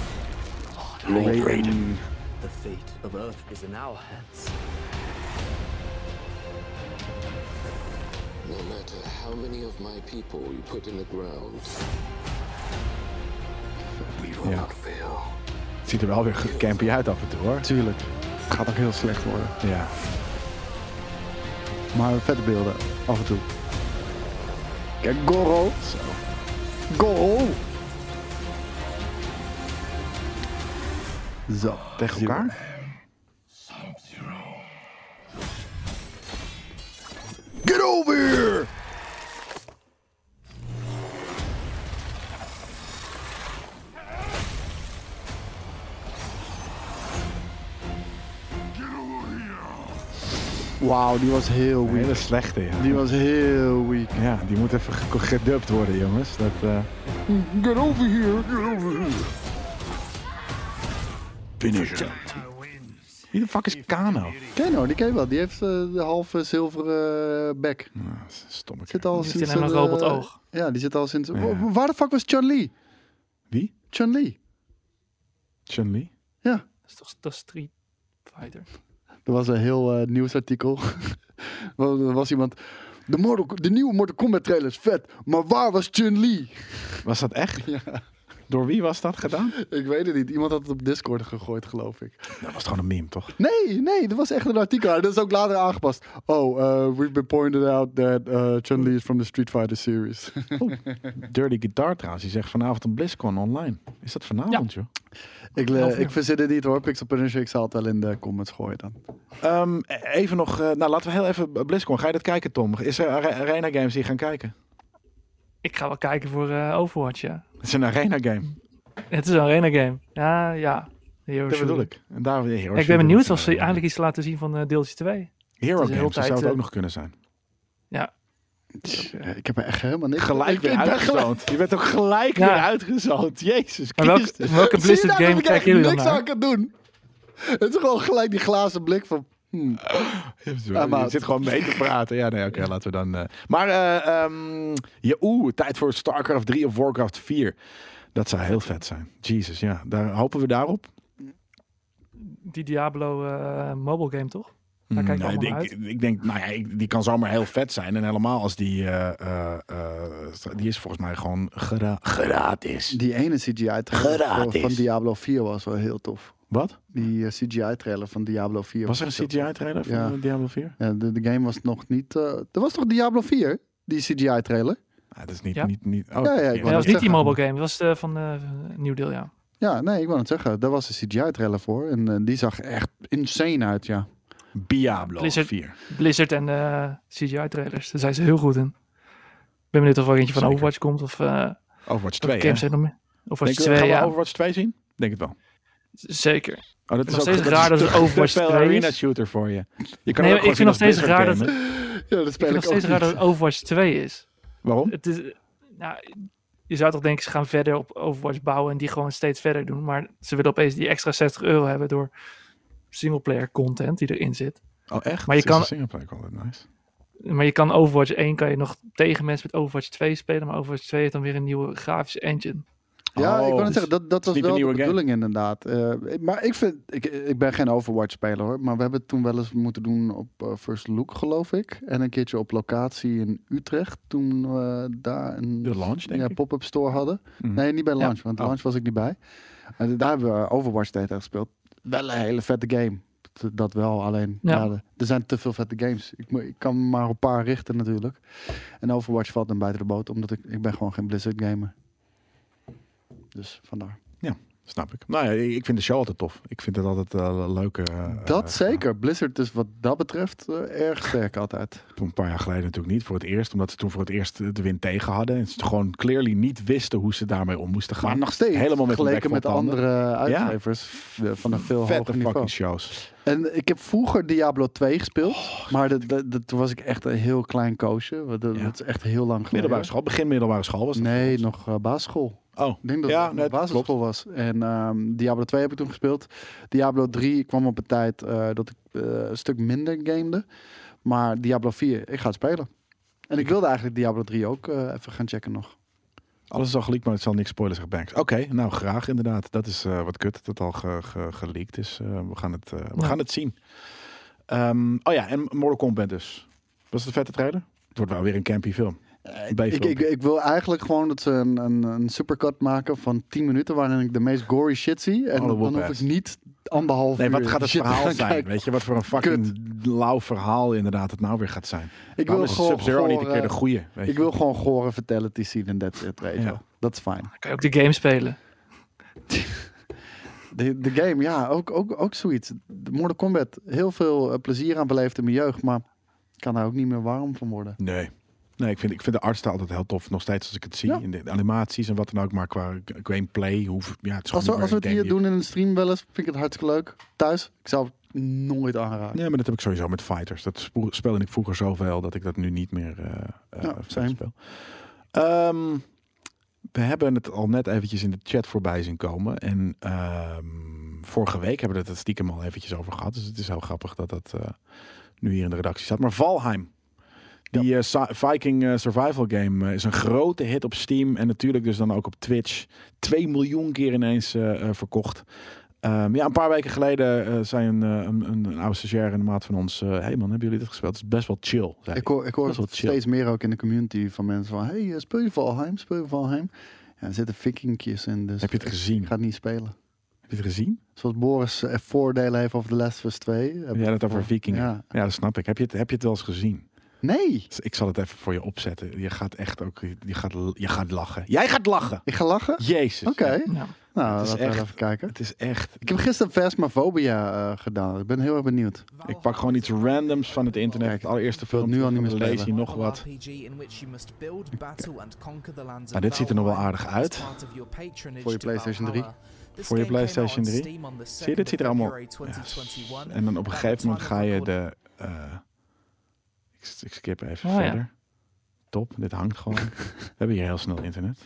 Speaker 1: Lord Raiden.
Speaker 10: The fate of Earth is in our hands. No matter how many of my people you put in the ground, we will
Speaker 1: Ja.
Speaker 10: not fail.
Speaker 1: Het ziet er wel weer campy uit af en toe hoor.
Speaker 2: Tuurlijk. Het gaat ook heel slecht worden.
Speaker 1: Ja.
Speaker 2: Maar vette beelden, af en toe. Kijk, Goro.
Speaker 1: Zo.
Speaker 2: Goro! Zo.
Speaker 1: Tegen elkaar? Get over here!
Speaker 2: Wauw, die was heel
Speaker 1: Een
Speaker 2: weak.
Speaker 1: hele slechte, ja.
Speaker 2: Die was heel weak.
Speaker 1: Ja, die moet even ge- gedubt worden, jongens. Dat, eh Get over here, get over here. Finish him. Wie de fuck is Kano?
Speaker 2: Keno, die ken je wel. Die heeft eh, de halve zilveren eh, bek.
Speaker 1: Nou, dat is een stomme
Speaker 2: Zit
Speaker 1: kerel.
Speaker 2: al
Speaker 5: zit
Speaker 2: sinds...
Speaker 5: in een
Speaker 2: eh,
Speaker 5: robotoog.
Speaker 2: Ja, die zit al sinds...
Speaker 1: Ja.
Speaker 2: Wa- Waar de fuck was Chun-Li?
Speaker 1: Wie?
Speaker 2: Chun-Li.
Speaker 1: Chun-Li?
Speaker 2: Ja.
Speaker 5: Dat is toch dat is Street Fighter.
Speaker 2: Er was een heel eh, nieuwsartikel. Wa- er was iemand... De, Mortal, de nieuwe Mortal Kombat trailer is vet, maar waar was Chun-Li?
Speaker 1: Was dat echt?
Speaker 2: Ja.
Speaker 1: Door wie was dat gedaan?
Speaker 2: Ik weet het niet. Iemand had het op Discord gegooid, geloof ik.
Speaker 1: Dat was gewoon een meme, toch?
Speaker 2: Nee, nee, dat was echt een artikel. Dat is ook later aangepast. Oh, eh, we've been pointed out that eh, Chun-Li is from the Street Fighter series.
Speaker 1: Dirty Guitar trouwens, die zegt vanavond een BlizzCon online. Is dat vanavond, joh?
Speaker 2: ik,
Speaker 5: Half
Speaker 2: eh,
Speaker 5: uur.
Speaker 2: ik verzin het niet hoor. Pixel Punisher, ik zal het wel in de comments gooien dan.
Speaker 1: Ehm, e- even nog, eh, nou laten we heel even BlizzCon. Ga je dat kijken, Tom? Is er are- Arena Games die gaan kijken?
Speaker 5: Ik ga wel kijken voor eh, Overwatch, ja.
Speaker 1: Het is een Arena Game.
Speaker 5: Het is een arena game. Ja, ja. Hero
Speaker 1: Dat bedoel
Speaker 5: shooter.
Speaker 1: ik. En daar, Hero
Speaker 5: ik ben
Speaker 1: Shooter
Speaker 5: benieuwd
Speaker 1: is een
Speaker 5: of ze
Speaker 1: Arena
Speaker 5: eigenlijk iets laten zien van eh deeltje 2.
Speaker 1: Game. Hero
Speaker 5: het is heel
Speaker 1: Games, dat zou het
Speaker 5: tijd,
Speaker 1: ook
Speaker 5: eh,
Speaker 1: nog kunnen zijn.
Speaker 2: Ik heb er echt helemaal
Speaker 5: eh,
Speaker 2: niks
Speaker 1: gelijk
Speaker 2: ik,
Speaker 1: weer
Speaker 2: ik ben gelijk-
Speaker 1: uitgezoond. Je bent ook gelijk
Speaker 5: Ja.
Speaker 1: weer uitgezoond. Jezus
Speaker 5: Maar welke,
Speaker 1: Christus.
Speaker 2: Zie
Speaker 5: welke
Speaker 2: je nou
Speaker 5: Blizzard
Speaker 2: dat
Speaker 5: game
Speaker 2: ik
Speaker 5: kijken
Speaker 2: eigenlijk
Speaker 5: jullie dan
Speaker 2: niks aan
Speaker 5: naar?
Speaker 2: kan doen? Het is gewoon gelijk die glazen blik van...
Speaker 1: Je zit gewoon mee te praten. Ja, nee, oké, laten we dan. eh, Maar, eh ehm, ja, oeh, tijd voor StarCraft 3 of Warcraft 4. Dat zou heel vet zijn. Jesus, ja. Daar hopen we daarop.
Speaker 5: Die Diablo eh, mobile game, toch? Daar kijk ik
Speaker 1: Nee,
Speaker 5: allemaal naar
Speaker 1: Mm, ik,
Speaker 5: uit.
Speaker 1: ik denk, nou ja, ik- die kan zomaar heel vet zijn. En helemaal als die, eh, eh, eh, die is volgens mij gewoon gra- gratis.
Speaker 2: Die ene CGI-trailer
Speaker 1: Gratis.
Speaker 2: van Diablo 4 was wel heel tof.
Speaker 1: Wat?
Speaker 2: Die eh, CGI-trailer van Diablo 4.
Speaker 1: Was er een
Speaker 2: heel tof.
Speaker 1: CGI-trailer van
Speaker 2: Ja.
Speaker 1: eh, Diablo 4?
Speaker 2: Ja, de, de game was nog niet... eh er was toch Diablo 4? Die CGI-trailer?
Speaker 1: Ah, dat is niet,
Speaker 5: Ja.
Speaker 1: niet, niet. Oh,
Speaker 2: Ja, ja,
Speaker 1: dat is
Speaker 2: ik
Speaker 1: niet-
Speaker 5: Nee,
Speaker 2: wou
Speaker 5: dat was niet die
Speaker 2: zeggen.
Speaker 5: mobile game. Dat was eh, van eh, een nieuw deel, ja.
Speaker 2: Ja, nee, ik wou het zeggen. Daar was een CGI-trailer voor. En eh, die zag echt insane uit, ja.
Speaker 1: Diablo
Speaker 5: Blizzard.
Speaker 1: 4.
Speaker 5: Blizzard en eh, CGI-trailers. Daar zijn ze heel goed in. Ik ben benieuwd of er eentje van
Speaker 1: Zeker.
Speaker 5: Overwatch komt. Of eh
Speaker 1: Overwatch 2,
Speaker 5: twee,
Speaker 1: hè?
Speaker 5: games zijn er nog meer. Overwatch
Speaker 1: Denk je, gaan
Speaker 5: 2,
Speaker 1: we
Speaker 5: ja.
Speaker 1: Overwatch 2 zien? Denk het wel.
Speaker 5: Zeker.
Speaker 1: Oh, dat
Speaker 5: Nog steeds raar dat het
Speaker 1: te- te
Speaker 5: Overwatch
Speaker 1: veel
Speaker 5: 2 is.
Speaker 1: arena shooter voor je. je kan
Speaker 5: Nee,
Speaker 1: ook
Speaker 5: maar
Speaker 1: gewoon zien
Speaker 5: ik vind nog
Speaker 1: dat
Speaker 5: steeds raar
Speaker 1: Blizzard
Speaker 5: dat,
Speaker 1: game,
Speaker 5: ik
Speaker 2: Ja, dat speel
Speaker 5: vind
Speaker 2: ik,
Speaker 5: nog
Speaker 2: ook
Speaker 5: steeds raar dat
Speaker 2: niet.
Speaker 5: het Overwatch 2 is.
Speaker 1: hè? Waarom?
Speaker 5: Het is nou, je zou toch denken, ze gaan verder op Overwatch bouwen en die gewoon steeds verder doen. Maar ze willen opeens die extra 60 euro hebben door singleplayer content die erin zit.
Speaker 1: Oh, echt?
Speaker 5: Maar je
Speaker 1: Is de
Speaker 5: kan-
Speaker 1: singleplayer altijd nice.
Speaker 5: Maar je kan Overwatch 1 kan je nog tegen mensen met Overwatch 2 spelen. Maar Overwatch 2 heeft dan weer een nieuwe grafische engine.
Speaker 2: Ja,
Speaker 1: Oh,
Speaker 2: ik wou
Speaker 1: dus
Speaker 2: net zeggen, dat, dat was
Speaker 1: niet een
Speaker 2: wel de
Speaker 1: nieuwe game.
Speaker 2: bedoeling inderdaad. Eh, maar ik vind, ik, ik ben geen Overwatch-speler hoor, maar we hebben het toen wel eens moeten doen op eh, First Look, geloof ik. En een keertje op locatie in Utrecht, toen we daar een
Speaker 1: De launch, denk
Speaker 2: ja,
Speaker 1: ik.
Speaker 2: pop-up store hadden.
Speaker 1: Mhm.
Speaker 2: Nee, niet bij
Speaker 5: Ja.
Speaker 2: launch, want
Speaker 1: Oh.
Speaker 2: launch was ik niet bij. En daar hebben we Overwatch tegen gespeeld. Wel een hele vette game. Dat- Dat wel, alleen
Speaker 5: Ja.
Speaker 2: ja, er zijn te veel vette games. Ik, mo- ik kan maar op een paar richten natuurlijk. En Overwatch valt dan buiten de boot, omdat ik, ik ben gewoon geen Blizzard gamer. Dus vandaar.
Speaker 1: Snap ik. Nou ja, ik ik vind de show altijd tof. Ik vind het altijd eh, leuke... eh,
Speaker 2: Dat
Speaker 1: eh,
Speaker 2: zeker. Blizzard is wat dat betreft eh, erg sterk altijd.
Speaker 1: Een paar jaar geleden natuurlijk niet voor het eerst. Omdat ze toen voor het eerst eh, de wind tegen hadden. En ze gewoon clearly niet wisten hoe ze daarmee om moesten gaan.
Speaker 2: Maar nog steeds.
Speaker 1: Helemaal met hun bek
Speaker 2: Geleken met
Speaker 1: vol tanden.
Speaker 2: andere uitgevers eh, van een veel
Speaker 1: Vette
Speaker 2: hoger
Speaker 1: fucking
Speaker 2: niveau.
Speaker 1: shows.
Speaker 2: En ik heb vroeger Diablo 2 gespeeld. maar dat, dat, dat- toen was ik echt een heel klein koosje. want Dat,
Speaker 1: Oh, Ja.
Speaker 2: dat is echt heel lang geleden.
Speaker 1: Middelbare school. Begin middelbare school was dat.
Speaker 2: Nee, nog eh, basisschool.
Speaker 1: Oh,
Speaker 2: Ik denk dat
Speaker 1: Ja,
Speaker 2: het
Speaker 1: nee,
Speaker 2: nog
Speaker 1: dat
Speaker 2: basisschool was. En ehm, Diablo 2 heb ik toen gespeeld. Diablo 3 kwam op een tijd eh, dat ik eh, een stuk minder gamede. Maar Diablo 4, ik ga het spelen. En ik wilde eigenlijk Diablo 3 ook eh, even gaan checken nog.
Speaker 1: alles is al geleakt, maar het zal niks spoilers zeggen, Banks. Oké, nou graag inderdaad. Dat is eh, wat kut dat het al ge, ge- geleakt is. Eh, we gaan het, eh, we
Speaker 5: Ja.
Speaker 1: gaan het zien. Ehm, oh ja, en Mortal Kombat dus. Was het een vette trailer? Het wordt wel weer een campy film.
Speaker 2: Ik,
Speaker 1: B-film.
Speaker 2: Eh, ik, ik wil eigenlijk gewoon dat ze een, een, een supercut maken van 10 minuten... waarin ik de meest gory shit zie. En
Speaker 1: Alle
Speaker 2: dan hoef
Speaker 1: whoop-ass.
Speaker 2: ik niet anderhalf
Speaker 1: Nee,
Speaker 2: uur
Speaker 1: wat gaat het
Speaker 2: shit te
Speaker 1: verhaal
Speaker 2: gaan
Speaker 1: zijn?
Speaker 2: kijken.
Speaker 1: Weet je, wat voor een fucking lauw verhaal inderdaad het nou weer gaat zijn.
Speaker 2: Ik
Speaker 1: Waarom
Speaker 2: wil
Speaker 1: is
Speaker 2: gewoon
Speaker 1: Sub-Zero niet een keer
Speaker 2: gore-
Speaker 1: de goeie? Weet
Speaker 2: Ik
Speaker 1: je?
Speaker 2: wil gewoon gore fatalities zien en that's it, weet je
Speaker 1: Ja.
Speaker 2: wel. Dat is fijn.
Speaker 5: Dan kan je ook de game spelen.
Speaker 2: De, de game, ja, ook, ook, ook zoiets. De Mortal Kombat, heel veel eh, plezier aan beleefd in mijn jeugd, maar ik kan daar ook niet meer warm van worden.
Speaker 1: Nee. Nee, ik vind, ik vind de artstijl altijd heel tof. Nog steeds als ik het zie.
Speaker 2: Ja.
Speaker 1: In de animaties en wat dan ook. Maar qua g- gameplay. Hoe, ja, het is
Speaker 2: Als we,
Speaker 1: gewoon niet meer
Speaker 2: als we het
Speaker 1: een
Speaker 2: hier
Speaker 1: game
Speaker 2: doen in een stream wel eens, vind ik het hartstikke leuk. Thuis, ik zou het nooit aanraken.
Speaker 1: die- Nee, maar dat heb ik sowieso met fighters. Dat spo- speelde ik vroeger zoveel dat ik dat nu niet meer eh, eh,
Speaker 2: Ja,
Speaker 1: zelf
Speaker 2: same.
Speaker 1: speel. Ehm, we hebben het al net eventjes in de chat voorbij zien komen. En ehm, vorige week hebben we het er stiekem al eventjes over gehad. Dus het is heel grappig dat dat eh, nu hier in de redactie staat. Maar Valheim. Die eh, Sa- Viking eh, survival game eh, is een grote hit op Steam. En natuurlijk dus dan ook op Twitch. 2 miljoen keer ineens eh, eh, verkocht. Ehm, ja, een paar weken geleden eh zei een, eh, een, een, een oude stagiair in de maat van ons... eh, hey man, hebben jullie dit gespeeld? Het is best wel chill. zei
Speaker 2: Ik hoor, ik hoor
Speaker 1: Dat is wel chill.
Speaker 2: steeds meer ook in de community van mensen van, hey, eh, speel je Valheim, speel je Valheim. Ja, er zitten vikingjes in, dus
Speaker 1: Heb je het gezien?
Speaker 2: ik ga het niet spelen.
Speaker 1: Heb je het gezien?
Speaker 2: Zoals Boris eh, voordelen heeft over The Last of Us 2. heb
Speaker 1: Heb jij
Speaker 2: ik
Speaker 1: het over
Speaker 2: voor-
Speaker 1: vikingen? Ja.
Speaker 2: Ja.
Speaker 1: dat snap ik. Heb je het, heb je het wel eens gezien?
Speaker 2: Nee,
Speaker 1: Dus ik zal het even voor je opzetten. Je gaat echt ook... Je gaat, je gaat lachen. Jij gaat lachen!
Speaker 2: ik ga lachen.
Speaker 1: Jezus.
Speaker 2: Oké,
Speaker 1: Ja,
Speaker 5: Ja.
Speaker 2: nou,
Speaker 1: is
Speaker 2: laten we
Speaker 1: echt-
Speaker 2: even kijken.
Speaker 1: het is echt...
Speaker 2: Ik heb gisteren Phasmophobia eh, gedaan. Ik ben heel erg benieuwd.
Speaker 1: Ik pak gewoon iets randoms van het internet.
Speaker 2: Kijk,
Speaker 1: het allereerste
Speaker 2: wil
Speaker 1: film.
Speaker 2: nu al niet meer
Speaker 1: Dan lees je
Speaker 2: spelen.
Speaker 1: nog wat.
Speaker 8: Nou, dit ziet er nog wel aardig uit.
Speaker 2: Voor je PlayStation 3.
Speaker 8: Voor je PlayStation 3.
Speaker 1: Zie je, dit ziet er allemaal... Ja, en dan op een gegeven moment ga je de... eh, ik, ik skip even
Speaker 5: Oh, ja.
Speaker 1: verder. Top, dit hangt gewoon. We hebben hier heel snel internet.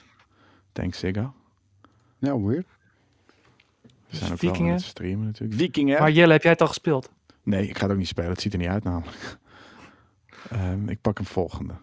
Speaker 1: Thanks, Ziggo.
Speaker 2: Ja, weird.
Speaker 1: We zijn ook wel aan
Speaker 5: Vikingen. Dus
Speaker 1: het streamen natuurlijk. Vikingen.
Speaker 5: Maar Jelle, heb jij het al gespeeld?
Speaker 1: Nee, ik ga het ook niet spelen. Het ziet er niet uit namelijk. Ehm, ik pak een volgende.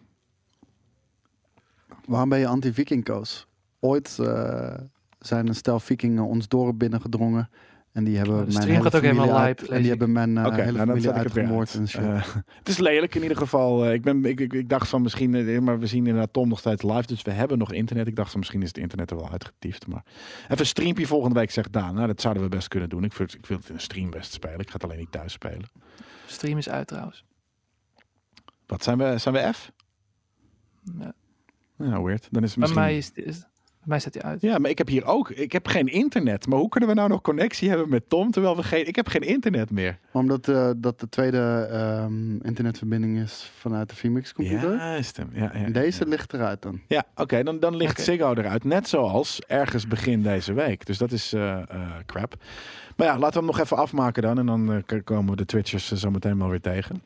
Speaker 2: Waarom ben je anti-Viking, Koos? Ooit eh, zijn een stel Vikingen ons dorp binnengedrongen. En die hebben
Speaker 5: Oh, De
Speaker 2: mijn
Speaker 5: stream
Speaker 2: hele
Speaker 5: gaat ook
Speaker 2: familie
Speaker 5: helemaal
Speaker 2: uit-
Speaker 5: lijp,
Speaker 2: En
Speaker 5: lees
Speaker 2: die
Speaker 5: ik.
Speaker 2: hebben mijn eh,
Speaker 1: Oké,
Speaker 2: hele
Speaker 1: nou dan
Speaker 2: familie
Speaker 1: zet ik het weer
Speaker 2: uitgemoord
Speaker 1: uit.
Speaker 2: en shit.
Speaker 1: Eh, het is lelijk in ieder geval. Eh, ik, ben, ik, ik, ik dacht van misschien, eh, maar we zien inderdaad Tom nog steeds live, dus we hebben nog internet. Ik dacht van misschien is het internet er wel uitgetiefd. Maar even een streampje volgende week, zegt Daan. Nou, dat zouden we best kunnen doen. Ik, vind- ik wil het in een stream best spelen. Ik ga het alleen niet thuis spelen.
Speaker 5: Stream is uit trouwens.
Speaker 1: Wat zijn we? Zijn we F?
Speaker 5: Ja.
Speaker 1: Nou, weird. Dan is het
Speaker 5: Bij,
Speaker 1: misschien...
Speaker 5: mij is, is, bij mij staat hij uit.
Speaker 1: Ja, maar ik heb hier ook. Ik heb geen internet. Maar hoe kunnen we nou nog connectie hebben met Tom terwijl we geen. Ik heb geen internet meer.
Speaker 2: Maar Omdat eh, dat de tweede ehm, internetverbinding is vanuit de Phoenix computer.
Speaker 1: Juist, hem. Ja, ja,
Speaker 2: En deze
Speaker 1: ja.
Speaker 2: ligt eruit dan.
Speaker 1: Ja, oké, dan, dan ligt
Speaker 5: Oké.
Speaker 1: Ziggo eruit. Net zoals ergens begin deze week. Dus dat is eh, eh, crap. Maar ja, laten we hem nog even afmaken dan. En dan eh, k- komen we de Twitchers eh, zo meteen wel weer tegen.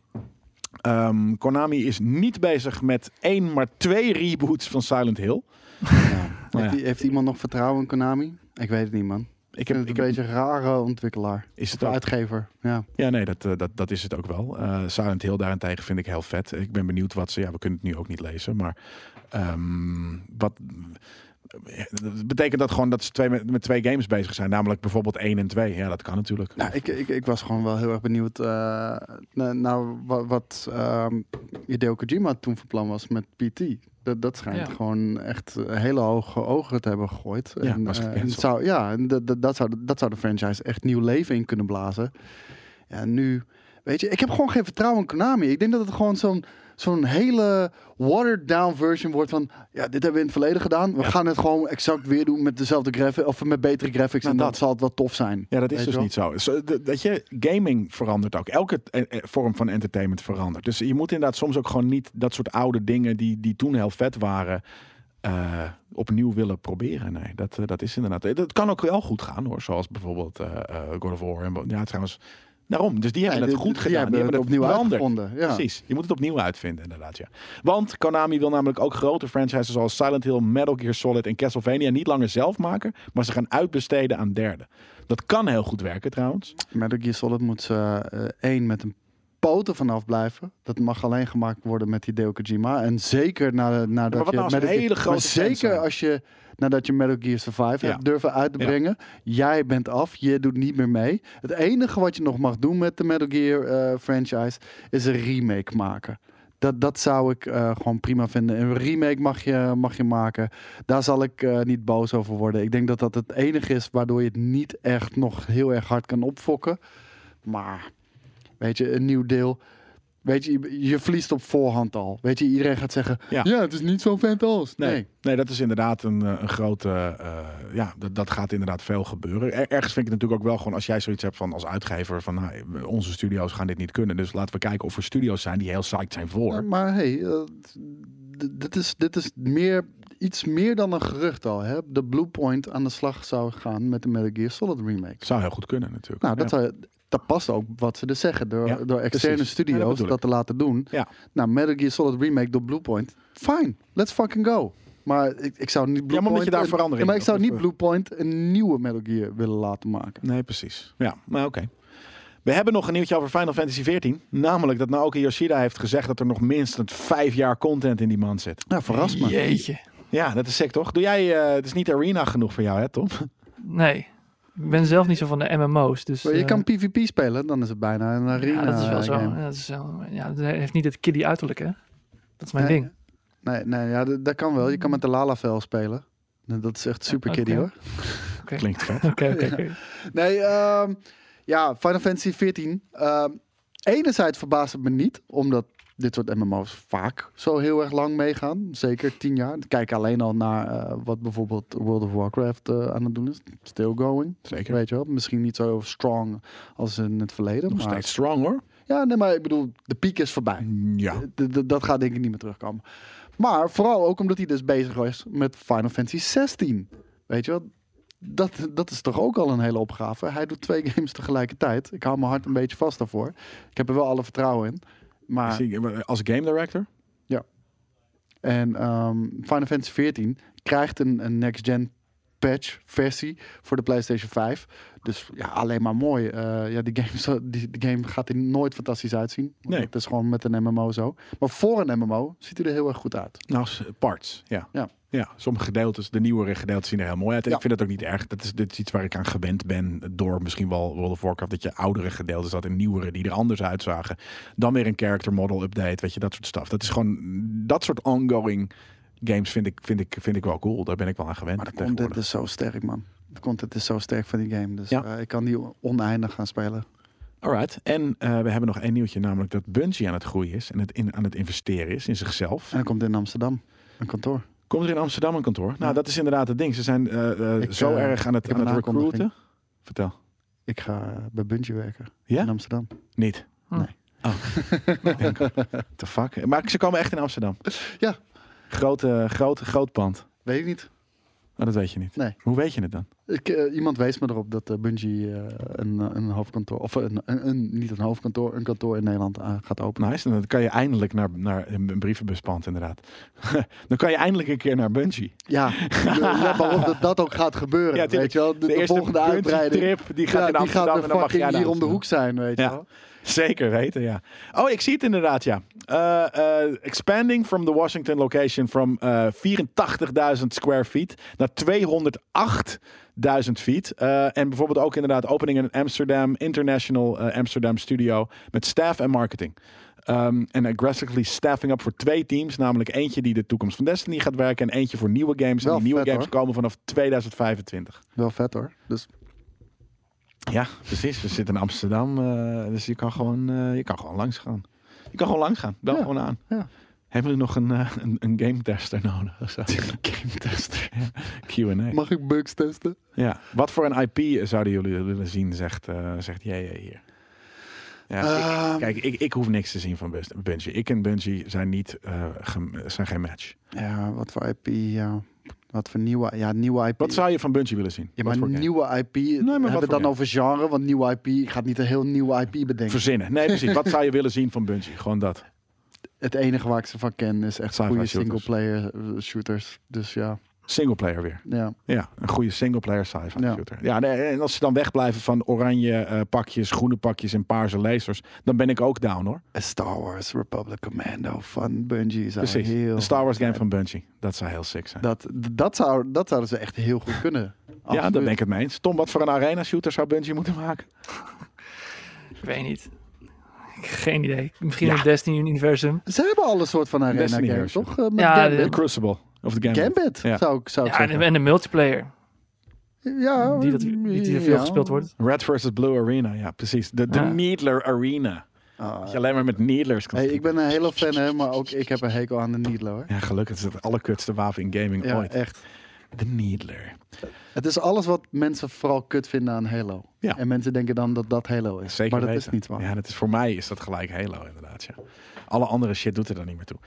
Speaker 1: Ehm, Konami is niet bezig met één, maar twee reboots van Silent Hill. Nou
Speaker 2: Heeft,
Speaker 1: ja.
Speaker 2: die- heeft iemand nog vertrouwen in Konami? Ik weet het niet, man.
Speaker 1: Ik
Speaker 2: Ik
Speaker 1: heb,
Speaker 2: vind het
Speaker 1: ik
Speaker 2: een
Speaker 1: heb,
Speaker 2: beetje een rare ontwikkelaar.
Speaker 1: is het
Speaker 2: Of
Speaker 1: ook?
Speaker 2: uitgever, ja.
Speaker 1: Ja, nee, dat, eh, dat, dat is het ook wel. Eh Silent Hill daarentegen vind ik heel vet. Ik ben benieuwd wat ze... Ja, we kunnen het nu ook niet lezen, maar... ehm, wat, eh, dat betekent dat gewoon dat ze twee, met, met twee games bezig zijn? Namelijk bijvoorbeeld één en twee. Ja, dat kan natuurlijk.
Speaker 2: Nou, ik, ik, ik was gewoon wel heel erg benieuwd eh, naar, naar wat, wat ehm, Hideo Kojima toen van plan was met PT. Dat, dat schijnt
Speaker 5: Ja.
Speaker 2: gewoon echt eh, hele hoge ogen te hebben gegooid.
Speaker 1: Ja,
Speaker 2: en,
Speaker 1: was
Speaker 2: eh, en
Speaker 1: gecanceld.
Speaker 2: het zou, ja, en dat, dat, dat, zou, dat zou de franchise echt nieuw leven in kunnen blazen. Ja, en nu, weet je, ik heb gewoon geen vertrouwen in Konami. Ik denk dat het gewoon zo'n zo'n hele watered down version wordt van ja dit hebben we in het verleden gedaan we gaan het gewoon exact weer doen met dezelfde graphics of met betere graphics
Speaker 1: Nou,
Speaker 2: en
Speaker 1: dat.
Speaker 2: dat zal het wel tof zijn
Speaker 1: Ja, dat is
Speaker 2: Weet
Speaker 1: dus
Speaker 2: je wel?
Speaker 1: niet zo. Zo, d- Dat je gaming verandert ook. Elke eh, eh, vorm van entertainment verandert. Dus je moet inderdaad soms ook gewoon niet dat soort oude dingen die, die toen heel vet waren, eh, opnieuw willen proberen. Nee, dat, eh, dat is inderdaad. eh, Dat kan ook wel goed gaan hoor. Zoals bijvoorbeeld eh, eh, God of War. En, bo- ja, trouwens. Daarom. Dus die hebben
Speaker 2: Nee,
Speaker 1: het
Speaker 2: dit-
Speaker 1: goed
Speaker 2: die
Speaker 1: gedaan.
Speaker 2: hebben het opnieuw
Speaker 1: veranderd.
Speaker 2: uitgevonden. Ja.
Speaker 1: Precies. Je moet het opnieuw uitvinden, inderdaad. Ja. Want Konami wil namelijk ook grote franchises zoals Silent Hill, Metal Gear Solid en Castlevania niet langer zelf maken, maar ze gaan uitbesteden aan derden. Dat kan heel goed werken trouwens.
Speaker 2: Metal Gear Solid moet ze eh, één met een poten vanaf blijven. Dat mag alleen gemaakt worden met die Deo Kojima. En zeker nadat na
Speaker 1: wat
Speaker 2: nadat
Speaker 1: nou als
Speaker 2: je...
Speaker 1: we
Speaker 2: Metal Gear-
Speaker 1: hele grote
Speaker 2: maar
Speaker 1: fans
Speaker 2: zeker
Speaker 1: zijn?
Speaker 2: als je nadat je Metal Gear Survive
Speaker 1: Ja.
Speaker 2: hebt durven uit te
Speaker 1: Ja.
Speaker 2: brengen. Jij bent af, je doet niet meer mee. Het enige wat je nog mag doen met de Metal Gear eh, franchise is een remake maken. Dat, dat zou ik eh, gewoon prima vinden. Een remake mag je, mag je maken. Daar zal ik eh, niet boos over worden. Ik denk dat dat het enige is waardoor je het niet echt nog heel erg hard kan opfokken. Maar, weet je, een nieuw deel. Weet je, je, je verliest op voorhand al. Weet je, iedereen gaat zeggen,
Speaker 1: Ja.
Speaker 2: ja, het is niet zo vet als.
Speaker 1: Nee,
Speaker 2: Nee.
Speaker 1: nee. dat is inderdaad een, eh, een grote. eh, ja, dat, dat gaat inderdaad veel gebeuren. Er- ergens vind ik het natuurlijk ook wel gewoon als jij zoiets hebt van als uitgever van nou, onze studio's gaan dit niet kunnen. Dus laten we kijken of er studio's zijn die heel psyched zijn voor.
Speaker 2: Eh, Maar hey, eh, d- dit is, dit is meer, iets meer dan een gerucht al. Hè? De Blue Point aan de slag zou gaan met de Metal Gear Solid remake.
Speaker 1: Zou heel goed kunnen natuurlijk.
Speaker 2: Nou, dat,
Speaker 1: Ja.
Speaker 2: zou- dat past ook wat ze dus zeggen. Door,
Speaker 1: Ja,
Speaker 2: door externe
Speaker 1: precies. Ja, dat
Speaker 2: studio's
Speaker 1: bedoel
Speaker 2: dat,
Speaker 1: ik.
Speaker 2: te laten doen.
Speaker 1: Ja.
Speaker 2: Nou, Metal Gear Solid remake door Bluepoint. Fine, let's fucking go. Maar ik, ik zou niet
Speaker 1: maar
Speaker 2: Bluepoint...
Speaker 1: moet je daar
Speaker 2: een-
Speaker 1: verandering
Speaker 2: Ja, maar ik
Speaker 1: op-
Speaker 2: zou
Speaker 1: of,
Speaker 2: niet
Speaker 1: eh?
Speaker 2: Bluepoint een nieuwe Metal Gear willen laten maken.
Speaker 1: Nee, precies. Ja, maar oké. We hebben nog een nieuwtje over Final Fantasy XIV. Namelijk dat Naoki Yoshida heeft gezegd dat er nog minstens vijf jaar content in die man zit.
Speaker 2: Nou, verras me.
Speaker 5: Jeetje.
Speaker 1: Ja, dat is sick toch? Doe jij, eh, het is niet arena genoeg voor jou hè Tom?
Speaker 5: Nee. Ik ben zelf niet zo van de MMO's. Dus,
Speaker 2: Maar je
Speaker 5: eh,
Speaker 2: kan PvP spelen, dan is het bijna een arena
Speaker 5: ja, dat is wel
Speaker 2: eh,
Speaker 5: zo.
Speaker 2: game.
Speaker 5: Ja, dat is wel- ja, dat heeft niet het kiddie uiterlijk, hè? Dat is mijn
Speaker 2: Nee.
Speaker 5: ding.
Speaker 2: Nee, nee ja, dat, dat kan wel. Je kan met de Lalavel spelen. Nou, Dat is echt super kiddie
Speaker 5: oké.
Speaker 2: hoor.
Speaker 1: Klinkt vet.
Speaker 5: Oké, oké, oké.
Speaker 2: Nee, ehm, ja, Final Fantasy 14. ehm, enerzijds verbaast het me niet, omdat dit soort MMO's vaak zo heel erg lang meegaan. Zeker tien jaar. Kijk alleen al naar eh, wat bijvoorbeeld World of Warcraft eh, aan het doen is. Still going.
Speaker 1: Zeker.
Speaker 2: Weet je wel. Misschien niet zo strong als in het verleden.
Speaker 1: Nog
Speaker 2: maar,
Speaker 1: steeds Mm. strong hoor.
Speaker 2: Ja, nee, maar ik bedoel, de piek is voorbij.
Speaker 1: Ja.
Speaker 2: D- d- dat gaat denk ik niet meer terugkomen. Maar vooral ook omdat hij dus bezig was met Final Fantasy 16. Weet je wel? Dat, dat is toch ook al een hele opgave. Hij doet twee games tegelijkertijd. Ik hou mijn hart een beetje vast daarvoor. Ik heb er wel alle vertrouwen in. Maar
Speaker 1: Zie je, Als game director?
Speaker 2: en ehm, Final Fantasy 14 krijgt een, een next-gen patch versie voor de PlayStation 5. Dus ja, alleen maar mooi. Eh, ja, die, game, zo- die, die game gaat er nooit fantastisch uitzien. Want
Speaker 1: Nee.
Speaker 2: Het is gewoon met een MMO zo. Maar voor een MMO ziet hij er heel erg goed uit.
Speaker 1: Nou, s- parts, ja.
Speaker 2: Ja.
Speaker 1: sommige gedeeltes, de nieuwere gedeeltes zien er heel mooi uit. En
Speaker 2: Ja.
Speaker 1: ik vind dat ook niet erg. Dat is, dit is iets waar ik aan gewend ben door misschien wel World of Warcraft. Dat je oudere gedeeltes had en nieuwere die er anders uitzagen. Dan weer een character model update, weet je, dat soort stuff. Dat is gewoon, dat soort ongoing games vind ik, vind ik, vind ik wel cool. Daar ben ik wel aan gewend
Speaker 2: Maar de content
Speaker 1: tegenwoordig.
Speaker 2: is zo sterk, man. De content is zo sterk van die game. Dus
Speaker 1: Ja.
Speaker 2: eh, ik kan die oneindig gaan spelen.
Speaker 1: Alright. En eh, we hebben nog één nieuwtje, namelijk dat Bungie aan het groeien is en het in, aan het investeren is in zichzelf.
Speaker 2: En dan komt in Amsterdam. Een kantoor.
Speaker 1: Komt er in Amsterdam een kantoor? Nou, dat is inderdaad het ding. Ze zijn eh, eh,
Speaker 2: Ik,
Speaker 1: zo
Speaker 2: eh,
Speaker 1: erg aan het,
Speaker 2: ik heb
Speaker 1: aan
Speaker 2: een
Speaker 1: het
Speaker 2: aankondiging.
Speaker 1: recruiten. Vertel.
Speaker 2: Ik ga eh, bij Bungie werken.
Speaker 1: Ja?
Speaker 2: In Amsterdam.
Speaker 1: Niet.
Speaker 2: Nee.
Speaker 1: Oh. The fuck. Maar ze komen echt in Amsterdam.
Speaker 2: Ja.
Speaker 1: Grote, grote, groot pand.
Speaker 2: Weet ik niet.
Speaker 1: Nou, dat weet je niet.
Speaker 2: Nee.
Speaker 1: Hoe weet je het dan?
Speaker 2: Ik, eh, iemand wees me erop dat eh, Bungie eh, een, een hoofdkantoor, of eh, een, een, een- niet een hoofdkantoor, een kantoor in Nederland eh, gaat openen.
Speaker 1: Nice. En dan kan je eindelijk naar, naar een een brievenbuspand inderdaad. dan kan je eindelijk een keer naar Bungie.
Speaker 2: Ja, let maar op dat dat ook gaat gebeuren.
Speaker 1: Ja, tuurlijk.
Speaker 2: weet je wel, de, de
Speaker 1: eerste
Speaker 2: volgende
Speaker 1: Bungie
Speaker 2: uitbreiding.
Speaker 1: trip die gaat
Speaker 2: Ja,
Speaker 1: in
Speaker 2: die
Speaker 1: Amsterdam
Speaker 2: gaat er
Speaker 1: en dan mag jij
Speaker 2: fucking
Speaker 1: naar
Speaker 2: hier om de
Speaker 1: Amsterdam.
Speaker 2: hoek zijn, weet je
Speaker 1: Ja.
Speaker 2: wel.
Speaker 1: Zeker weten, ja. Oh, ik zie het inderdaad, ja. Eh, eh, expanding from the Washington location from eh, 84.000 square feet naar 208.000 feet. Eh, en bijvoorbeeld ook inderdaad opening in Amsterdam, International eh, Amsterdam Studio met staff en marketing. Ehm, En aggressively staffing up voor twee teams. Namelijk eentje die de toekomst van Destiny gaat werken. En eentje voor nieuwe games.
Speaker 2: Wel
Speaker 1: en die nieuwe
Speaker 2: vet,
Speaker 1: games komen vanaf 2025.
Speaker 2: Wel vet hoor. Dus
Speaker 1: Ja, precies. We zitten in Amsterdam, eh, dus je kan, gewoon, eh, je kan gewoon langs gaan. Je kan gewoon langs gaan. Bel
Speaker 2: Ja,
Speaker 1: gewoon aan.
Speaker 2: ja.
Speaker 1: Hebben we nog een, eh, een, een game tester nodig? of zo? game tester. Q&A.
Speaker 2: mag ik bugs testen?
Speaker 1: Ja. Wat voor een IP zouden jullie willen zien, zegt, eh zegt JJ hier. Ja, ik-
Speaker 2: Ehm.
Speaker 1: kijk, ik, ik hoef niks te zien van Bus- Bungie. Ik en Bungie zijn, niet, eh, gem- zijn geen match.
Speaker 2: Ja, wat voor IP, ja. Wat voor nieuwe, ja, nieuwe IP.
Speaker 1: Wat zou je van Bungie willen zien?
Speaker 2: ja,
Speaker 1: Wat
Speaker 2: maar
Speaker 1: voor game?
Speaker 2: nieuwe IP,
Speaker 1: maar
Speaker 2: hebben
Speaker 1: wat
Speaker 2: we
Speaker 1: voor
Speaker 2: het dan
Speaker 1: game?
Speaker 2: over genre? Want nieuwe IP, ik ga niet een heel nieuwe IP bedenken.
Speaker 1: Verzinnen. Nee, precies. Wat zou je willen zien van Bungie? Gewoon dat.
Speaker 2: het enige waar ik ze van ken is echt
Speaker 1: Sci-fi
Speaker 2: goede
Speaker 1: shooters.
Speaker 2: singleplayer eh, shooters. Dus ja,
Speaker 1: Singleplayer weer.
Speaker 2: ja.
Speaker 1: Ja, een goede singleplayer sci-fi
Speaker 2: Ja.
Speaker 1: shooter. Ja, nee, en als ze dan wegblijven van oranje eh, pakjes, groene pakjes en paarse lasers, dan ben ik ook down hoor.
Speaker 2: A Star Wars Republic Commando van Bungie zou
Speaker 1: Precies.
Speaker 2: heel...
Speaker 1: Een Star Wars game van Bungie. Dat zou heel sick zijn.
Speaker 2: Dat, dat, zou, dat zouden ze echt heel goed kunnen.
Speaker 1: ja,
Speaker 2: Absoluut.
Speaker 1: daar ben ik het mee eens. Tom, wat voor een arena shooter zou Bungie moeten maken?
Speaker 5: Ik weet niet. Ik- Geen idee. Misschien
Speaker 1: Ja.
Speaker 5: het Destiny-universum.
Speaker 2: Ze hebben al een soort van arena
Speaker 1: Destiny
Speaker 2: game,
Speaker 1: Heroes.
Speaker 2: toch? Eh, Met
Speaker 5: Ja,
Speaker 1: De
Speaker 2: Gambit.
Speaker 1: Crucible. Of de Gambit.
Speaker 2: Gambit,
Speaker 1: Ja.
Speaker 2: zou ik, zou ik
Speaker 5: Ja, en,
Speaker 2: zeggen.
Speaker 5: en de multiplayer.
Speaker 2: ja,
Speaker 5: Die, dat, die, die er veel
Speaker 2: ja.
Speaker 5: gespeeld wordt.
Speaker 1: Red versus Blue Arena. Ja, precies. De, de
Speaker 5: Ja.
Speaker 1: Needler Arena.
Speaker 2: Ah.
Speaker 1: Dat je alleen maar met Needlers kan
Speaker 2: Hey, ik
Speaker 1: schieten.
Speaker 2: ben een hele fan, hè, maar ook ik heb een hekel aan de Needler. hoor.
Speaker 1: Ja, gelukkig is het de allerkutste wapen in gaming
Speaker 2: Ja,
Speaker 1: ooit.
Speaker 2: echt.
Speaker 1: De Needler.
Speaker 2: Het is alles wat mensen vooral kut vinden aan Halo.
Speaker 1: Ja.
Speaker 2: En mensen denken dan dat dat Halo is.
Speaker 1: Zeker
Speaker 2: maar dat
Speaker 1: weten.
Speaker 2: is niet waar.
Speaker 1: Ja, dat is, voor mij is dat gelijk Halo inderdaad. Ja. Alle andere shit doet er dan niet meer toe.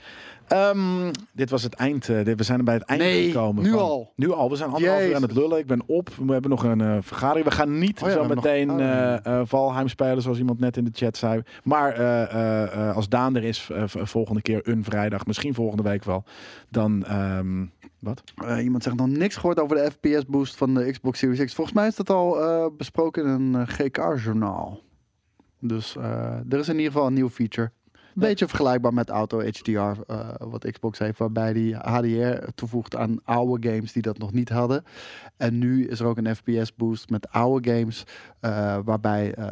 Speaker 1: Ehm, dit was het eind. eh, dit- we zijn bij het eind
Speaker 2: Nee,
Speaker 1: gekomen.
Speaker 2: nu
Speaker 1: van-
Speaker 2: al.
Speaker 1: Nu al. We zijn anderhalf uur aan het
Speaker 2: Jezus.
Speaker 1: lullen. Ik ben op. We hebben nog een eh, vergadering. We gaan niet
Speaker 2: Oh ja,
Speaker 1: zo
Speaker 2: we hebben
Speaker 1: meteen
Speaker 2: nog een vergadering.
Speaker 1: eh, eh, Valheim spelen, zoals iemand net in de chat zei. Maar eh, eh, eh, als Daan er is, eh, v- volgende keer een vrijdag, misschien volgende week wel, dan... ehm, wat?
Speaker 2: Eh, iemand zegt nog niks gehoord over de FPS boost van de Xbox Series X. Volgens mij is dat al eh, besproken in een GK-journaal. Dus eh, er is in ieder geval een nieuw feature. Beetje vergelijkbaar met Auto HDR, eh, wat Xbox heeft, waarbij die HDR toevoegt aan oude games die dat nog niet hadden. En nu is er ook een FPS boost met oude games, eh, waarbij eh,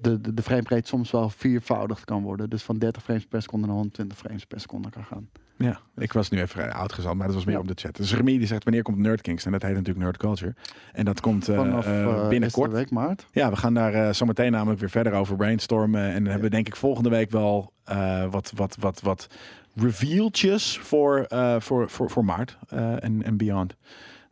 Speaker 2: de, de, de framerate soms wel viervoudigd kan worden. Dus van 30 frames per seconde naar 120 frames per seconde kan gaan.
Speaker 1: Ja, ik was nu even oud gezand, maar dat was meer
Speaker 2: Ja.
Speaker 1: op de chat. Dus Remy die zegt, wanneer komt Nerd Kings? En dat heet natuurlijk Nerd Culture. En dat komt eh,
Speaker 2: Vanaf
Speaker 1: eh,
Speaker 2: eh,
Speaker 1: binnenkort.
Speaker 2: eerste week maart.
Speaker 1: Ja, we gaan daar eh, zo meteen namelijk weer verder over brainstormen. En dan hebben we denk ik volgende week wel eh, wat, wat, wat, wat revealtjes voor, eh, voor, voor, voor maart eh, en, en beyond.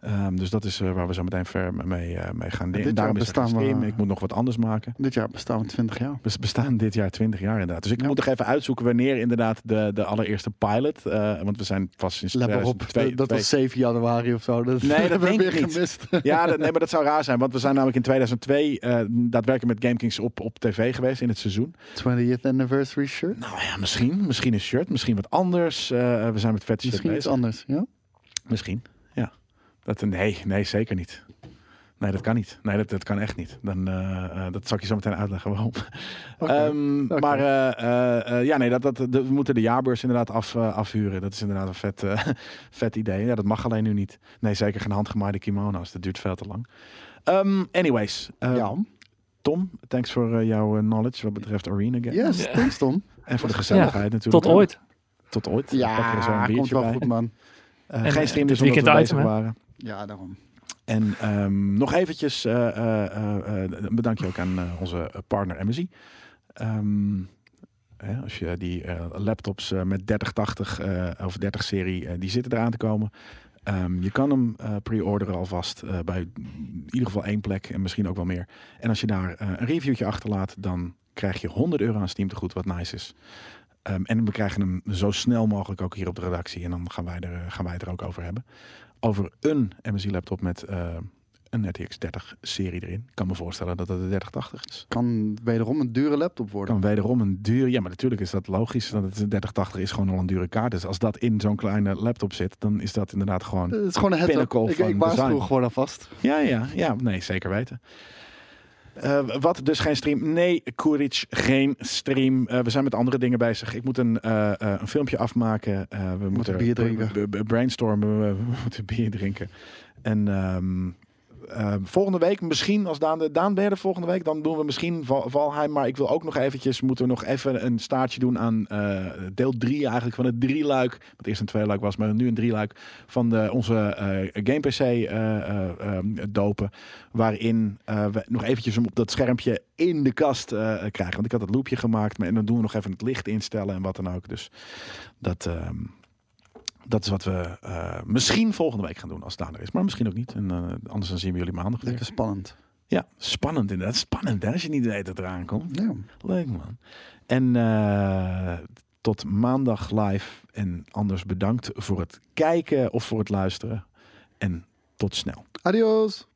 Speaker 1: Ehm, dus dat is eh, waar we zo meteen ver mee, eh, mee gaan.
Speaker 2: dit
Speaker 1: En daarom
Speaker 2: jaar
Speaker 1: is het
Speaker 2: bestaan we-
Speaker 1: stream. Ik moet nog wat anders maken.
Speaker 2: Dit jaar bestaan we 20 jaar.
Speaker 1: We bestaan dit jaar 20 jaar inderdaad. Dus ik moet nog even uitzoeken wanneer inderdaad de, de allereerste pilot. eh, want we zijn pas sinds
Speaker 2: Let maar op,
Speaker 1: 2002
Speaker 2: dat was 7 januari of zo. Dat
Speaker 1: Nee, dat
Speaker 2: hebben we
Speaker 1: denk ik
Speaker 2: weer
Speaker 1: niet.
Speaker 2: gemist.
Speaker 1: Ja, dat, nee, maar dat zou raar zijn. Want we zijn namelijk in 2002 eh, daadwerkelijk met GameKings op, op tv geweest in het seizoen.
Speaker 2: 20th anniversary shirt.
Speaker 1: Nou ja, misschien. Misschien een shirt, misschien wat anders. Eh, we zijn met vet shit
Speaker 2: Misschien iets
Speaker 1: bezig.
Speaker 2: anders, ja?
Speaker 1: Misschien, ja. Dat, nee, nee, zeker niet. Nee, dat kan niet. Nee, dat, dat kan echt niet. Dan, eh, eh, dat zal ik je zo meteen uitleggen waarom. Ehm,
Speaker 2: oké.
Speaker 1: Maar eh, eh, eh, ja, nee, dat, dat, de- we moeten de jaarbeurs inderdaad af, eh, afhuren. Dat is inderdaad een vet, eh, vet idee. Ja, dat mag alleen nu niet. Nee, zeker geen handgemaaide kimono's. Dat duurt veel te lang. Ehm, anyways, eh,
Speaker 2: Jan?
Speaker 1: Tom, thanks voor eh, jouw eh, knowledge wat betreft Arena Games.
Speaker 2: Yes, thanks Tom.
Speaker 1: En voor de gezelligheid natuurlijk.
Speaker 5: Tot ooit.
Speaker 1: Tot ooit. Dan pakken we zo
Speaker 2: Ja,
Speaker 1: een
Speaker 2: komt
Speaker 1: biertje
Speaker 2: wel
Speaker 1: bij.
Speaker 2: goed man.
Speaker 1: Eh,
Speaker 5: En,
Speaker 1: geen
Speaker 5: eh,
Speaker 1: stream
Speaker 5: dit
Speaker 1: dus omdat we
Speaker 5: weekend
Speaker 1: bezig
Speaker 5: item, hè?
Speaker 1: waren.
Speaker 2: Ja, daarom.
Speaker 1: En ehm, nog eventjes eh, eh, eh, eh, bedank je ook aan eh, onze partner MSI. Ehm, hè, als je die eh, laptops eh, met 3080 eh of 30 serie, eh, die zitten eraan te komen. Ehm, je kan hem eh, pre-orderen alvast eh, bij in ieder geval één plek en misschien ook wel meer. En als je daar eh, een reviewtje achterlaat, dan krijg je 100 euro aan Steam tegoed, wat nice is. Ehm, en we krijgen hem zo snel mogelijk ook hier op de redactie. En dan gaan wij, er, eh, gaan wij het er ook over hebben. Over een MSI-laptop met eh, een RTX 30-serie erin. Ik kan me voorstellen dat dat de 3080 is.
Speaker 2: Kan wederom een dure laptop worden.
Speaker 1: Dan wederom een duur. Ja, maar natuurlijk is dat logisch. Want het is een 3080 is gewoon al een dure kaart. Dus als dat in zo'n kleine laptop zit, dan is dat inderdaad gewoon.
Speaker 2: Het is gewoon een heads
Speaker 1: Pinnacle
Speaker 2: up. Ik,
Speaker 1: van
Speaker 2: ik waarschuw
Speaker 1: design.
Speaker 2: gewoon alvast.
Speaker 1: Ja, ja, ja. Nee, zeker weten. Eh, wat dus geen stream? Nee, Courage, geen stream. Eh, we zijn met andere dingen bezig. Ik moet een, eh, eh, een filmpje afmaken. Eh, we, moeten
Speaker 2: bier drinken.
Speaker 1: b- b- brainstormen. We, we moeten bier drinken. En ehm, eh, volgende week misschien, als Daan, de- Daan ben je er volgende week, dan doen we misschien Val- Valheim. Maar ik wil ook nog eventjes, moeten we nog even een staartje doen aan eh, deel 3 eigenlijk van het drieluik. Wat eerst een tweeluik was, maar nu een drieluik van de, onze eh Game PC eh, eh, ehm, dopen. Waarin eh, we nog eventjes hem op dat schermpje in de kast eh, krijgen. Want ik had het loopje gemaakt maar, en dan doen we nog even het licht instellen en wat dan ook. Dus dat... ehm, dat is wat we eh, misschien volgende week gaan doen als Daan er is. Maar misschien ook niet. En, eh, anders dan zien we jullie maandag weer.
Speaker 2: Lekker spannend.
Speaker 1: Ja, spannend inderdaad. Spannend hè, als je niet weet dat het eraan komt.
Speaker 2: Ja.
Speaker 1: Leuk man. En eh, tot maandag live. En anders bedankt voor het kijken of voor het luisteren. En tot snel.
Speaker 2: Adios.